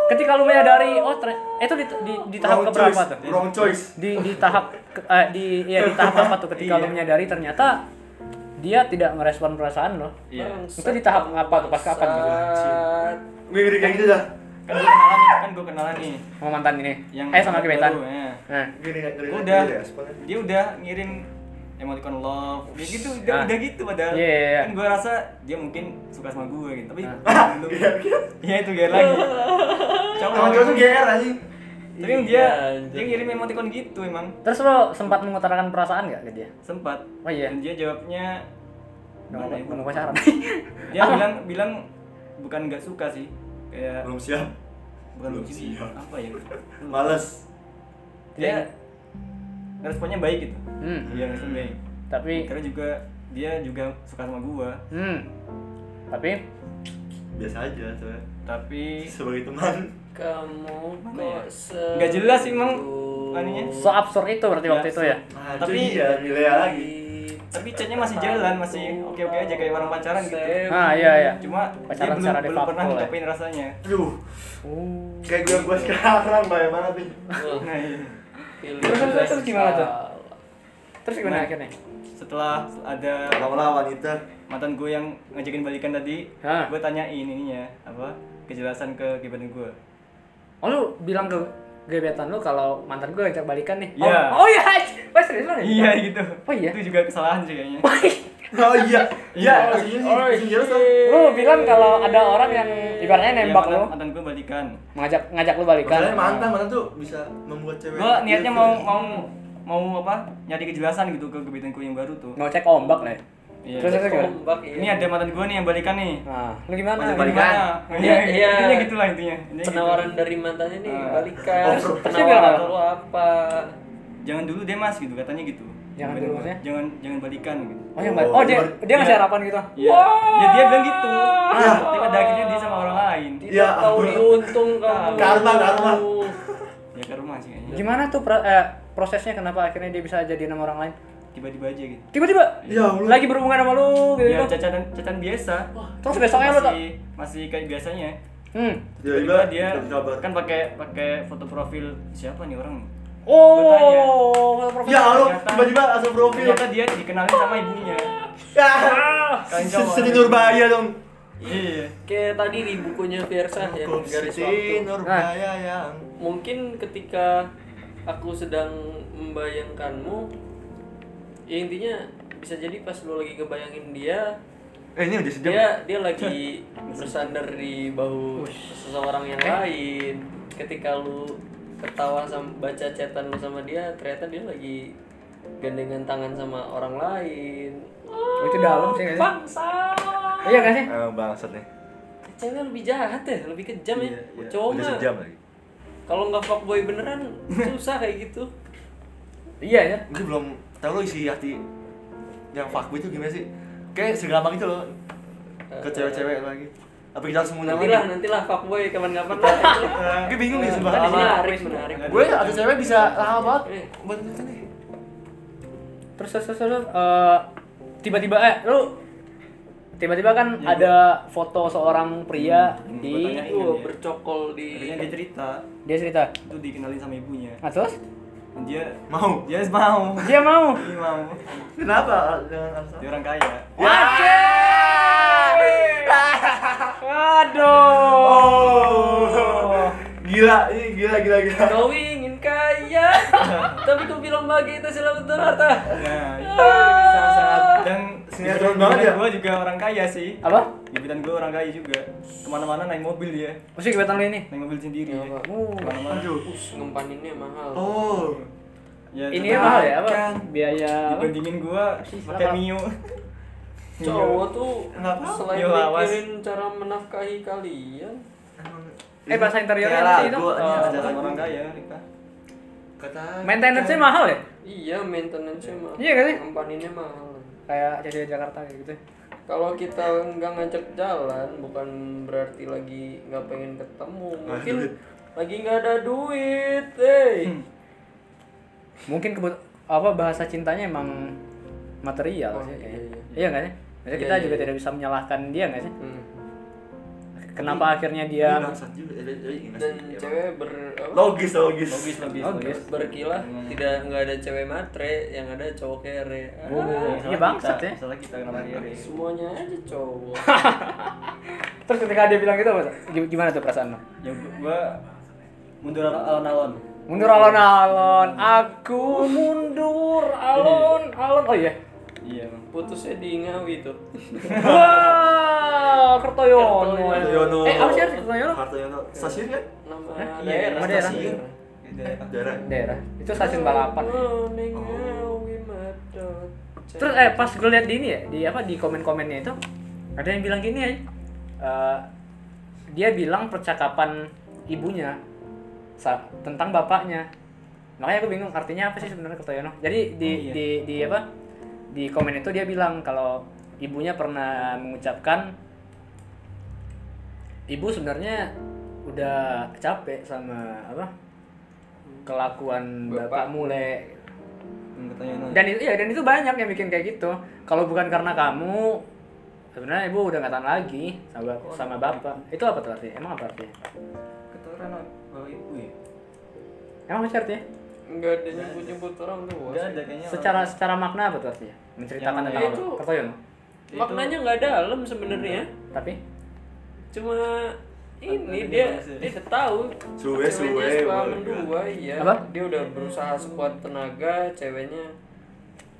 Speaker 1: ketika lu menyadari oh ternyata- itu di, di, di
Speaker 5: Oh,
Speaker 1: tahap
Speaker 2: Wrong
Speaker 1: keberapa
Speaker 2: choice.
Speaker 1: tuh?
Speaker 2: wrong choice
Speaker 1: di di tahap ke- eh, di ya di tahap apa tuh ketika
Speaker 5: Iya.
Speaker 1: lo menyadari ternyata dia tidak merespon perasaan lo
Speaker 5: iya
Speaker 1: itu di tahap apa tuh pas kapan gitu
Speaker 2: gue ngeri kayak gitu dah
Speaker 5: kan gue kenalan kan gue kenalan nih
Speaker 1: sama mantan ini
Speaker 5: yang
Speaker 1: eh sama
Speaker 5: anak
Speaker 1: gebetan
Speaker 5: baru, ya.
Speaker 1: nah
Speaker 2: gini ngeri
Speaker 5: Gua
Speaker 2: ngeri
Speaker 5: udah
Speaker 1: iya,
Speaker 2: ya, responnya.
Speaker 5: dia udah ngirim emoticon love dia gitu udah,
Speaker 1: Ah.
Speaker 5: udah gitu padahal
Speaker 1: Iya, iya, iya.
Speaker 5: kan gue rasa dia mungkin suka sama gue gitu tapi
Speaker 1: Ah.
Speaker 5: belum iya itu dia lagi
Speaker 2: Teman cowok tuh GR anjing
Speaker 1: Iya,
Speaker 5: tapi emang dia
Speaker 3: anjir.
Speaker 5: dia ngirim emoticon gitu emang
Speaker 1: terus lo sempat mengutarakan perasaan nggak ke dia
Speaker 5: sempat
Speaker 1: Oh, iya.
Speaker 5: dan dia jawabnya
Speaker 1: nggak
Speaker 5: gimana
Speaker 1: mau
Speaker 5: ya?
Speaker 1: nggak mau pacaran
Speaker 5: dia bilang bilang bukan nggak suka sih kayak
Speaker 2: belum siap
Speaker 5: bukan
Speaker 2: belum
Speaker 5: begini,
Speaker 2: siap.
Speaker 5: apa ya
Speaker 2: males
Speaker 5: dia responnya baik gitu
Speaker 1: hmm
Speaker 5: dia respon baik
Speaker 1: tapi
Speaker 5: karena juga dia juga suka sama gua
Speaker 1: hmm tapi
Speaker 2: biasa aja tuh ya.
Speaker 5: tapi
Speaker 2: sebagai teman
Speaker 3: Kamu
Speaker 5: Mana ya?
Speaker 3: kok se-
Speaker 5: nggak jelas sih emang anunya
Speaker 1: so absurd itu berarti
Speaker 5: Ya,
Speaker 1: waktu itu ya
Speaker 5: Tapi-
Speaker 2: tapi ya nilai lagi
Speaker 5: tapi chatnya masih jalan masih oke oke aja kayak orang pacaran gitu
Speaker 1: ah iya iya
Speaker 5: cuma
Speaker 1: Pacaran
Speaker 5: dia
Speaker 1: secara de
Speaker 5: belum,
Speaker 1: facto
Speaker 5: belum
Speaker 1: ya?
Speaker 5: pernah
Speaker 1: lah.
Speaker 5: ngungkapin rasanya
Speaker 2: aduh
Speaker 1: oh.
Speaker 2: kayak gue gue sekarang bagaimana nih
Speaker 3: Wah,
Speaker 5: nah iya.
Speaker 3: pilih
Speaker 1: Terus- terus- terus gimana tuh?
Speaker 3: salah.
Speaker 1: terus gimana
Speaker 5: Nah.
Speaker 1: akhirnya
Speaker 5: setelah ada
Speaker 2: lama-lama wanita
Speaker 5: mantan gue yang ngajakin balikan tadi
Speaker 1: Hah?
Speaker 5: gue tanyain ininya apa kejelasan ke gebetan gue
Speaker 1: oh lu bilang ke gebetan lu kalau mantan gue ngajak balikan nih
Speaker 5: Iya.
Speaker 1: oh, oh iya pas serius lo nih
Speaker 5: iya gitu
Speaker 1: Oh, iya?
Speaker 5: itu juga kesalahan sih kayaknya
Speaker 2: oh iya iya maksudnya sih
Speaker 3: Oh,
Speaker 2: maksudnya jelas lah
Speaker 1: lu bilang kalau ada orang yang ibaratnya nembak
Speaker 5: Iya,
Speaker 1: lu
Speaker 5: mantan- mantan gue balikan
Speaker 1: ngajak ngajak lu balikan
Speaker 2: masalahnya mantan mantan tuh bisa membuat cewek
Speaker 5: gue niatnya mau mau mau apa nyari kejelasan gitu ke gebetan gue yang baru tuh
Speaker 1: mau cek ombak lah ya.
Speaker 5: Iya.
Speaker 1: terus terus gimana
Speaker 3: Ombak, iya.
Speaker 5: ini ada mantan gue nih yang balikan nih
Speaker 1: nah lu gimana
Speaker 2: Ngajak
Speaker 1: Gimana?
Speaker 2: balikan.
Speaker 5: Gimana?
Speaker 3: Iya,
Speaker 5: iya
Speaker 3: iya.
Speaker 5: iya intinya gitulah intinya Intinya gitu.
Speaker 3: penawaran dari mantannya nih
Speaker 5: Ah.
Speaker 3: balikan
Speaker 2: Oh, terus
Speaker 3: penawaran
Speaker 1: gimana?
Speaker 3: lu apa
Speaker 5: jangan dulu deh mas gitu katanya gitu
Speaker 1: Jangan
Speaker 5: Gebetan
Speaker 1: dulu,
Speaker 5: gua,
Speaker 1: maksudnya?
Speaker 5: jangan jangan balikan gitu
Speaker 1: oh yang balik oh dia dia ngasih harapan gitu
Speaker 5: Iya. Ya dia bilang gitu.
Speaker 2: Iya.
Speaker 5: Tapi pada akhirnya dia sama orang lain.
Speaker 3: tidak
Speaker 2: Ya
Speaker 3: tahu
Speaker 2: ampun.
Speaker 3: diuntung kamu
Speaker 2: Karma, karma.
Speaker 5: Ya ke rumah sih kayaknya.
Speaker 1: gimana tuh pra- eh, prosesnya kenapa akhirnya dia bisa jadi nama orang lain
Speaker 5: Tiba-tiba aja gitu.
Speaker 1: tiba-tiba
Speaker 2: Ya Allah.
Speaker 1: lagi berhubungan sama lu gitu
Speaker 5: Ya
Speaker 1: gitu
Speaker 5: cacatan cacatan biasa.
Speaker 1: terus besoknya lu tak
Speaker 5: masih, masih kayak biasanya.
Speaker 1: hmm
Speaker 5: Tiba-tiba dia
Speaker 2: kabar
Speaker 5: kan pakai pakai foto profil siapa nih orang? nih?
Speaker 1: oh profesor.
Speaker 2: ya Allah
Speaker 5: Ternyata-
Speaker 2: tiba-tiba langsung profil
Speaker 5: Ternyata dia dikenalin sama ibunya.
Speaker 2: Ah,
Speaker 5: Kacau.
Speaker 2: Siti Nurbaya dong
Speaker 5: Iya.
Speaker 3: kayak tadi di bukunya Versa yang Ah, iya. garis
Speaker 2: Siti
Speaker 3: waktu
Speaker 2: Nurbaya yang
Speaker 3: mungkin ketika aku sedang membayangkanmu ya intinya bisa jadi pas lu lagi ngebayangin dia
Speaker 2: eh ini udah sejam
Speaker 3: dia dia lagi bersandar di bahu seseorang
Speaker 1: Eh.
Speaker 3: yang lain ketika lu ketawa sama baca chatan lu sama dia ternyata dia lagi gandengan tangan sama orang lain
Speaker 1: Oh, itu dalam sih kayaknya.
Speaker 3: bangsa
Speaker 1: iya gak sih
Speaker 2: Eh, bangsat nih
Speaker 3: cewek lebih jahat ya lebih kejam ya
Speaker 2: Iya, iya.
Speaker 3: cowok
Speaker 2: udah
Speaker 3: mah
Speaker 2: sejam lagi
Speaker 3: kalau nggak fuckboy beneran susah kayak gitu
Speaker 1: iya ya
Speaker 2: gue belum tahu lo isi hati yang fuckboy itu gimana sih kayak segampang itu loh ke cewek-cewek lagi apa kita harus mengundang
Speaker 3: nantilah
Speaker 2: lagi
Speaker 3: nantilah fuckboy kapan-kapan lah
Speaker 2: gue bingung nih
Speaker 3: Kan di sini
Speaker 1: Iya.
Speaker 2: sebenarnya
Speaker 3: menarik menarik Eh,
Speaker 2: gue ada cewek bisa lama banget buat itu nih
Speaker 1: terus terus terus, terus, eh, tiba-tiba eh lu tiba-tiba kan ada foto seorang pria
Speaker 5: Ya, Hmm,
Speaker 1: di
Speaker 5: fotonya
Speaker 3: Itu bercokol di
Speaker 5: Akhirnya dia cerita
Speaker 1: dia cerita
Speaker 5: itu dikenalin sama ibunya.
Speaker 1: nah terus
Speaker 5: Dan Dia
Speaker 2: Mau?
Speaker 5: dia mau.
Speaker 1: dia mau
Speaker 5: Dia mau.
Speaker 2: Kenapa dengan alasan?
Speaker 5: Dia orang kaya.
Speaker 1: aduh
Speaker 2: Oh. Gila, ini gila gila gila.
Speaker 3: Kau ingin kaya, tapi kau bilang bahagia itu selalu terharta.
Speaker 5: Nah, itu sangat-sangat dan
Speaker 2: Serem Iya. banget ya?
Speaker 5: Gue juga orang kaya sih.
Speaker 1: apa
Speaker 5: Gebetan gue orang kaya juga. Kemana-mana naik mobil dia,
Speaker 1: maksudnya kegiatan lu ini
Speaker 5: naik mobil sendiri.
Speaker 2: Iya,
Speaker 3: Ya, Pak. Uh,
Speaker 5: Kemana-mana.
Speaker 3: Us, ngempaninnya mahal.
Speaker 2: Oh.
Speaker 5: Ya,
Speaker 1: ini
Speaker 5: tetap
Speaker 1: mahal ya apa
Speaker 5: kan.
Speaker 1: biaya apa?
Speaker 5: Dibandingin gue pakai
Speaker 1: Kenapa?
Speaker 5: Mio. Mio.
Speaker 3: Cowok tuh
Speaker 2: Nggak apa-apa.
Speaker 3: selain
Speaker 5: Yo, awas.
Speaker 3: mikirin cara menafkahi kalian,
Speaker 1: eh bahasa interiornya Oh.
Speaker 2: Ya lah,
Speaker 1: nanti itu
Speaker 2: gua- ini
Speaker 5: Ada
Speaker 2: ada
Speaker 5: sama
Speaker 2: lagu.
Speaker 5: orang kaya kita.
Speaker 2: Kata
Speaker 1: maintenance nya mahal ya
Speaker 3: iya maintenance-nya mahal.
Speaker 1: Iya nggak sih?
Speaker 3: Ngempaninnya mahal.
Speaker 1: kayak jadi Jakarta kayak gitu
Speaker 3: Kalau kita nggak ngajak jalan, bukan berarti lagi nggak pengen ketemu. Mungkin lagi nggak ada duit, eh. hey.
Speaker 1: mungkin kebut apa bahasa cintanya emang material
Speaker 3: Oh,
Speaker 1: sih
Speaker 3: iya,
Speaker 1: kayaknya
Speaker 3: iya.
Speaker 1: iya nggak sih Maksudnya
Speaker 3: Iya,
Speaker 1: kita
Speaker 3: iya,
Speaker 1: juga
Speaker 3: iya.
Speaker 1: tidak bisa menyalahkan dia nggak sih
Speaker 3: Hmm.
Speaker 1: kenapa akhirnya dia
Speaker 3: Iya.
Speaker 2: Ini bangsat juga, eh, eh, eh,
Speaker 3: Dan
Speaker 2: gimana sih?
Speaker 3: cewek ber apa?
Speaker 2: Logis, logis.
Speaker 5: Logis, logis,
Speaker 1: Oh,
Speaker 5: logis.
Speaker 3: berkilah tidak nggak ada cewek matre yang ada cowok kere Ah,
Speaker 1: Oh. Iya,
Speaker 5: Salah
Speaker 1: bangsat
Speaker 5: kita-
Speaker 1: ya.
Speaker 5: Salah kita kenapa dia.
Speaker 3: semuanya aja cowok
Speaker 1: terus ketika dia bilang gitu apa Gim- gimana tuh perasaan lo
Speaker 5: Ya gue mundur alon-alon.
Speaker 1: mundur
Speaker 3: Iya.
Speaker 1: alon-alon aku mundur alon-alon oh iya
Speaker 5: Iya, Bang.
Speaker 3: putusnya di ngawi tuh
Speaker 1: wah Kertoyono
Speaker 2: Hartoyono.
Speaker 1: eh apa sih harus Kertoyono
Speaker 2: Hartoyono. Stasiun kan?
Speaker 3: nama
Speaker 1: Hah? Iya,
Speaker 3: daerah
Speaker 1: nama daerah. Iya,
Speaker 3: stasiun.
Speaker 5: Gitu ya.
Speaker 2: Daerah.
Speaker 1: daerah itu stasiun balapan
Speaker 3: Oh, neng Ngawi, madot.
Speaker 1: Terus eh pas gue liat di ini ya, di apa di komen-komennya itu ada yang bilang gini ya. eh, dia bilang percakapan ibunya sa- tentang bapaknya. Makanya aku bingung artinya apa sih sebenarnya Kertoyono. Jadi di,
Speaker 5: Oh, iya.
Speaker 1: di di apa di komen itu dia bilang kalau ibunya pernah mengucapkan ibu sebenarnya udah capek sama apa kelakuan
Speaker 3: Bapak.
Speaker 1: bapak mulai
Speaker 5: Hmm, Katanya
Speaker 1: dan itu ya dan itu banyak yang bikin kayak gitu kalau bukan karena kamu sebenarnya ibu udah nggak tahan lagi sama sama bapak itu apa tuh artinya emang apa artinya
Speaker 5: Keturunan bawa ibu ya?
Speaker 1: emang apa sih artinya
Speaker 3: nggak ada nyebut-nyebut orang tuh
Speaker 5: Enggak ada kayaknya.
Speaker 1: secara secara makna apa tuh artinya menceritakan
Speaker 5: Yang
Speaker 1: tentang apa
Speaker 3: itu-
Speaker 1: Kertoyono
Speaker 5: Itu-
Speaker 3: maknanya nggak dalam sebenarnya
Speaker 1: tapi
Speaker 3: cuma ini
Speaker 5: Ada
Speaker 3: dia
Speaker 5: nuansa.
Speaker 3: dia udah tahu
Speaker 2: Suwe,
Speaker 3: ceweknya
Speaker 2: suwe,
Speaker 3: suka
Speaker 2: boleh.
Speaker 3: mendua iya
Speaker 1: Apa?
Speaker 3: dia udah berusaha sekuat tenaga ceweknya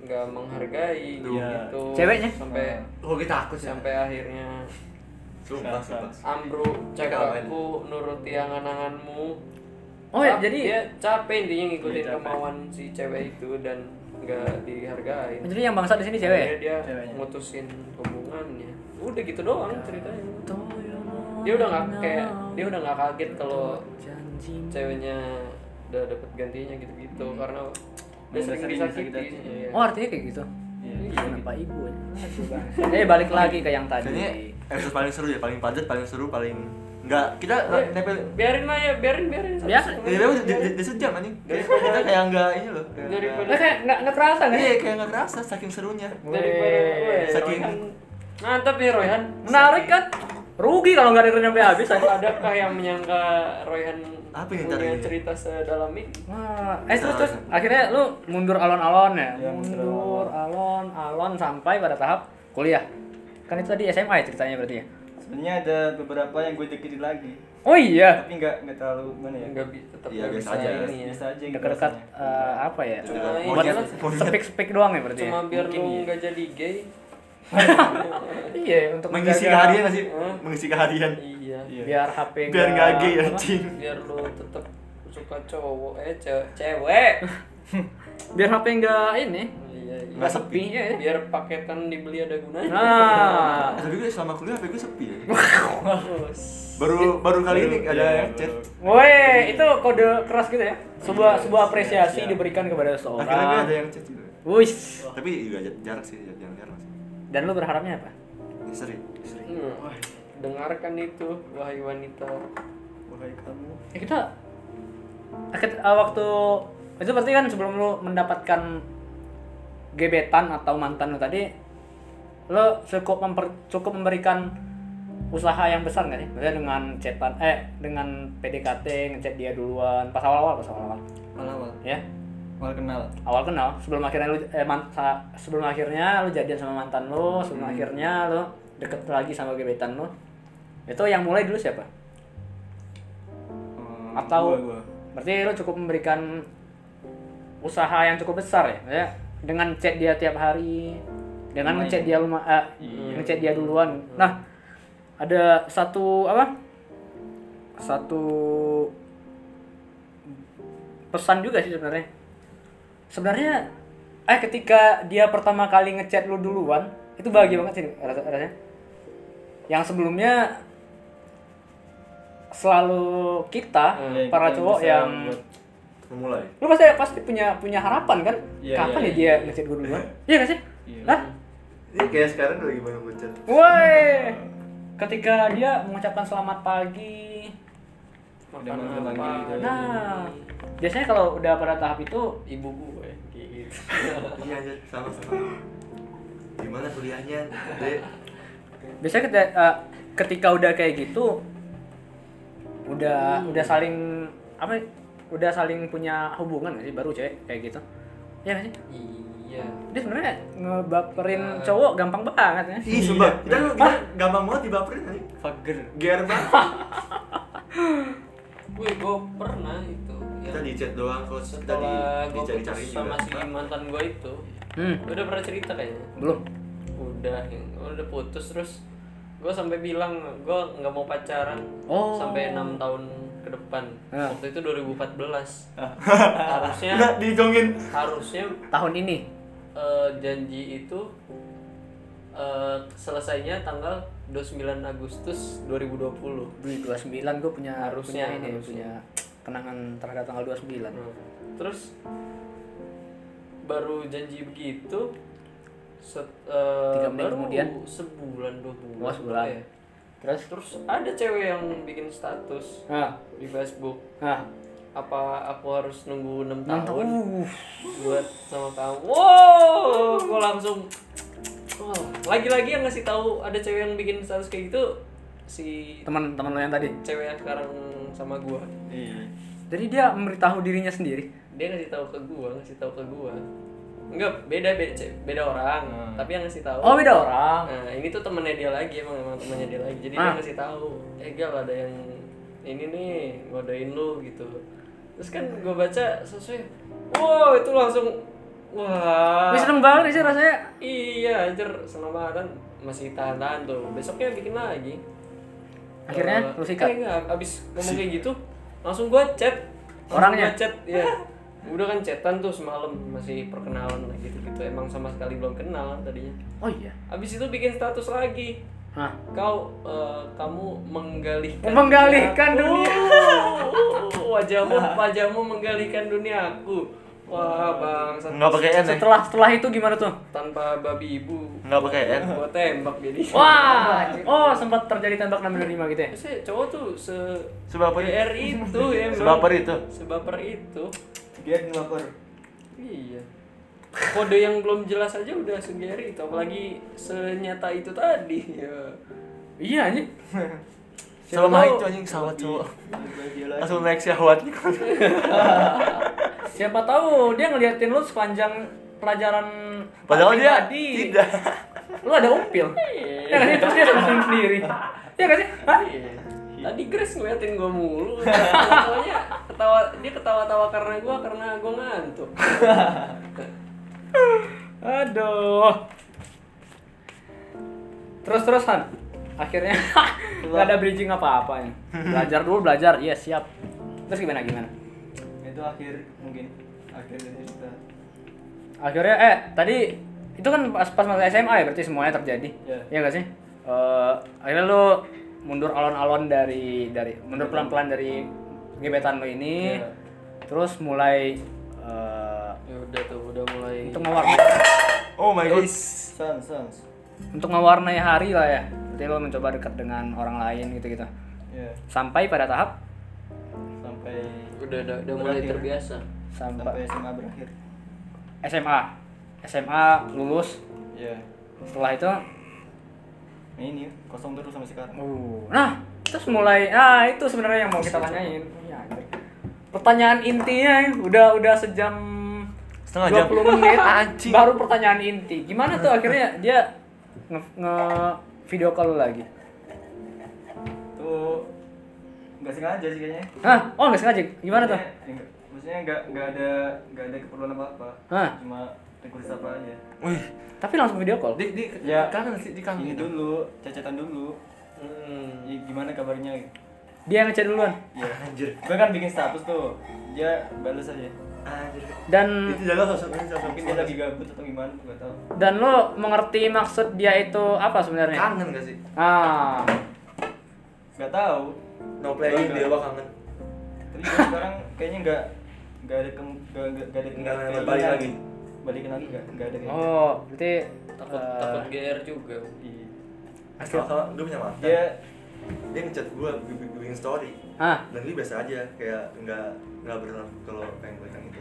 Speaker 3: nggak menghargai
Speaker 5: Iya.
Speaker 3: gitu
Speaker 1: Ceweknya?
Speaker 3: sampai
Speaker 2: Oh, kita takut sih.
Speaker 3: sampai akhirnya
Speaker 2: Sumpah, sumpah.
Speaker 3: ambruk cek
Speaker 2: Ketawain.
Speaker 3: aku nuruti angan-anganmu
Speaker 1: oh ya
Speaker 3: Cap-
Speaker 1: jadi
Speaker 3: dia capek intinya ngikutin
Speaker 5: Iya, capek.
Speaker 3: kemauan si cewek itu dan nggak dihargai
Speaker 1: jadi yang bangsa di sini cewek ya?
Speaker 3: Akhirnya dia
Speaker 5: Ceweknya.
Speaker 3: mutusin hubungannya udah gitu doang ceritanya dia udah nggak kayak dia udah nggak kaget kalau ceweknya udah dapat gantinya gitu-gitu karena dia
Speaker 5: Udah
Speaker 3: sering
Speaker 5: sering
Speaker 3: disakiti
Speaker 5: disakiti.
Speaker 3: iya.
Speaker 1: Iya. oh artinya kayak gitu
Speaker 5: Iya.
Speaker 1: kenapa ibu ya? Aduh, Bang. eh balik lagi ke yang
Speaker 2: Kayaknya
Speaker 1: tadi
Speaker 2: episode paling seru ya, paling padat, paling seru, paling enggak kita nggak nempel.
Speaker 3: biarin lah ya biarin biarin satu
Speaker 1: iya. Biasa.
Speaker 3: setengah
Speaker 2: Ya,
Speaker 3: jam.
Speaker 2: memang di, di, di sejam anjing. Dari kita kayak enggak ini loh. kayak
Speaker 3: Dari-
Speaker 2: Iya. nggak-
Speaker 1: nah, kayak nggak nggak kerasa nggak sih?
Speaker 2: Iya, kayak enggak kerasa saking serunya.
Speaker 3: daripada
Speaker 1: Weh.
Speaker 3: weh,
Speaker 2: Saking-
Speaker 3: Royhan. mantap nih Royhan
Speaker 1: menarik kan rugi kalau nggak dengerin sampai habis aja
Speaker 3: adakah yang menyangka Royhan
Speaker 2: Apa ini
Speaker 3: punya
Speaker 2: caranya?
Speaker 3: cerita sedalam ini
Speaker 1: Wah, eh terus terus akhirnya lu mundur alon-alon ya?
Speaker 5: Iya, mundur
Speaker 1: mundur alon-alon sampai pada tahap kuliah. Kan itu tadi SMA ya ceritanya berarti ya?
Speaker 5: Sebenarnya ada beberapa yang gue deketin lagi,
Speaker 1: Oh iya,
Speaker 5: tapi nggak nggak terlalu mana ya?
Speaker 3: nggak bi- tetap
Speaker 2: Iya,
Speaker 3: nggak
Speaker 2: biasa
Speaker 3: bisa
Speaker 2: aja.
Speaker 3: ini ya
Speaker 5: Biasa aja gitu.
Speaker 1: dekat-dekat
Speaker 5: rasanya.
Speaker 1: eh, apa ya?
Speaker 3: Cuma ini
Speaker 1: Buat
Speaker 3: jelas,
Speaker 1: speak-speak doang ya berarti
Speaker 3: cuma
Speaker 1: ya?
Speaker 3: biar
Speaker 5: Mungkin iya.
Speaker 3: lu nggak jadi gay
Speaker 1: Iya, untuk
Speaker 2: Mengisi
Speaker 1: menjaga-
Speaker 2: keharian nggak sih?
Speaker 3: Hah?
Speaker 2: Mengisi keharian.
Speaker 3: iya
Speaker 5: Iya.
Speaker 1: Biar HP
Speaker 2: Biar ya, enggak gay
Speaker 1: apa?
Speaker 2: anjing.
Speaker 3: biar lu tetap suka cowok eh ce- cewek
Speaker 1: Biar HP enggak ini,
Speaker 3: iya iya
Speaker 2: Nggak
Speaker 1: sepi ya.
Speaker 3: biar paketan dibeli ada gunanya
Speaker 1: Nah,
Speaker 2: Tapi gue selama kuliah HP gue sepi ya.
Speaker 3: Terus.
Speaker 2: Baru baru kali ini
Speaker 5: Iya,
Speaker 2: ada
Speaker 5: iya,
Speaker 2: yang chat.
Speaker 5: baru.
Speaker 1: woi, itu kode keras gitu ya. Sebuah sebuah apresiasi
Speaker 5: iya.
Speaker 1: diberikan kepada
Speaker 2: Akhirnya gue ada
Speaker 1: seorang.
Speaker 2: yang chat juga.
Speaker 1: Wuis.
Speaker 2: Tapi juga jar- jarak sih, jar- jarang-jarang sih.
Speaker 1: Dan lu berharapnya apa?
Speaker 2: Ini sering. sering.
Speaker 3: Hmm. dengarkan itu wahai wanita
Speaker 5: Wahai kamu.
Speaker 1: ya kita eh, ket- eh, waktu itu berarti kan sebelum lu mendapatkan gebetan atau mantan lo tadi lo cukup memper, cukup memberikan usaha yang besar nggak sih? Maksudnya dengan chatan eh dengan PDKT ngechat dia duluan pas awal-awal pas awal-awal
Speaker 5: awal-awal
Speaker 1: ya
Speaker 5: awal kenal
Speaker 1: awal kenal sebelum akhirnya lu eh, man- sa- sebelum akhirnya lu jadian sama mantan lu sebelum akhirnya lu deket lagi sama gebetan lu itu yang mulai dulu siapa
Speaker 5: Hmm,
Speaker 1: Atau-
Speaker 5: gua, gua.
Speaker 1: berarti lu cukup memberikan usaha yang cukup besar ya Maksudnya dengan chat dia tiap hari dengan ngechat dia luma, eh,
Speaker 5: Iya.
Speaker 1: ngechat dia duluan
Speaker 5: Hmm.
Speaker 1: nah ada satu apa satu pesan juga sih sebenarnya sebenarnya eh ketika dia pertama kali ngechat lu duluan itu bahagia banget sih rasa- rasanya yang sebelumnya selalu kita
Speaker 5: Hmm.
Speaker 1: para
Speaker 5: Kita
Speaker 1: cowok
Speaker 5: bisa
Speaker 1: yang
Speaker 5: buat-
Speaker 2: memulai
Speaker 1: lu pasti pasti punya punya harapan kan
Speaker 5: Iya,
Speaker 1: kapan ya
Speaker 5: iya, iya,
Speaker 1: dia
Speaker 5: iya.
Speaker 1: ngechat gue duluan iya gak sih
Speaker 5: Iya.
Speaker 1: Hah?
Speaker 2: ini kayak sekarang lagi baru ngechat
Speaker 1: woi ketika dia mengucapkan selamat pagi
Speaker 5: Udah
Speaker 3: Makan
Speaker 5: manggil
Speaker 3: apa?
Speaker 5: manggil gitu.
Speaker 1: nah biasanya kalau udah pada tahap itu
Speaker 3: Ibu gue. kayak gitu.
Speaker 2: iya aja sama sama gimana kuliahnya dek
Speaker 1: biasanya ketika, ketika udah kayak gitu udah udah saling apa ya, udah saling punya hubungan gak sih baru cewek kayak gitu iya gak sih
Speaker 3: Iya.
Speaker 1: dia sebenarnya ngebaperin cowok gampang banget ya
Speaker 2: ih sumpah kita lu kita Iya. gampang banget dibaperin nih
Speaker 5: Fager.
Speaker 2: gear banget
Speaker 3: Gue gue pernah itu. ya.
Speaker 2: kita di chat doang coach kita di
Speaker 3: setelah gue
Speaker 2: dicari-cari
Speaker 3: putus
Speaker 2: juga
Speaker 3: sama si mantan gue itu
Speaker 1: hmm
Speaker 3: gue udah pernah cerita kayaknya
Speaker 1: belum
Speaker 3: udah udah putus terus gue sampai bilang gue nggak mau pacaran
Speaker 1: Oh.
Speaker 3: sampai enam tahun ke depan
Speaker 1: Ah.
Speaker 3: waktu itu 2014 harusnya
Speaker 2: nggak dijongin
Speaker 3: harusnya
Speaker 1: tahun ini
Speaker 3: eh, janji itu eh, selesainya tanggal 29 Agustus 2020
Speaker 1: di 29 gue punya
Speaker 3: Harusnya,
Speaker 1: punya ini
Speaker 3: harusnya.
Speaker 1: punya kenangan terhadap tanggal 29
Speaker 3: terus baru janji begitu set, eh,
Speaker 1: Tiga menit
Speaker 3: baru
Speaker 1: kemudian?
Speaker 3: sebulan dua bulan
Speaker 1: Oh, sebulan.
Speaker 3: ya.
Speaker 1: terus
Speaker 3: terus ada cewek yang bikin status
Speaker 1: ah
Speaker 3: di Facebook
Speaker 1: ah
Speaker 3: apa aku harus nunggu 6
Speaker 1: enam tahun
Speaker 3: tahun
Speaker 1: uh,
Speaker 3: buat sama kamu wow gue langsung wow. lagi-lagi yang ngasih tahu ada cewek yang bikin status kayak gitu si
Speaker 1: teman teman lo yang tadi
Speaker 3: cewek yang sekarang sama gua
Speaker 5: Iya.
Speaker 1: jadi dia memberitahu dirinya sendiri
Speaker 3: dia ngasih tahu ke gua ngasih tahu ke gua enggak beda beda ce- beda orang
Speaker 5: Hmm.
Speaker 3: tapi yang ngasih tahu
Speaker 1: oh beda orang
Speaker 3: nah ini tuh temennya dia lagi emang emang temennya dia lagi jadi dia
Speaker 1: Ah.
Speaker 3: ngasih tahu eh gal ada yang ini nih ngodain lu gitu terus kan gua baca sesuai wow itu langsung wah
Speaker 1: Wih seneng banget sih rasanya
Speaker 3: iya anjir seneng banget kan. masih tahan-tahan tuh besoknya bikin lagi
Speaker 1: Akhirnya,
Speaker 3: Eh,
Speaker 1: lu sikat?
Speaker 3: eh, enggak, abis ngomong kayak gitu langsung gua chat Langsung
Speaker 1: Orangnya?
Speaker 3: gua chat ya udah kan chatan tuh semalam masih perkenalan gitu gitu emang sama sekali belum kenal tadinya
Speaker 1: oh iya
Speaker 3: abis itu bikin status lagi
Speaker 1: Hah.
Speaker 3: kau eh, kamu menggalihkan
Speaker 1: Eh, Menggalihkan dunia.
Speaker 3: Oh, wajahmu wajahmu menggalihkan duniaku wah bang sat-
Speaker 2: nggak pakai n ya
Speaker 1: setelah setelah itu gimana tuh
Speaker 3: tanpa babi ibu
Speaker 2: nggak pakai n
Speaker 3: gua tembak jadi
Speaker 1: wah oh sempat terjadi tembak 625 gitu ya
Speaker 3: Biasanya cowok tuh se
Speaker 2: Sebaper itu.
Speaker 3: GR itu ya Bang.
Speaker 2: Sebaper itu.
Speaker 3: Sebaper itu.
Speaker 5: Dia ngelapor.
Speaker 3: Iya. Kode yang belum jelas aja udah se-GR itu apalagi senyata itu tadi. Ya.
Speaker 1: iya anjing
Speaker 2: sama
Speaker 3: Siapa
Speaker 2: main
Speaker 3: tahu-
Speaker 2: tuh anjing sawat cowok
Speaker 5: Dia lagi.
Speaker 2: langsung naik syahwatnya
Speaker 1: siapa tahu dia ngeliatin lu sepanjang pelajaran
Speaker 2: padahal
Speaker 1: pagi
Speaker 2: dia
Speaker 1: tadi.
Speaker 2: tidak
Speaker 1: lu ada upil ya nggak sih terus dia senyum sendiri ya nggak sih Hah?
Speaker 3: Tadi Grace ngeliatin gua mulu. Soalnya ketawa dia ketawa-tawa karena gua karena gua ngantuk.
Speaker 1: Aduh. Terus terusan. Akhirnya nggak ada bridging apa-apa nih. Belajar dulu belajar. Iya siap. Terus gimana gimana?
Speaker 5: Itu akhir mungkin. Akhir dari cerita.
Speaker 1: Akhirnya eh tadi itu kan pas pas masa SMA ya berarti semuanya terjadi.
Speaker 5: Iya.
Speaker 1: Iya nggak sih? Eh, akhirnya lu mundur alon-alon dari dari mundur pelan-pelan dari gebetan lu ini.
Speaker 5: Iya.
Speaker 1: Terus mulai eh,
Speaker 3: Ya udah tuh udah mulai
Speaker 1: untuk mewarnai
Speaker 2: oh my god
Speaker 5: Sans, sans.
Speaker 1: untuk mewarnai hari lah ya. Berarti lo mencoba dekat dengan orang lain gitu-gitu.
Speaker 5: Ya,
Speaker 1: Sampai pada tahap
Speaker 5: sampai
Speaker 3: udah udah, udah mulai
Speaker 5: Berakhir.
Speaker 3: terbiasa.
Speaker 1: sampai
Speaker 5: sampai SMA berakhir.
Speaker 1: SMA. SMA lulus
Speaker 5: ya
Speaker 1: setelah itu
Speaker 5: Nah, ini kosong terus sampai sekarang
Speaker 1: uh, nah terus mulai ah itu sebenarnya yang mau kita tanyain Ya, anjir. pertanyaan intinya udah udah sejam
Speaker 2: Setengah jam.
Speaker 1: 20 menit
Speaker 2: Anjing.
Speaker 1: baru pertanyaan inti gimana tuh akhirnya dia nge, nge- video call lu lagi
Speaker 5: tuh nggak sengaja sih kayaknya
Speaker 1: Hah? oh nggak sengaja gimana tuh
Speaker 2: Iya.
Speaker 5: Maksudnya- eh, nggak- maksudnya nggak nggak ada nggak ada keperluan apa apa
Speaker 1: Hah?
Speaker 5: cuma request apa aja
Speaker 2: Wih,
Speaker 1: tapi langsung video call
Speaker 2: di di
Speaker 5: Ya.
Speaker 2: kangen sih di kangen
Speaker 5: ini
Speaker 2: gitu.
Speaker 5: dulu cacatan dulu
Speaker 8: Hmm.
Speaker 5: Ya, gimana kabarnya gitu
Speaker 1: dia yang ngechat duluan
Speaker 5: ya
Speaker 2: Anjir.
Speaker 5: gue kan bikin status tuh dia balas aja
Speaker 2: Anjir.
Speaker 1: dan
Speaker 2: Itu jaga sosoknya sosok
Speaker 5: mungkin dia lagi gabut atau gimana gue tahu
Speaker 1: dan lo mengerti maksud dia itu apa sebenarnya
Speaker 2: kangen gak sih?
Speaker 1: ah
Speaker 5: nggak tahu
Speaker 2: No playing dia apa kangen?
Speaker 5: tapi dia sekarang kayaknya nggak nggak ada kem nggak nggak- nggak ada
Speaker 2: Nggak ada
Speaker 5: keinginan
Speaker 2: balik lagi.
Speaker 5: balikin lagi nggak nggak ada Iya. keinginan.
Speaker 1: oh berarti
Speaker 3: takut
Speaker 1: eh,
Speaker 3: takut GR juga
Speaker 5: Iya.
Speaker 2: Asal salah gue punya mantan.
Speaker 5: dia
Speaker 2: Dia ngechat gue bikin story.
Speaker 1: ah
Speaker 2: Dan dia biasa aja kayak nggak nggak berenang kalau pengen balikan itu.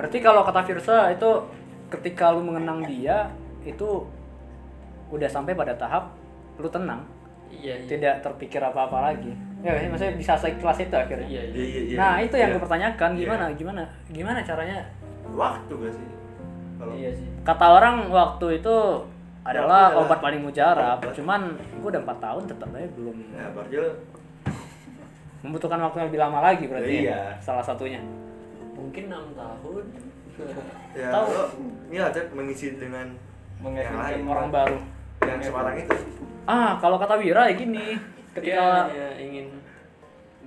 Speaker 1: Berarti kalau kata Firsa itu ketika lu mengenang dia itu udah sampai pada tahap lu tenang,
Speaker 3: iya iya
Speaker 1: tidak terpikir apa-apa lagi. Ya, nggak sih? maksudnya bisa seikhlas itu akhirnya.
Speaker 3: iya
Speaker 2: Iya
Speaker 3: iya
Speaker 2: iya iya.
Speaker 1: Nah, itu yang
Speaker 2: Iya.
Speaker 1: gue pertanyakan,
Speaker 2: Iya.
Speaker 1: gimana gimana gimana caranya?
Speaker 3: Iya
Speaker 2: Waktu gak sih? Kalau
Speaker 5: iya sih
Speaker 1: Kata orang waktu itu adalah
Speaker 2: Waktu Ya, adalah-
Speaker 1: obat paling mujarab.
Speaker 2: Obat.
Speaker 1: Cuman gue udah 4 tahun tetap aja belum
Speaker 2: Nah, berarti lo-
Speaker 1: membutuhkan waktu yang lebih lama lagi berarti. ya,
Speaker 2: Iya.
Speaker 1: Salah satunya.
Speaker 3: mungkin enam tahun
Speaker 2: ya
Speaker 1: Tahu.
Speaker 2: lo ya Cep, mengisi dengan yang
Speaker 5: Mengefekkan
Speaker 2: lain
Speaker 1: Orang baru.
Speaker 2: yang semarang itu.
Speaker 1: Ah, kalau kata Wira ya gini, ketika
Speaker 3: Dia hanya Iya, ingin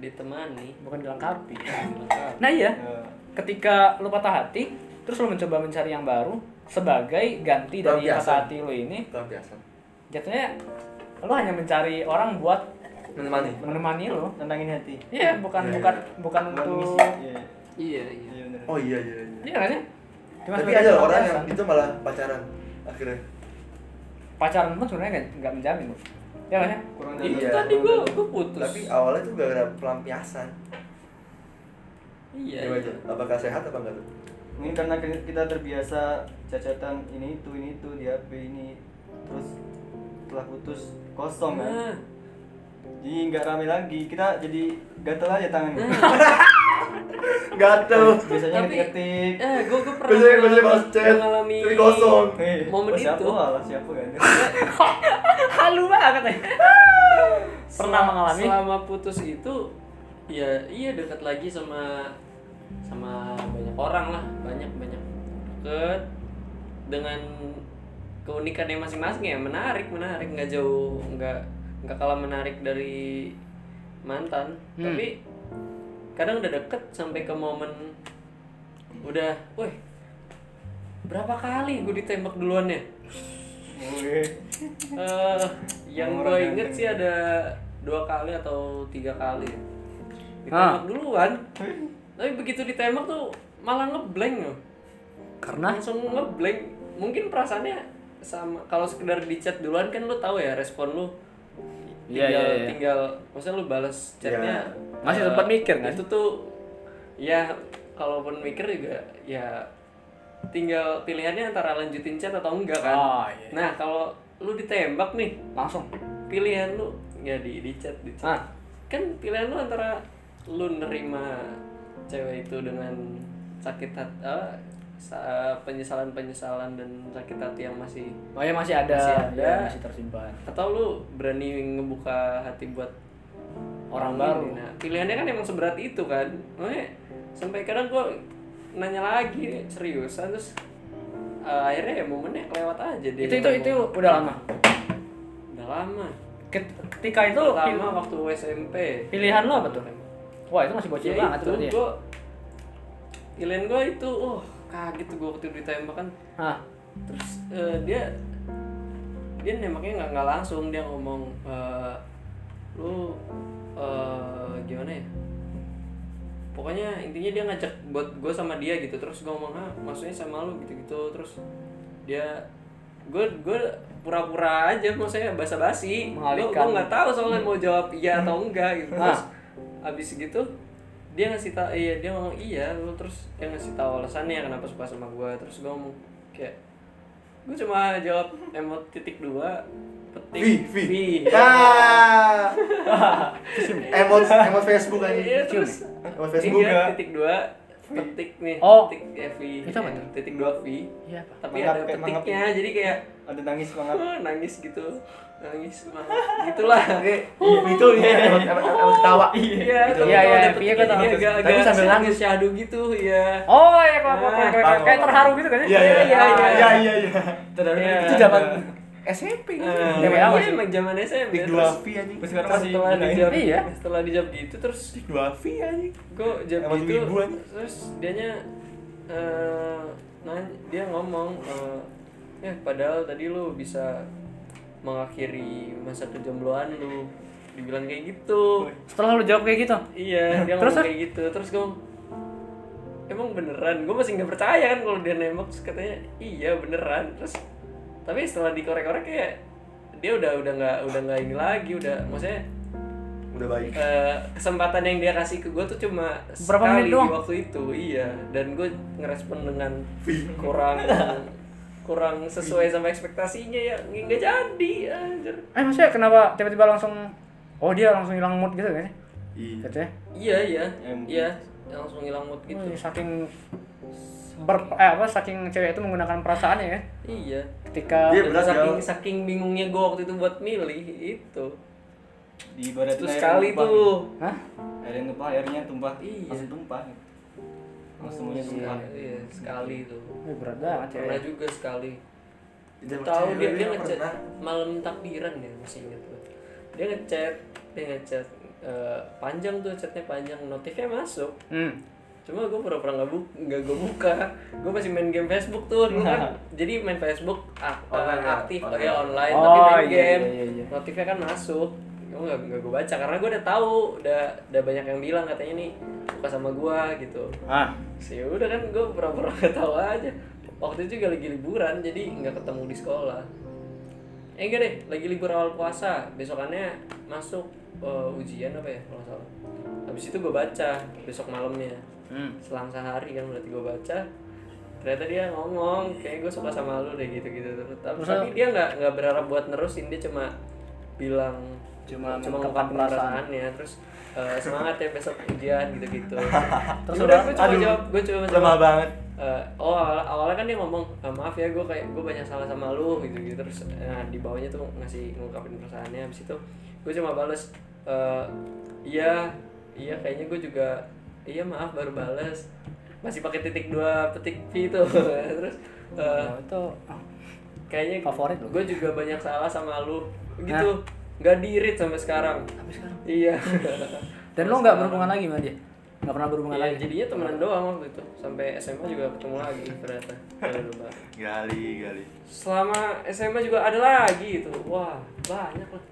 Speaker 3: ditemani
Speaker 1: bukan bilang karpi.
Speaker 3: Lengkap.
Speaker 1: Nah, iya.
Speaker 5: Eh,
Speaker 1: ketika lu patah hati terus lu mencoba mencari yang baru sebagai ganti dari
Speaker 2: Lampiasan.
Speaker 1: patah hati lu ini
Speaker 2: Luar biasa.
Speaker 1: jatuhnya lu hanya mencari orang buat
Speaker 2: Menemani.
Speaker 1: menemani lu
Speaker 5: nenangin hati
Speaker 1: iya bukan
Speaker 2: Iya,
Speaker 1: bukan
Speaker 2: iya.
Speaker 1: bukan
Speaker 5: Bukan
Speaker 1: untuk
Speaker 5: mengisi- iya
Speaker 8: Iya, iya.
Speaker 5: iya bener.
Speaker 2: Oh iya iya. iya.
Speaker 1: iya nggak sih Cuma
Speaker 2: Tapi
Speaker 1: sebagai
Speaker 2: ada loh orang yang
Speaker 1: lampiasan.
Speaker 2: itu malah pacaran akhirnya.
Speaker 1: pacaran pun sebenarnya nggak- nggak menjamin lu iya nggak sih
Speaker 5: kurang dari
Speaker 3: itu
Speaker 2: Iya.
Speaker 3: tadi gua gua putus
Speaker 2: Tapi awalnya tuh gak ada pelampiasan.
Speaker 3: iya
Speaker 2: Coba aja,
Speaker 3: iya
Speaker 2: apakah sehat apa enggak tuh?
Speaker 5: ini karena ki- kita terbiasa cacatan ini itu ini itu di HP ini terus setelah putus kosong
Speaker 3: nah
Speaker 5: kan jadi nggak rame lagi kita jadi gatel aja tangannya
Speaker 2: Gatel.
Speaker 5: biasanya
Speaker 3: Nah. Tapi-
Speaker 5: ngetik-ngetik
Speaker 3: eh gua gua pernah
Speaker 2: Biasanya biasanya pas
Speaker 3: mengalami-
Speaker 2: chat,
Speaker 3: mengalami
Speaker 2: tapi kosong.
Speaker 5: Hei,
Speaker 3: Momen
Speaker 5: oh, siapa
Speaker 3: itu.
Speaker 5: lah siapa kan
Speaker 1: halu banget ya pernah
Speaker 3: Selama-
Speaker 1: mengalami
Speaker 3: selama putus itu ya iya dekat lagi sama sama banyak orang lah banyak banyak deket dengan keunikannya masing-masing ya menarik menarik nggak jauh nggak nggak kalah menarik dari mantan
Speaker 1: Hmm.
Speaker 3: tapi kadang udah deket sampai ke momen udah, weh berapa kali gue ditembak duluan ya? Eh, yang gue
Speaker 5: Orang
Speaker 3: inget
Speaker 5: ganteng.
Speaker 3: sih ada dua kali atau tiga kali
Speaker 1: Ah. Hmm.
Speaker 3: ditembak duluan tapi begitu ditembak tuh malah ngeblank loh
Speaker 1: karena
Speaker 3: langsung ngeblank mungkin perasaannya sama kalau sekedar di chat duluan kan lu tahu ya respon lu
Speaker 1: Iya,
Speaker 3: tinggal
Speaker 1: iya, iya.
Speaker 3: tinggal maksudnya lu balas
Speaker 2: Iya.
Speaker 3: chatnya
Speaker 1: Masih
Speaker 3: eh,
Speaker 1: sempat mikir kan? nggak?
Speaker 3: itu tuh ya kalaupun mikir juga ya tinggal pilihannya antara lanjutin chat atau enggak kan
Speaker 1: Oh, iya.
Speaker 3: nah kalau lu ditembak nih
Speaker 1: langsung
Speaker 3: pilihan lu ya di di chat di
Speaker 1: ah
Speaker 3: chat kan pilihan lu antara lu nerima cewek itu dengan sakit hati penyesalan penyesalan dan sakit hati yang masih
Speaker 1: oh ya masih ada
Speaker 3: Masih ada.
Speaker 1: ya, masih tersimpan
Speaker 3: atau lu berani ngebuka hati buat orang baru nah pilihannya kan emang seberat itu kan Makanya sampai kadang gua nanya lagi seriusan terus eh, akhirnya ya momennya kelewat aja dia
Speaker 1: itu itu itu udah lama
Speaker 3: udah lama
Speaker 1: Ket- ketika itu
Speaker 3: lama waktu SMP
Speaker 1: pilihan lo apa tuh wah itu masih bocil
Speaker 3: ya
Speaker 1: banget
Speaker 3: itu
Speaker 1: tuh dia
Speaker 3: gue pilihan gue itu oh kaget gue waktu ditembak kan
Speaker 1: Hah.
Speaker 3: terus eh, dia dia nembaknya nggak nggak langsung dia ngomong eh, lu eh, gimana ya pokoknya intinya dia ngajak buat gue sama dia gitu terus gue ngomong ah maksudnya sama lu gitu gitu terus dia gue gue pura-pura aja maksudnya basa-basi gue
Speaker 1: Mengalihkan.
Speaker 3: gue nggak tahu soalnya mau jawab iya atau enggak gitu terus
Speaker 1: Ah.
Speaker 3: abis gitu dia ngasih tahu iya dia ngomong iya lu terus dia ngasih tahu alasannya kenapa suka sama gue terus gue ngomong oke kayak gue cuma jawab emot titik dua petik
Speaker 2: Vi, Vi.
Speaker 3: Vi.
Speaker 2: Ah. Emot emot Facebook ya? aja.
Speaker 3: Iya, terus
Speaker 2: Emot Facebook.
Speaker 5: Juga.
Speaker 3: tiga titik dua petik nih
Speaker 1: Oh.
Speaker 3: petik ya, V
Speaker 1: Itu apa
Speaker 3: Eh,
Speaker 1: tuh?
Speaker 3: titik dua V
Speaker 1: Iya pak.
Speaker 3: tapi
Speaker 5: Mangap,
Speaker 3: ada
Speaker 5: kayak mangap.
Speaker 3: petiknya jadi kayak
Speaker 5: ada nangis banget
Speaker 3: "Ah," nangis gitu nangis banget gitulah
Speaker 2: Oke, itu ya emot emot emot ketawa.
Speaker 3: iya
Speaker 1: Gitu. Iya,
Speaker 3: tapi kalau
Speaker 1: iya,
Speaker 3: ada
Speaker 1: iya, gue tahu.
Speaker 3: petiknya agak
Speaker 1: Tapi
Speaker 3: agak
Speaker 1: sambil nangis.
Speaker 3: syahdu gitu ya
Speaker 1: Oh ya kalau kalau- kalau-
Speaker 2: Nah,
Speaker 1: kalau- kayak terharu gitu kan?
Speaker 2: Iya iya iya
Speaker 3: iya.
Speaker 2: iya iya iya.
Speaker 5: Terharu.
Speaker 3: Iya.
Speaker 2: Itu zaman SMP.
Speaker 1: Zaman
Speaker 3: iya
Speaker 1: awal sih.
Speaker 3: emang zaman SMP
Speaker 2: Tik
Speaker 3: terus
Speaker 2: dua V anjing.
Speaker 5: Terus sekarang masih
Speaker 3: setelah
Speaker 5: gila.
Speaker 3: dijawab
Speaker 1: Iya.
Speaker 3: setelah dijawab gitu terus
Speaker 2: Tik dua V anjing.
Speaker 3: gue jawab
Speaker 2: Emang
Speaker 3: gitu
Speaker 2: ibu aja.
Speaker 3: terus dianya eh nanya, dia ngomong eh, ya padahal tadi lu bisa mengakhiri masa kejombloan lu dibilang kayak gitu
Speaker 1: Setelah lu jawab kayak gitu,
Speaker 3: iya dia
Speaker 1: Terus,
Speaker 3: ngomong kayak gitu terus gue emang beneran gue masih nggak percaya kan kalau dia nembak terus katanya iya beneran terus tapi setelah dikorek-korek kayak dia udah udah nggak udah nggak ini lagi udah maksudnya
Speaker 2: Udah baik.
Speaker 3: eh, kesempatan yang dia kasih ke gue tuh cuma
Speaker 1: Berapa
Speaker 3: sekali
Speaker 1: menit doang?
Speaker 3: di waktu itu iya dan gue ngerespon dengan
Speaker 2: Wih.
Speaker 3: kurang kurang sesuai sama ekspektasinya ya nggak jadi anjir
Speaker 1: eh maksudnya kenapa tiba-tiba langsung oh dia langsung hilang mood gitu kan?
Speaker 2: Iya.
Speaker 1: Gitu ya?
Speaker 3: iya iya
Speaker 5: Ya, mungkin.
Speaker 3: iya langsung hilang mood gitu
Speaker 1: Wih, saking ber eh, apa saking cewek itu menggunakan perasaannya ya
Speaker 3: iya
Speaker 1: ketika
Speaker 2: Dia
Speaker 3: Dan
Speaker 2: berat,
Speaker 3: saking
Speaker 2: Gal.
Speaker 3: saking bingungnya gue waktu itu buat milih itu
Speaker 5: di ibaratnya
Speaker 3: itu
Speaker 5: air yang
Speaker 3: sekali
Speaker 5: tumpah,
Speaker 3: tuh
Speaker 1: Hah?
Speaker 5: gitu. air yang tumpah airnya tumpah
Speaker 3: Iya.
Speaker 5: langsung tumpah gitu.
Speaker 2: Oh,
Speaker 5: langsung semuanya
Speaker 3: iya,
Speaker 5: tumpah
Speaker 3: iya, sekali tuh
Speaker 1: Wih, Eh, berat banget ya. cewek
Speaker 3: pernah juga sekali
Speaker 2: Zaman
Speaker 3: tahu
Speaker 2: cewek
Speaker 3: dia dia
Speaker 2: nggak
Speaker 3: ngechat
Speaker 2: pernah.
Speaker 3: malam takbiran ya masih ingat gue dia ngechat dia ngechat eh, panjang tuh chatnya panjang notifnya masuk
Speaker 1: hmm.
Speaker 3: cuma gue pura-pura nggak bu nggak gue buka gue masih main game Facebook tuh dulu kan jadi main Facebook ak- eh,
Speaker 2: Online ya?
Speaker 3: aktif
Speaker 2: Online.
Speaker 3: ya online
Speaker 1: Oh,
Speaker 3: tapi main
Speaker 1: iya,
Speaker 3: game
Speaker 1: iya, iya, iya.
Speaker 3: notifnya kan masuk gue nggak nggak gue baca karena gue udah tahu udah udah banyak yang bilang katanya nih suka sama gue gitu
Speaker 5: ah
Speaker 3: sih udah kan gue pura-pura nggak tahu aja waktu itu juga lagi liburan jadi nggak ketemu di sekolah eh enggak deh lagi libur awal puasa besokannya masuk eh, ujian apa ya kalau nggak salah habis itu gue baca besok malamnya
Speaker 1: Hmm.
Speaker 3: selang sehari kan berarti gue baca ternyata dia ngomong kayak gue suka sama lu deh gitu gitu terus tapi,
Speaker 1: Terus
Speaker 3: tapi dia nggak nggak berharap buat nerusin dia cuma bilang
Speaker 1: Cuma
Speaker 3: mengungkapkan
Speaker 1: mengungkapkan perasaan.
Speaker 3: perasaannya terus eh, semangat ya besok ujian gitu gitu
Speaker 1: Terus
Speaker 3: terus
Speaker 1: udah?
Speaker 3: udah gue cuma jawab gue cuma
Speaker 2: Lemah
Speaker 3: jawab
Speaker 2: banget.
Speaker 3: eh, oh awal- awalnya kan dia ngomong "Eh, maaf ya gue kayak gue banyak salah sama lu gitu gitu terus nah, di bawahnya tuh ngasih ngungkapin perasaannya habis itu gue cuma bales eh, iya iya kayaknya gue juga iya maaf baru bales masih pakai titik dua petik V itu terus eh,
Speaker 1: Ya, itu
Speaker 3: kayaknya
Speaker 1: Favorit lu.
Speaker 3: gue juga banyak salah sama lu gitu nggak diirit sampai sekarang
Speaker 1: sampai sekarang
Speaker 3: iya
Speaker 1: dan lo nggak
Speaker 3: Sampai sekarang.
Speaker 1: berhubungan lagi sama dia nggak pernah berhubungan
Speaker 3: Iya,
Speaker 1: lagi
Speaker 3: jadinya temenan doang waktu itu sampai SMA juga ketemu lagi ternyata Baru lupa.
Speaker 2: Gali gali.
Speaker 3: selama SMA juga ada lagi itu wah banyak lah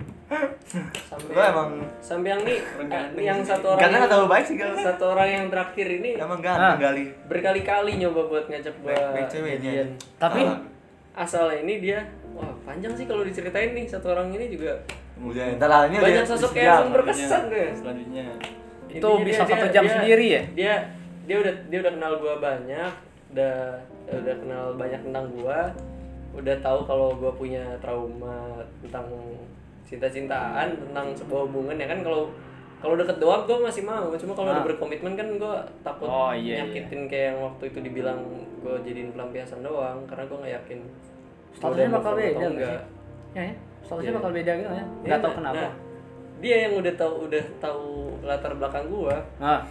Speaker 2: Lo
Speaker 3: sampai
Speaker 2: emang-
Speaker 3: sampai yang nih
Speaker 5: Orang
Speaker 3: eh,
Speaker 5: ganteng
Speaker 3: yang
Speaker 5: sih.
Speaker 3: satu orang
Speaker 2: Karena
Speaker 3: yang-
Speaker 2: nggak tahu baik sih Gal.
Speaker 3: satu orang yang terakhir ini
Speaker 2: Emang ganteng
Speaker 1: Ah.
Speaker 2: gali.
Speaker 3: berkali-kali nyoba buat ngajak gua
Speaker 2: Baik baik ceweknya.
Speaker 3: jadian.
Speaker 2: anjing.
Speaker 1: Tapi-
Speaker 2: Alam.
Speaker 3: asal ini dia wah panjang sih kalau diceritain nih satu orang ini juga
Speaker 2: Udah, ntar lah, ini
Speaker 3: Banyak
Speaker 2: dia-
Speaker 3: sosok
Speaker 2: dia-
Speaker 3: yang
Speaker 2: dia-
Speaker 3: berkesan deh.
Speaker 5: selanjutnya
Speaker 1: Itu
Speaker 3: Intinya
Speaker 1: bisa satu jam sendiri ya?
Speaker 3: Dia dia udah dia udah kenal gua banyak, udah udah kenal banyak tentang gua, udah tahu kalau gua punya trauma tentang cinta-cintaan, tentang sebuah hubungan ya kan kalau kalau deket doang gua masih mau, cuma kalau udah
Speaker 1: Ah.
Speaker 3: berkomitmen kan gua takut
Speaker 1: Oh, iya,
Speaker 3: nyakitin kayak yang waktu itu dibilang gua jadiin pelampiasan doang karena gua nggak yakin gua udah
Speaker 1: statusnya bakal
Speaker 3: move on
Speaker 1: beda
Speaker 3: atau
Speaker 1: nggak sih ya, ya. statusnya
Speaker 3: Iya.
Speaker 1: bakal beda gitu ya nggak tahu
Speaker 3: Iya,
Speaker 1: kenapa
Speaker 3: nah, dia yang udah tahu udah tahu latar belakang gua,
Speaker 1: nah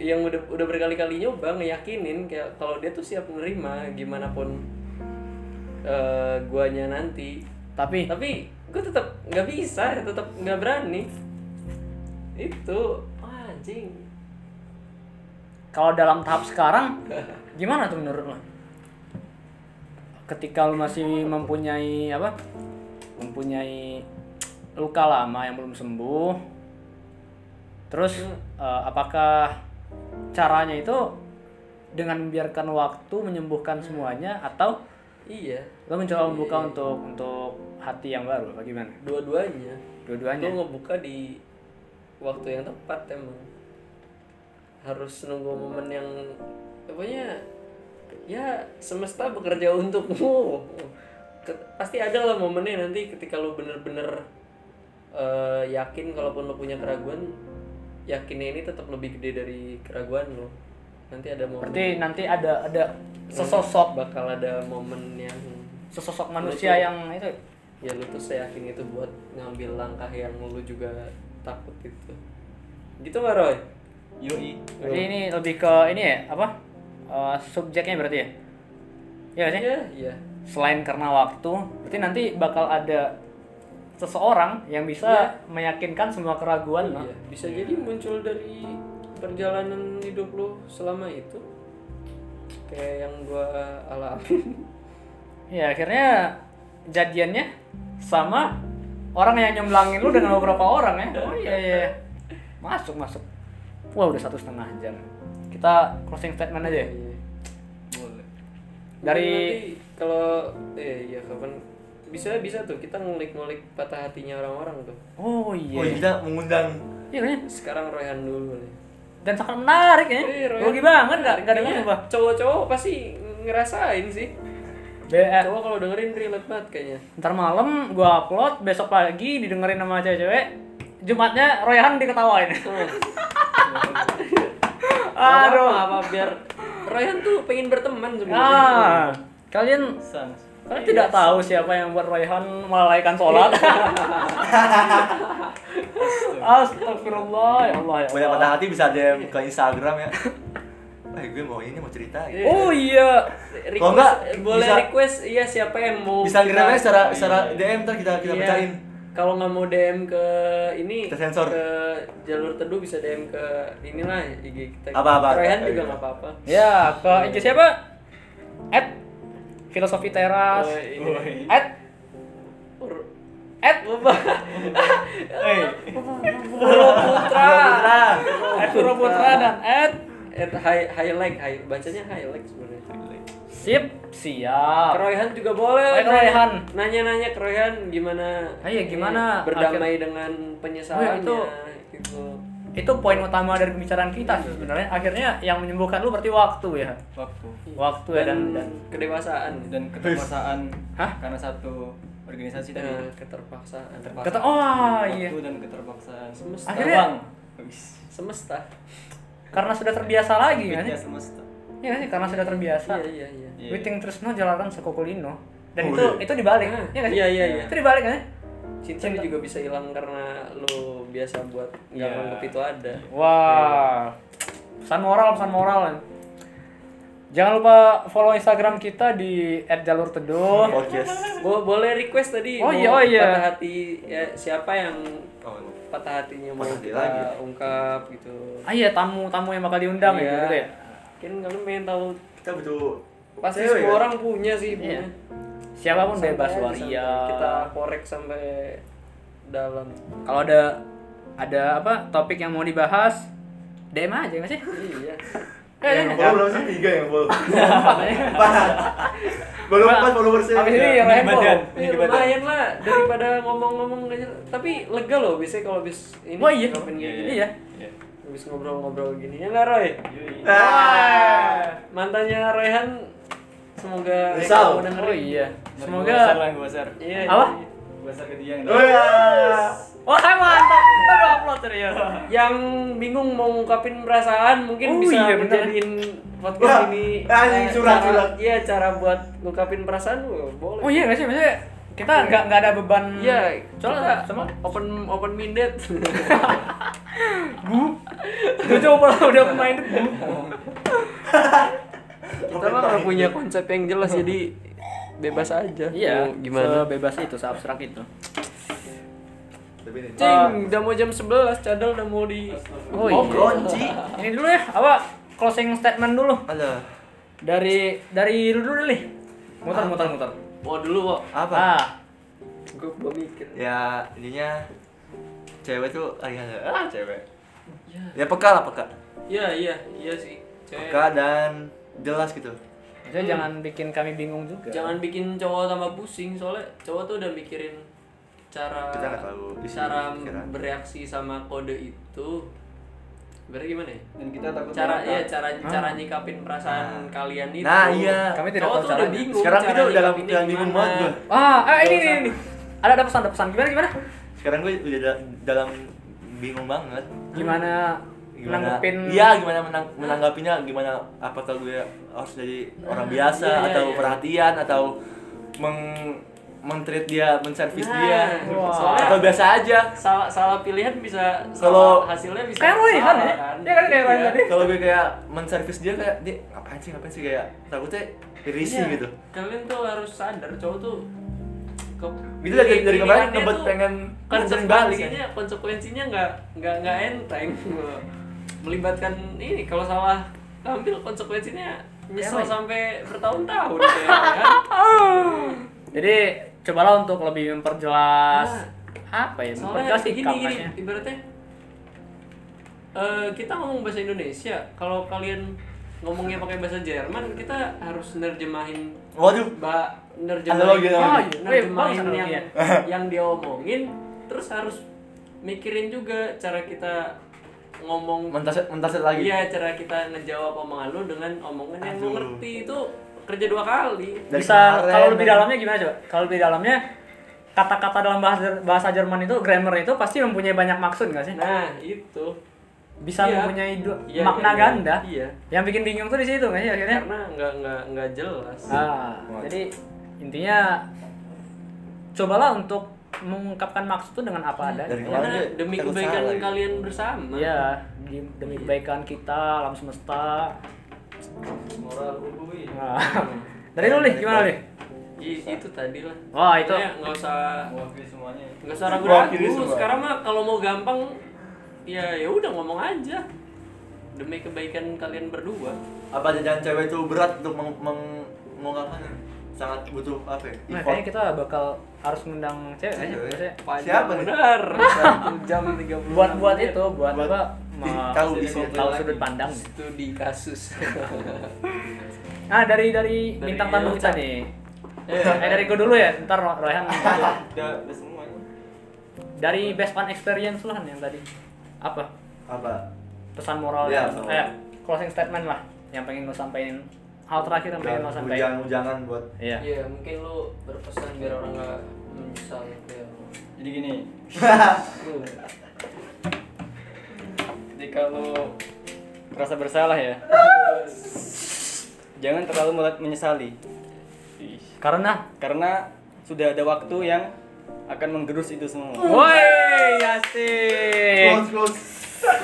Speaker 3: yang udah udah berkali-kali nyoba ngeyakinin kayak kalau dia tuh siap menerima gimana pun eh, guanya nanti.
Speaker 1: tapi
Speaker 3: Tapi gua tetap nggak bisa, tetap nggak berani. Itu wah, anjing.
Speaker 1: kalau dalam tahap sekarang gimana tuh menurut lo ketika lo masih mempunyai apa mempunyai luka lama yang belum sembuh terus
Speaker 3: Hmm.
Speaker 1: eh, apakah caranya itu dengan membiarkan waktu menyembuhkan semuanya atau
Speaker 3: Iya,
Speaker 1: lo mencoba membuka untuk untuk hati yang baru bagaimana
Speaker 3: dua-duanya.
Speaker 1: dua-duanya
Speaker 3: Gua ngebuka di waktu yang tepat emang. Harus nunggu momen yang pokoknya ya semesta bekerja untukmu Ke- pasti ada lah momennya nanti ketika lu bener-bener eh, yakin kalaupun lu punya keraguan yakinnya ini tetap lebih gede dari keraguan lu nanti ada momen
Speaker 1: Berarti nanti ada ada sesosok
Speaker 3: bakal ada momen yang
Speaker 1: sesosok manusia
Speaker 3: Betul.
Speaker 1: yang itu
Speaker 3: ya lu tuh saya yakin itu buat ngambil langkah yang lu juga takut gitu gitu nggak Roy?
Speaker 5: Yoi.
Speaker 1: Jadi ini lebih ke ini ya apa Eh, subjeknya berarti ya? Iya nggak sih.
Speaker 3: Iya, iya.
Speaker 1: Selain karena waktu, berarti nanti bakal ada seseorang yang bisa meyakinkan semua keraguan lah.
Speaker 3: Iya, bisa jadi muncul dari perjalanan hidup lu selama itu kayak yang gua alamin
Speaker 1: Ya akhirnya jadiannya sama orang yang nyemblangin lu dengan beberapa orang ya. Oh iya iya. iya. Masuk masuk. Wah udah satu setengah jam. Kita closing statement aja. ya.
Speaker 3: Iya.
Speaker 5: Boleh.
Speaker 1: Dari
Speaker 3: Nanti kalau eh iya kapan bisa bisa tuh kita ngulik-ngulik patah hatinya orang-orang tuh
Speaker 2: Oh
Speaker 1: Oh iya.
Speaker 2: kita mengundang
Speaker 1: Iya kan?
Speaker 3: sekarang Royhan dulu nih
Speaker 1: Dan sangat menarik ya.
Speaker 3: Eh, Royhan.
Speaker 1: Rugi banget nggak nggak dengar
Speaker 3: Kayaknya
Speaker 1: coba.
Speaker 3: Iya, cowok-cowok pasti ngerasain sih
Speaker 1: BR.
Speaker 3: cowok kalau dengerin relate banget kayaknya
Speaker 1: eh, Ntar malam gua upload, besok pagi didengerin sama cewek-cewek. Jumatnya Royhan diketawain.
Speaker 3: Oh, Aduh,
Speaker 1: Aduh.
Speaker 3: apa, apa biar Royhan tuh pengen berteman sebenarnya.
Speaker 1: Ah, kalian
Speaker 5: Sans.
Speaker 3: Iya,
Speaker 1: Kalian tidak tahu siapa yang buat Raihan melalaikan sholat.
Speaker 3: Iya.
Speaker 1: Astagfirullah ya Allah
Speaker 3: Oh.
Speaker 1: ya
Speaker 2: banyak patah
Speaker 1: Allah.
Speaker 2: hati bisa
Speaker 3: Iya.
Speaker 2: DM ke Instagram ya. Eh gue mau ini mau cerita gitu.
Speaker 1: Oh iya.
Speaker 3: Eh, Request, eh,
Speaker 2: Kalau nggak,
Speaker 3: boleh
Speaker 2: bisa-
Speaker 3: request iya siapa yang mau
Speaker 2: Bisa
Speaker 3: kita-
Speaker 2: ngirimnya secara
Speaker 5: iya.
Speaker 2: secara DM ntar kita kita
Speaker 3: Iya.
Speaker 2: bacain.
Speaker 3: Kalau nggak mau DM ke ini
Speaker 2: Kita sensor.
Speaker 3: ke jalur teduh bisa DM ke inilah IG kita.
Speaker 2: Apa-apa.
Speaker 3: Royhan
Speaker 2: Eh,
Speaker 3: juga
Speaker 2: iya.
Speaker 3: nggak apa-apa.
Speaker 1: Ya, ke IG siapa? At Filosofi Teras.
Speaker 3: Oh, ini.
Speaker 1: At
Speaker 3: Pur-
Speaker 1: at
Speaker 5: Hey.
Speaker 1: Puro Putra.
Speaker 2: Ah,
Speaker 1: At Puro Putra dan at
Speaker 3: at high highlight high bacanya highlight sebenarnya.
Speaker 1: Sip
Speaker 2: Ah.
Speaker 3: Ke
Speaker 1: siap.
Speaker 3: Royhan juga boleh.
Speaker 1: Ke Royhan.
Speaker 3: Nanya-nanya ke Royhan gimana
Speaker 1: Ah, iya,
Speaker 3: ini,
Speaker 1: gimana
Speaker 3: berdamai
Speaker 1: akhir-
Speaker 3: dengan penyesalannya
Speaker 1: Oh,
Speaker 3: gitu.
Speaker 1: Itu poin utama dari pembicaraan kita sih sebenarnya. Akhirnya yang menyembuhkan lu berarti waktu ya.
Speaker 5: Waktu
Speaker 1: Waktu ya dan, Hmm.
Speaker 3: Dan,
Speaker 1: dan
Speaker 3: kedewasaan
Speaker 5: dan keterpaksaan
Speaker 1: Hah?
Speaker 5: karena satu organisasi tadi.
Speaker 1: Hmm.
Speaker 2: Eh.
Speaker 3: Nah, keterpaksaan.
Speaker 5: Terpaksa.
Speaker 1: kata oh
Speaker 5: Waktu
Speaker 1: iya.
Speaker 5: dan keterpaksaan.
Speaker 3: Semesta.
Speaker 1: Akhirnya-
Speaker 5: Bang.
Speaker 3: semesta.
Speaker 1: Karena sudah terbiasa lagi kan?
Speaker 5: Fitnya semesta.
Speaker 1: Iya nggak sih, karena sudah terbiasa.
Speaker 3: Iya iya iya.
Speaker 5: Iya.
Speaker 1: Witing Trisno jalanan Sekokulino.
Speaker 2: Oh,
Speaker 1: Dan itu
Speaker 2: iya.
Speaker 1: itu dibalik.
Speaker 3: Ah,
Speaker 1: Iya nggak sih?
Speaker 3: iya, iya, iya.
Speaker 1: Itu dibalik kan?
Speaker 3: Cinta,
Speaker 1: Cinta.
Speaker 3: juga bisa hilang karena lu biasa buat nggak
Speaker 5: Iya.
Speaker 3: nganggep itu ada.
Speaker 1: Wah. Pesan moral, pesan moral. ya. Jangan lupa follow Instagram kita di
Speaker 3: Iya.
Speaker 1: @jalurteduh.
Speaker 2: Podcast.
Speaker 3: Bo- boleh request tadi
Speaker 1: Oh,
Speaker 3: mau
Speaker 1: iya, oh, iya.
Speaker 3: patah hati ya, siapa yang
Speaker 2: Oh,
Speaker 3: patah hatinya mau
Speaker 2: Patah hati
Speaker 3: kita
Speaker 2: lagi.
Speaker 3: ungkap gitu.
Speaker 1: Ah iya, tamu-tamu yang bakal diundang
Speaker 3: Iya.
Speaker 1: ya gitu ya.
Speaker 3: Kan kalian pengen tahu
Speaker 2: kita butuh
Speaker 3: pasti
Speaker 2: cewek,
Speaker 3: semua
Speaker 2: kan?
Speaker 3: orang punya sih punya.
Speaker 1: ya? Iya. Siapapun
Speaker 3: Sampai
Speaker 1: bebas
Speaker 3: aja,
Speaker 1: waria.
Speaker 3: sampai Kita korek sampai dalam.
Speaker 1: Kalau ada ada apa topik yang mau dibahas, DM aja nggak sih?
Speaker 3: iya.
Speaker 1: Eh,
Speaker 2: Yang
Speaker 1: iya.
Speaker 2: follow berapa sih? Tiga yang follow. Empat. Baru
Speaker 1: Pak,
Speaker 2: empat followersnya.
Speaker 1: Abis ini
Speaker 2: Ya.
Speaker 1: yang lain
Speaker 5: Ini badan.
Speaker 1: follow.
Speaker 3: Ya,
Speaker 5: di badan.
Speaker 3: lumayan lah daripada ngomong-ngomong gak jelas. Tapi lega loh biasanya kalau bis ini
Speaker 1: Wah iya,
Speaker 3: ngapain kayak gini.
Speaker 1: iya.
Speaker 5: Iya.
Speaker 3: Habis ngobrol-ngobrol gini ya nggak Roy?
Speaker 2: Nah.
Speaker 5: Yoi.
Speaker 2: Ah.
Speaker 3: Mantannya Royhan semoga
Speaker 2: Rizal.
Speaker 3: kamu dengerin.
Speaker 1: Oh iya.
Speaker 5: Ntar gua share
Speaker 1: Semoga.
Speaker 5: lah gua share.
Speaker 3: Iya.
Speaker 1: Apa?
Speaker 3: iya.
Speaker 5: Gua share ke dia yang
Speaker 2: Wah.
Speaker 1: Wah Oh, mantap, kita udah upload serius.
Speaker 3: Yang bingung mau ngungkapin perasaan mungkin
Speaker 1: Oh
Speaker 3: bisa
Speaker 1: iya, bener.
Speaker 3: menjadiin
Speaker 2: Wah,
Speaker 3: podcast ini
Speaker 2: anjing,
Speaker 3: eh,
Speaker 2: curhat,
Speaker 3: cara-
Speaker 2: curhat.
Speaker 3: Iya, cara buat ngungkapin perasaan wah, boleh.
Speaker 1: Oh iya nggak sih maksudnya kita nggak nggak ada beban.
Speaker 3: Iya,
Speaker 1: soalnya
Speaker 3: soalnya
Speaker 1: sama
Speaker 3: open open minded.
Speaker 1: gue coba lah udah main dulu.
Speaker 3: Kita mah nggak punya konsep yang jelas jadi bebas aja.
Speaker 1: Iya.
Speaker 3: Mau gimana?
Speaker 1: Bebas itu, seabstrak itu.
Speaker 2: Tapi ini.
Speaker 3: Cing, udah mau jam 11, cadel udah mau di
Speaker 1: Oh
Speaker 2: Oh,
Speaker 1: iya.
Speaker 2: gronci.
Speaker 1: Ini dulu ya, apa closing statement dulu
Speaker 2: Ada.
Speaker 1: dari dari lu dulu nih. Muter muter muter.
Speaker 3: Mau dulu, Wak.
Speaker 2: Apa?
Speaker 1: Ah,
Speaker 3: Gue gua mikir.
Speaker 2: ya intinya cewek tuh ah, ya, ah cewek ya peka lah peka
Speaker 3: Iya, iya, iya sih. Cewek.
Speaker 2: peka dan jelas gitu
Speaker 1: maksudnya jangan bikin kami bingung juga.
Speaker 3: Jangan bikin cowok tambah pusing soalnya cowok tuh udah mikirin cara
Speaker 2: Kita nggak tahu isi
Speaker 3: cara
Speaker 2: pikiran.
Speaker 3: bereaksi sama kode itu berarti gimana ya?
Speaker 5: dan kita takut
Speaker 3: Cara
Speaker 5: merangkak.
Speaker 3: ya cara cara nyikapin perasaan
Speaker 2: Nah.
Speaker 3: kalian itu.
Speaker 2: Nah, iya.
Speaker 1: Ah. Kami tidak
Speaker 3: Cowok
Speaker 1: tahu
Speaker 3: tuh udah
Speaker 1: caranya.
Speaker 3: bingung
Speaker 2: Sekarang
Speaker 3: cara
Speaker 2: kita udah dalam
Speaker 3: nyikapinnya
Speaker 2: yang bingung banget gue.
Speaker 3: gimana.
Speaker 1: Ah, ah ini,
Speaker 3: Gak
Speaker 1: ini,
Speaker 3: usah.
Speaker 1: ini. Ada ada pesan, ada pesan. Gimana, gimana?
Speaker 2: Sekarang gue udah da- dalam bingung banget.
Speaker 1: Gimana menanggepin
Speaker 2: Iya, gimana menang, menanggapinya? Gimana apakah gue harus jadi orang biasa
Speaker 3: iya, iya,
Speaker 2: atau
Speaker 3: iya.
Speaker 2: perhatian atau meng mentreat dia, menservis
Speaker 3: Nah,
Speaker 2: dia?
Speaker 1: wah.
Speaker 3: soalnya-
Speaker 2: Atau biasa aja?
Speaker 3: Salah salah pilihan bisa
Speaker 2: Kalau-
Speaker 3: salah hasilnya bisa.
Speaker 1: Kayak Royhan
Speaker 3: salah,
Speaker 1: ya? Iya kan, kayak Royhan
Speaker 3: Iya.
Speaker 1: tadi.
Speaker 2: Kalau gue kayak menservis dia kayak, "Dek, ngapain sih? Ngapain sih?" kayak takutnya risih
Speaker 3: Iya.
Speaker 2: gitu.
Speaker 3: Kalian tuh harus sadar cowok tuh ke-
Speaker 2: Itu dari- dari
Speaker 3: pilihannya
Speaker 2: kemarin ngebet
Speaker 3: tuh
Speaker 2: pengen mencerin balik kan.
Speaker 3: konsekuensinya konsekuensinya nggak nggak nggak enteng melibatkan ini kalau salah ambil konsekuensinya nyesel sampai bertahun-tahun ya, kan?
Speaker 1: Jadi cobalah untuk lebih memperjelas apa ya?
Speaker 3: Ah. soalnya
Speaker 1: Memperjelas
Speaker 3: gini
Speaker 1: sikap
Speaker 3: gini
Speaker 1: kayaknya.
Speaker 3: ibaratnya eh, kita ngomong bahasa Indonesia kalau kalian ngomongnya pakai bahasa Jerman kita harus nerjemahin
Speaker 2: Waduh,
Speaker 3: mbak
Speaker 2: Analogi,
Speaker 3: nerjemahin
Speaker 2: analogi.
Speaker 3: Ah,
Speaker 1: iya.
Speaker 3: nerjemahin
Speaker 1: Wih, bagus
Speaker 3: yang
Speaker 1: analogi
Speaker 3: yang dia omongin terus harus mikirin juga cara kita ngomong
Speaker 2: mentasir mentasir lagi.
Speaker 3: iya cara kita ngejawab omongan lu dengan omongan yang
Speaker 2: Aduh.
Speaker 3: lu ngerti itu kerja dua kali
Speaker 2: Dari
Speaker 1: bisa
Speaker 2: kemarin,
Speaker 1: kalau lebih
Speaker 2: dari-
Speaker 1: dalamnya gimana coba? Kalau lebih dalamnya kata-kata dalam bahasa bahasa Jerman itu grammar itu pasti mempunyai banyak maksud nggak sih?
Speaker 3: nah itu
Speaker 1: Bisa
Speaker 3: Iya.
Speaker 1: mempunyai dua-
Speaker 3: Iya,
Speaker 1: makna
Speaker 3: iya, iya.
Speaker 1: ganda.
Speaker 3: Iya.
Speaker 1: Yang bikin bingung tuh di situ nggak sih akhirnya?
Speaker 3: karena nggak nggak nggak jelas
Speaker 1: Ah, jadi intinya cobalah untuk mengungkapkan maksud itu dengan
Speaker 3: Iya.
Speaker 1: apa adanya.
Speaker 2: Dari kemarin
Speaker 3: Karena
Speaker 2: dia
Speaker 3: demi
Speaker 2: takut
Speaker 3: kebaikan
Speaker 2: salah gitu.
Speaker 3: kalian bersama.
Speaker 1: Iya, di- demi kebaikan kita, alam semesta.
Speaker 5: moral ui
Speaker 1: Nah, dari lu nih gimana nih?
Speaker 3: I- itu tadi lah.
Speaker 1: Wah, itu
Speaker 3: Makanya nggak usah
Speaker 5: mewakili semuanya
Speaker 3: nggak usah
Speaker 2: Mewakili
Speaker 3: ragu-ragu.
Speaker 2: semua.
Speaker 3: Sekarang mah kalau mau gampang ya ya udah ngomong aja demi kebaikan kalian berdua.
Speaker 2: Apa jajan cewek itu berat untuk meng, meng- mengungkapkannya? Sangat butuh apa ya?
Speaker 1: Nah,
Speaker 2: effort.
Speaker 1: kayaknya kita bakal harus ngundang cewek nggak sih?
Speaker 2: Cewek.
Speaker 1: Maksudnya
Speaker 3: Panjang
Speaker 2: Siapa nih?
Speaker 3: bener. Jam 30
Speaker 1: buat buat itu buat,
Speaker 2: Buat
Speaker 1: apa
Speaker 2: di-
Speaker 1: me-
Speaker 2: tahu
Speaker 1: tahu
Speaker 2: isinya.
Speaker 1: sudut pandang
Speaker 3: Studi kasus.
Speaker 1: ah dari dari, iya.
Speaker 3: Dari
Speaker 1: bintang tamu kita
Speaker 3: Ucap.
Speaker 1: nih eh dari gue dulu ya ntar Ro- Royhan
Speaker 5: udah udah semuanya
Speaker 1: dari best fun experience lah yang tadi apa
Speaker 2: Apa?
Speaker 1: pesan moral
Speaker 2: Iya,
Speaker 1: yang-
Speaker 2: betul.
Speaker 1: eh, closing statement lah yang pengen lo sampein hal terakhir yang pengen lo sampein
Speaker 2: Hujangan-hujangan buat
Speaker 1: iya
Speaker 3: Iya, mungkin lu berpesan biar orang nggak menyesal ya.
Speaker 5: jadi gini ketika lo merasa bersalah ya jangan terlalu mele- menyesali
Speaker 1: karena
Speaker 5: karena sudah ada waktu yang akan menggerus itu semua
Speaker 3: Oh,
Speaker 1: woi asik
Speaker 2: close close.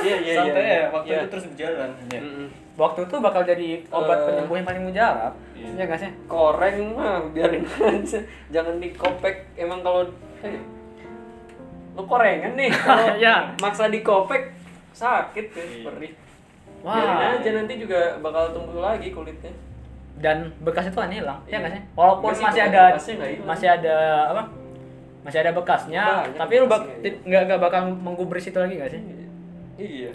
Speaker 5: iya iya santai
Speaker 3: iya.
Speaker 5: ya waktu
Speaker 3: Iya.
Speaker 5: itu terus berjalan
Speaker 3: Mm-mm.
Speaker 1: waktu itu bakal jadi obat
Speaker 3: Eh.
Speaker 1: penyembuh yang paling mujarab
Speaker 5: Iya.
Speaker 1: iya nggak sih
Speaker 3: koreng mah biarin aja jangan dikopek emang kalau eh, lu korengan nih kalau
Speaker 1: Ya.
Speaker 3: maksa dikopek sakit ya perih biarin
Speaker 1: wah
Speaker 3: aja nanti juga bakal tumbuh lagi kulitnya
Speaker 1: dan bekas itu kan hilang ya nggak sih walaupun
Speaker 3: Bekas itu
Speaker 1: masih
Speaker 3: kan
Speaker 1: ada
Speaker 3: bekasnya nggak hilang.
Speaker 1: masih ada apa masih ada bekasnya
Speaker 3: Banyak
Speaker 1: tapi lu bak
Speaker 3: bekasnya,
Speaker 1: ti- nggak nggak bakal menggubris itu lagi nggak sih
Speaker 3: iya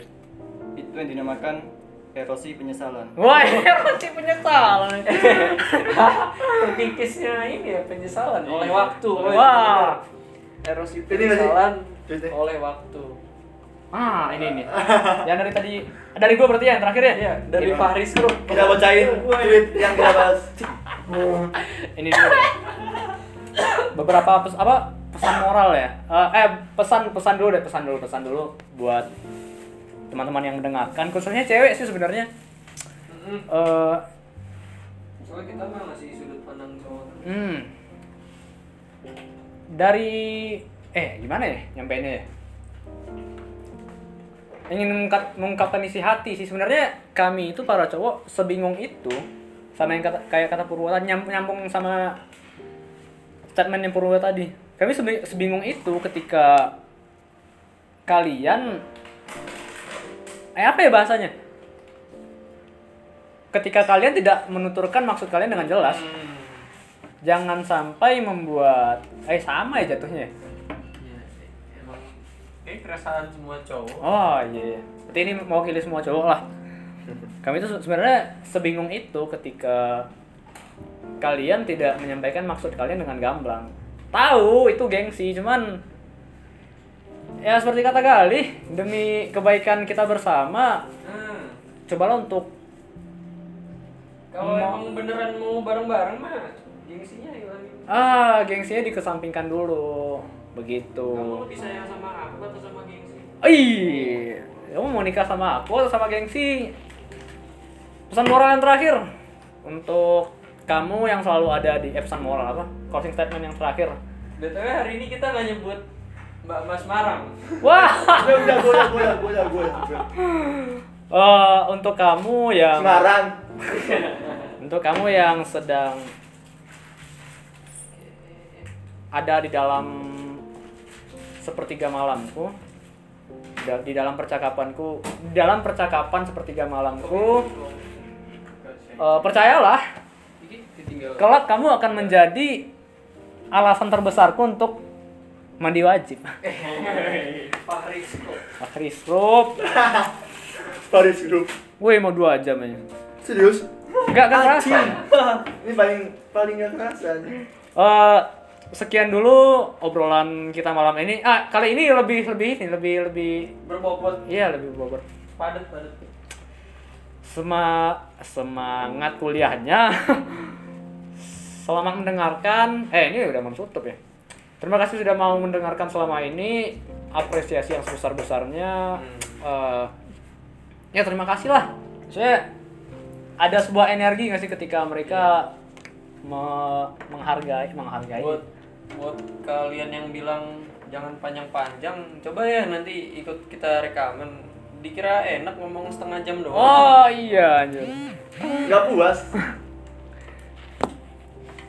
Speaker 5: itu yang dinamakan erosi penyesalan
Speaker 1: wah masih penyesalan
Speaker 3: terkikisnya ini ya penyesalan oleh waktu
Speaker 1: Wah.
Speaker 3: erosi
Speaker 2: nggak sih?
Speaker 3: penyesalan
Speaker 2: Ini.
Speaker 3: oleh waktu
Speaker 1: ah ini nih yang dari tadi dari gua berarti ya, yang terakhir ya
Speaker 3: ya dari Iya, Paris Group
Speaker 2: Kita bacain tweet yang kita bahas.
Speaker 1: ini dulu deh. beberapa pes, apa pesan moral ya Eh, eh pesan pesan dulu deh pesan dulu pesan dulu buat teman-teman yang mendengarkan khususnya cewek sih sebenarnya Eh,
Speaker 3: soalnya kita mah ngasih sudut pandang cowok kan.
Speaker 1: Hmm. Dari eh gimana ya nyampeinnya ya? Ingin mengungkap, mengungkapkan isi hati sih sebenarnya kami itu para cowok sebingung itu sama yang kata, kayak kata Purwata nyam- nyambung sama statement yang Purwa tadi. Kami sebi- sebingung itu ketika kalian eh apa ya bahasanya? Ketika kalian tidak menuturkan maksud kalian dengan jelas jangan sampai membuat eh sama ya jatuhnya ya?
Speaker 3: ya, emang kayak keresahan semua cowok
Speaker 1: oh iya iya berarti ini mewakili semua cowok lah kami itu se- sebenarnya sebingung itu ketika kalian tidak menyampaikan maksud kalian dengan gamblang tahu itu gengsi cuman ya seperti kata Galih demi kebaikan kita bersama
Speaker 3: Ah,
Speaker 1: cobalah untuk
Speaker 3: kalau emang beneran mau bareng-bareng mah gengsinya ya hilangin.
Speaker 1: ah gengsinya dikesampingkan dulu
Speaker 3: Kamu
Speaker 1: begitu
Speaker 3: lebih sayang sama aku atau sama gengsi?
Speaker 1: ih kamu mau nikah sama aku atau sama gengsi pesan moral yang terakhir untuk kamu yang selalu ada di eh, pesan moral apa closing statement yang terakhir
Speaker 3: BTW hari ini kita nggak nyebut Mbak Mas Marang.
Speaker 1: wah
Speaker 2: Udah, udah, gue udah, gue udah, gue udah, gue udah.
Speaker 1: eh, untuk kamu yang
Speaker 2: Semarang.
Speaker 1: Untuk kamu yang sedang ada di dalam sepertiga malamku, da- di dalam percakapanku, di dalam percakapan sepertiga malamku, eh, percayalah,
Speaker 3: Ini ketinggalan.
Speaker 1: kelak kamu akan menjadi alasan terbesarku untuk mandi wajib.
Speaker 3: Pak Rizko.
Speaker 1: Akhir isrup,
Speaker 2: Paris Group.
Speaker 1: woi mau dua jam aja.
Speaker 2: Serius?
Speaker 1: Gak gak kerasa.
Speaker 2: Ini paling paling gak kerasa. nih.
Speaker 1: Eh, sekian dulu obrolan kita malam ini. Ah, kali ini lebih lebih ini lebih lebih
Speaker 3: Berbobot
Speaker 1: iya lebih bobot.
Speaker 3: padat padat.
Speaker 1: Sema, semangat kuliahnya. Selamat mendengarkan. Eh, ini udah menutup ya. Terima kasih sudah mau mendengarkan selama ini. Apresiasi yang sebesar-besarnya. Eh, ya terima kasih lah. Saya ada sebuah energi nggak sih ketika mereka me- menghargai menghargai
Speaker 3: Buat buat kalian yang bilang jangan panjang-panjang, coba ya nanti ikut kita rekaman. Dikira enak ngomong setengah jam doang.
Speaker 1: Oh iya anjir.
Speaker 2: Gak puas.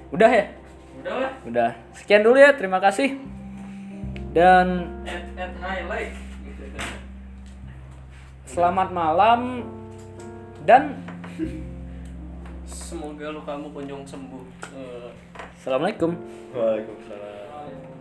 Speaker 1: Udah ya?
Speaker 3: Udah lah.
Speaker 1: Udah. Sekian dulu ya, terima kasih. Dan
Speaker 3: At, at highlight. Gitu.
Speaker 1: selamat malam dan
Speaker 3: Semoga lu kamu kunjung sembuh. Eh,
Speaker 1: Assalamualaikum.
Speaker 2: Waalaikumsalam.
Speaker 3: oh, ya.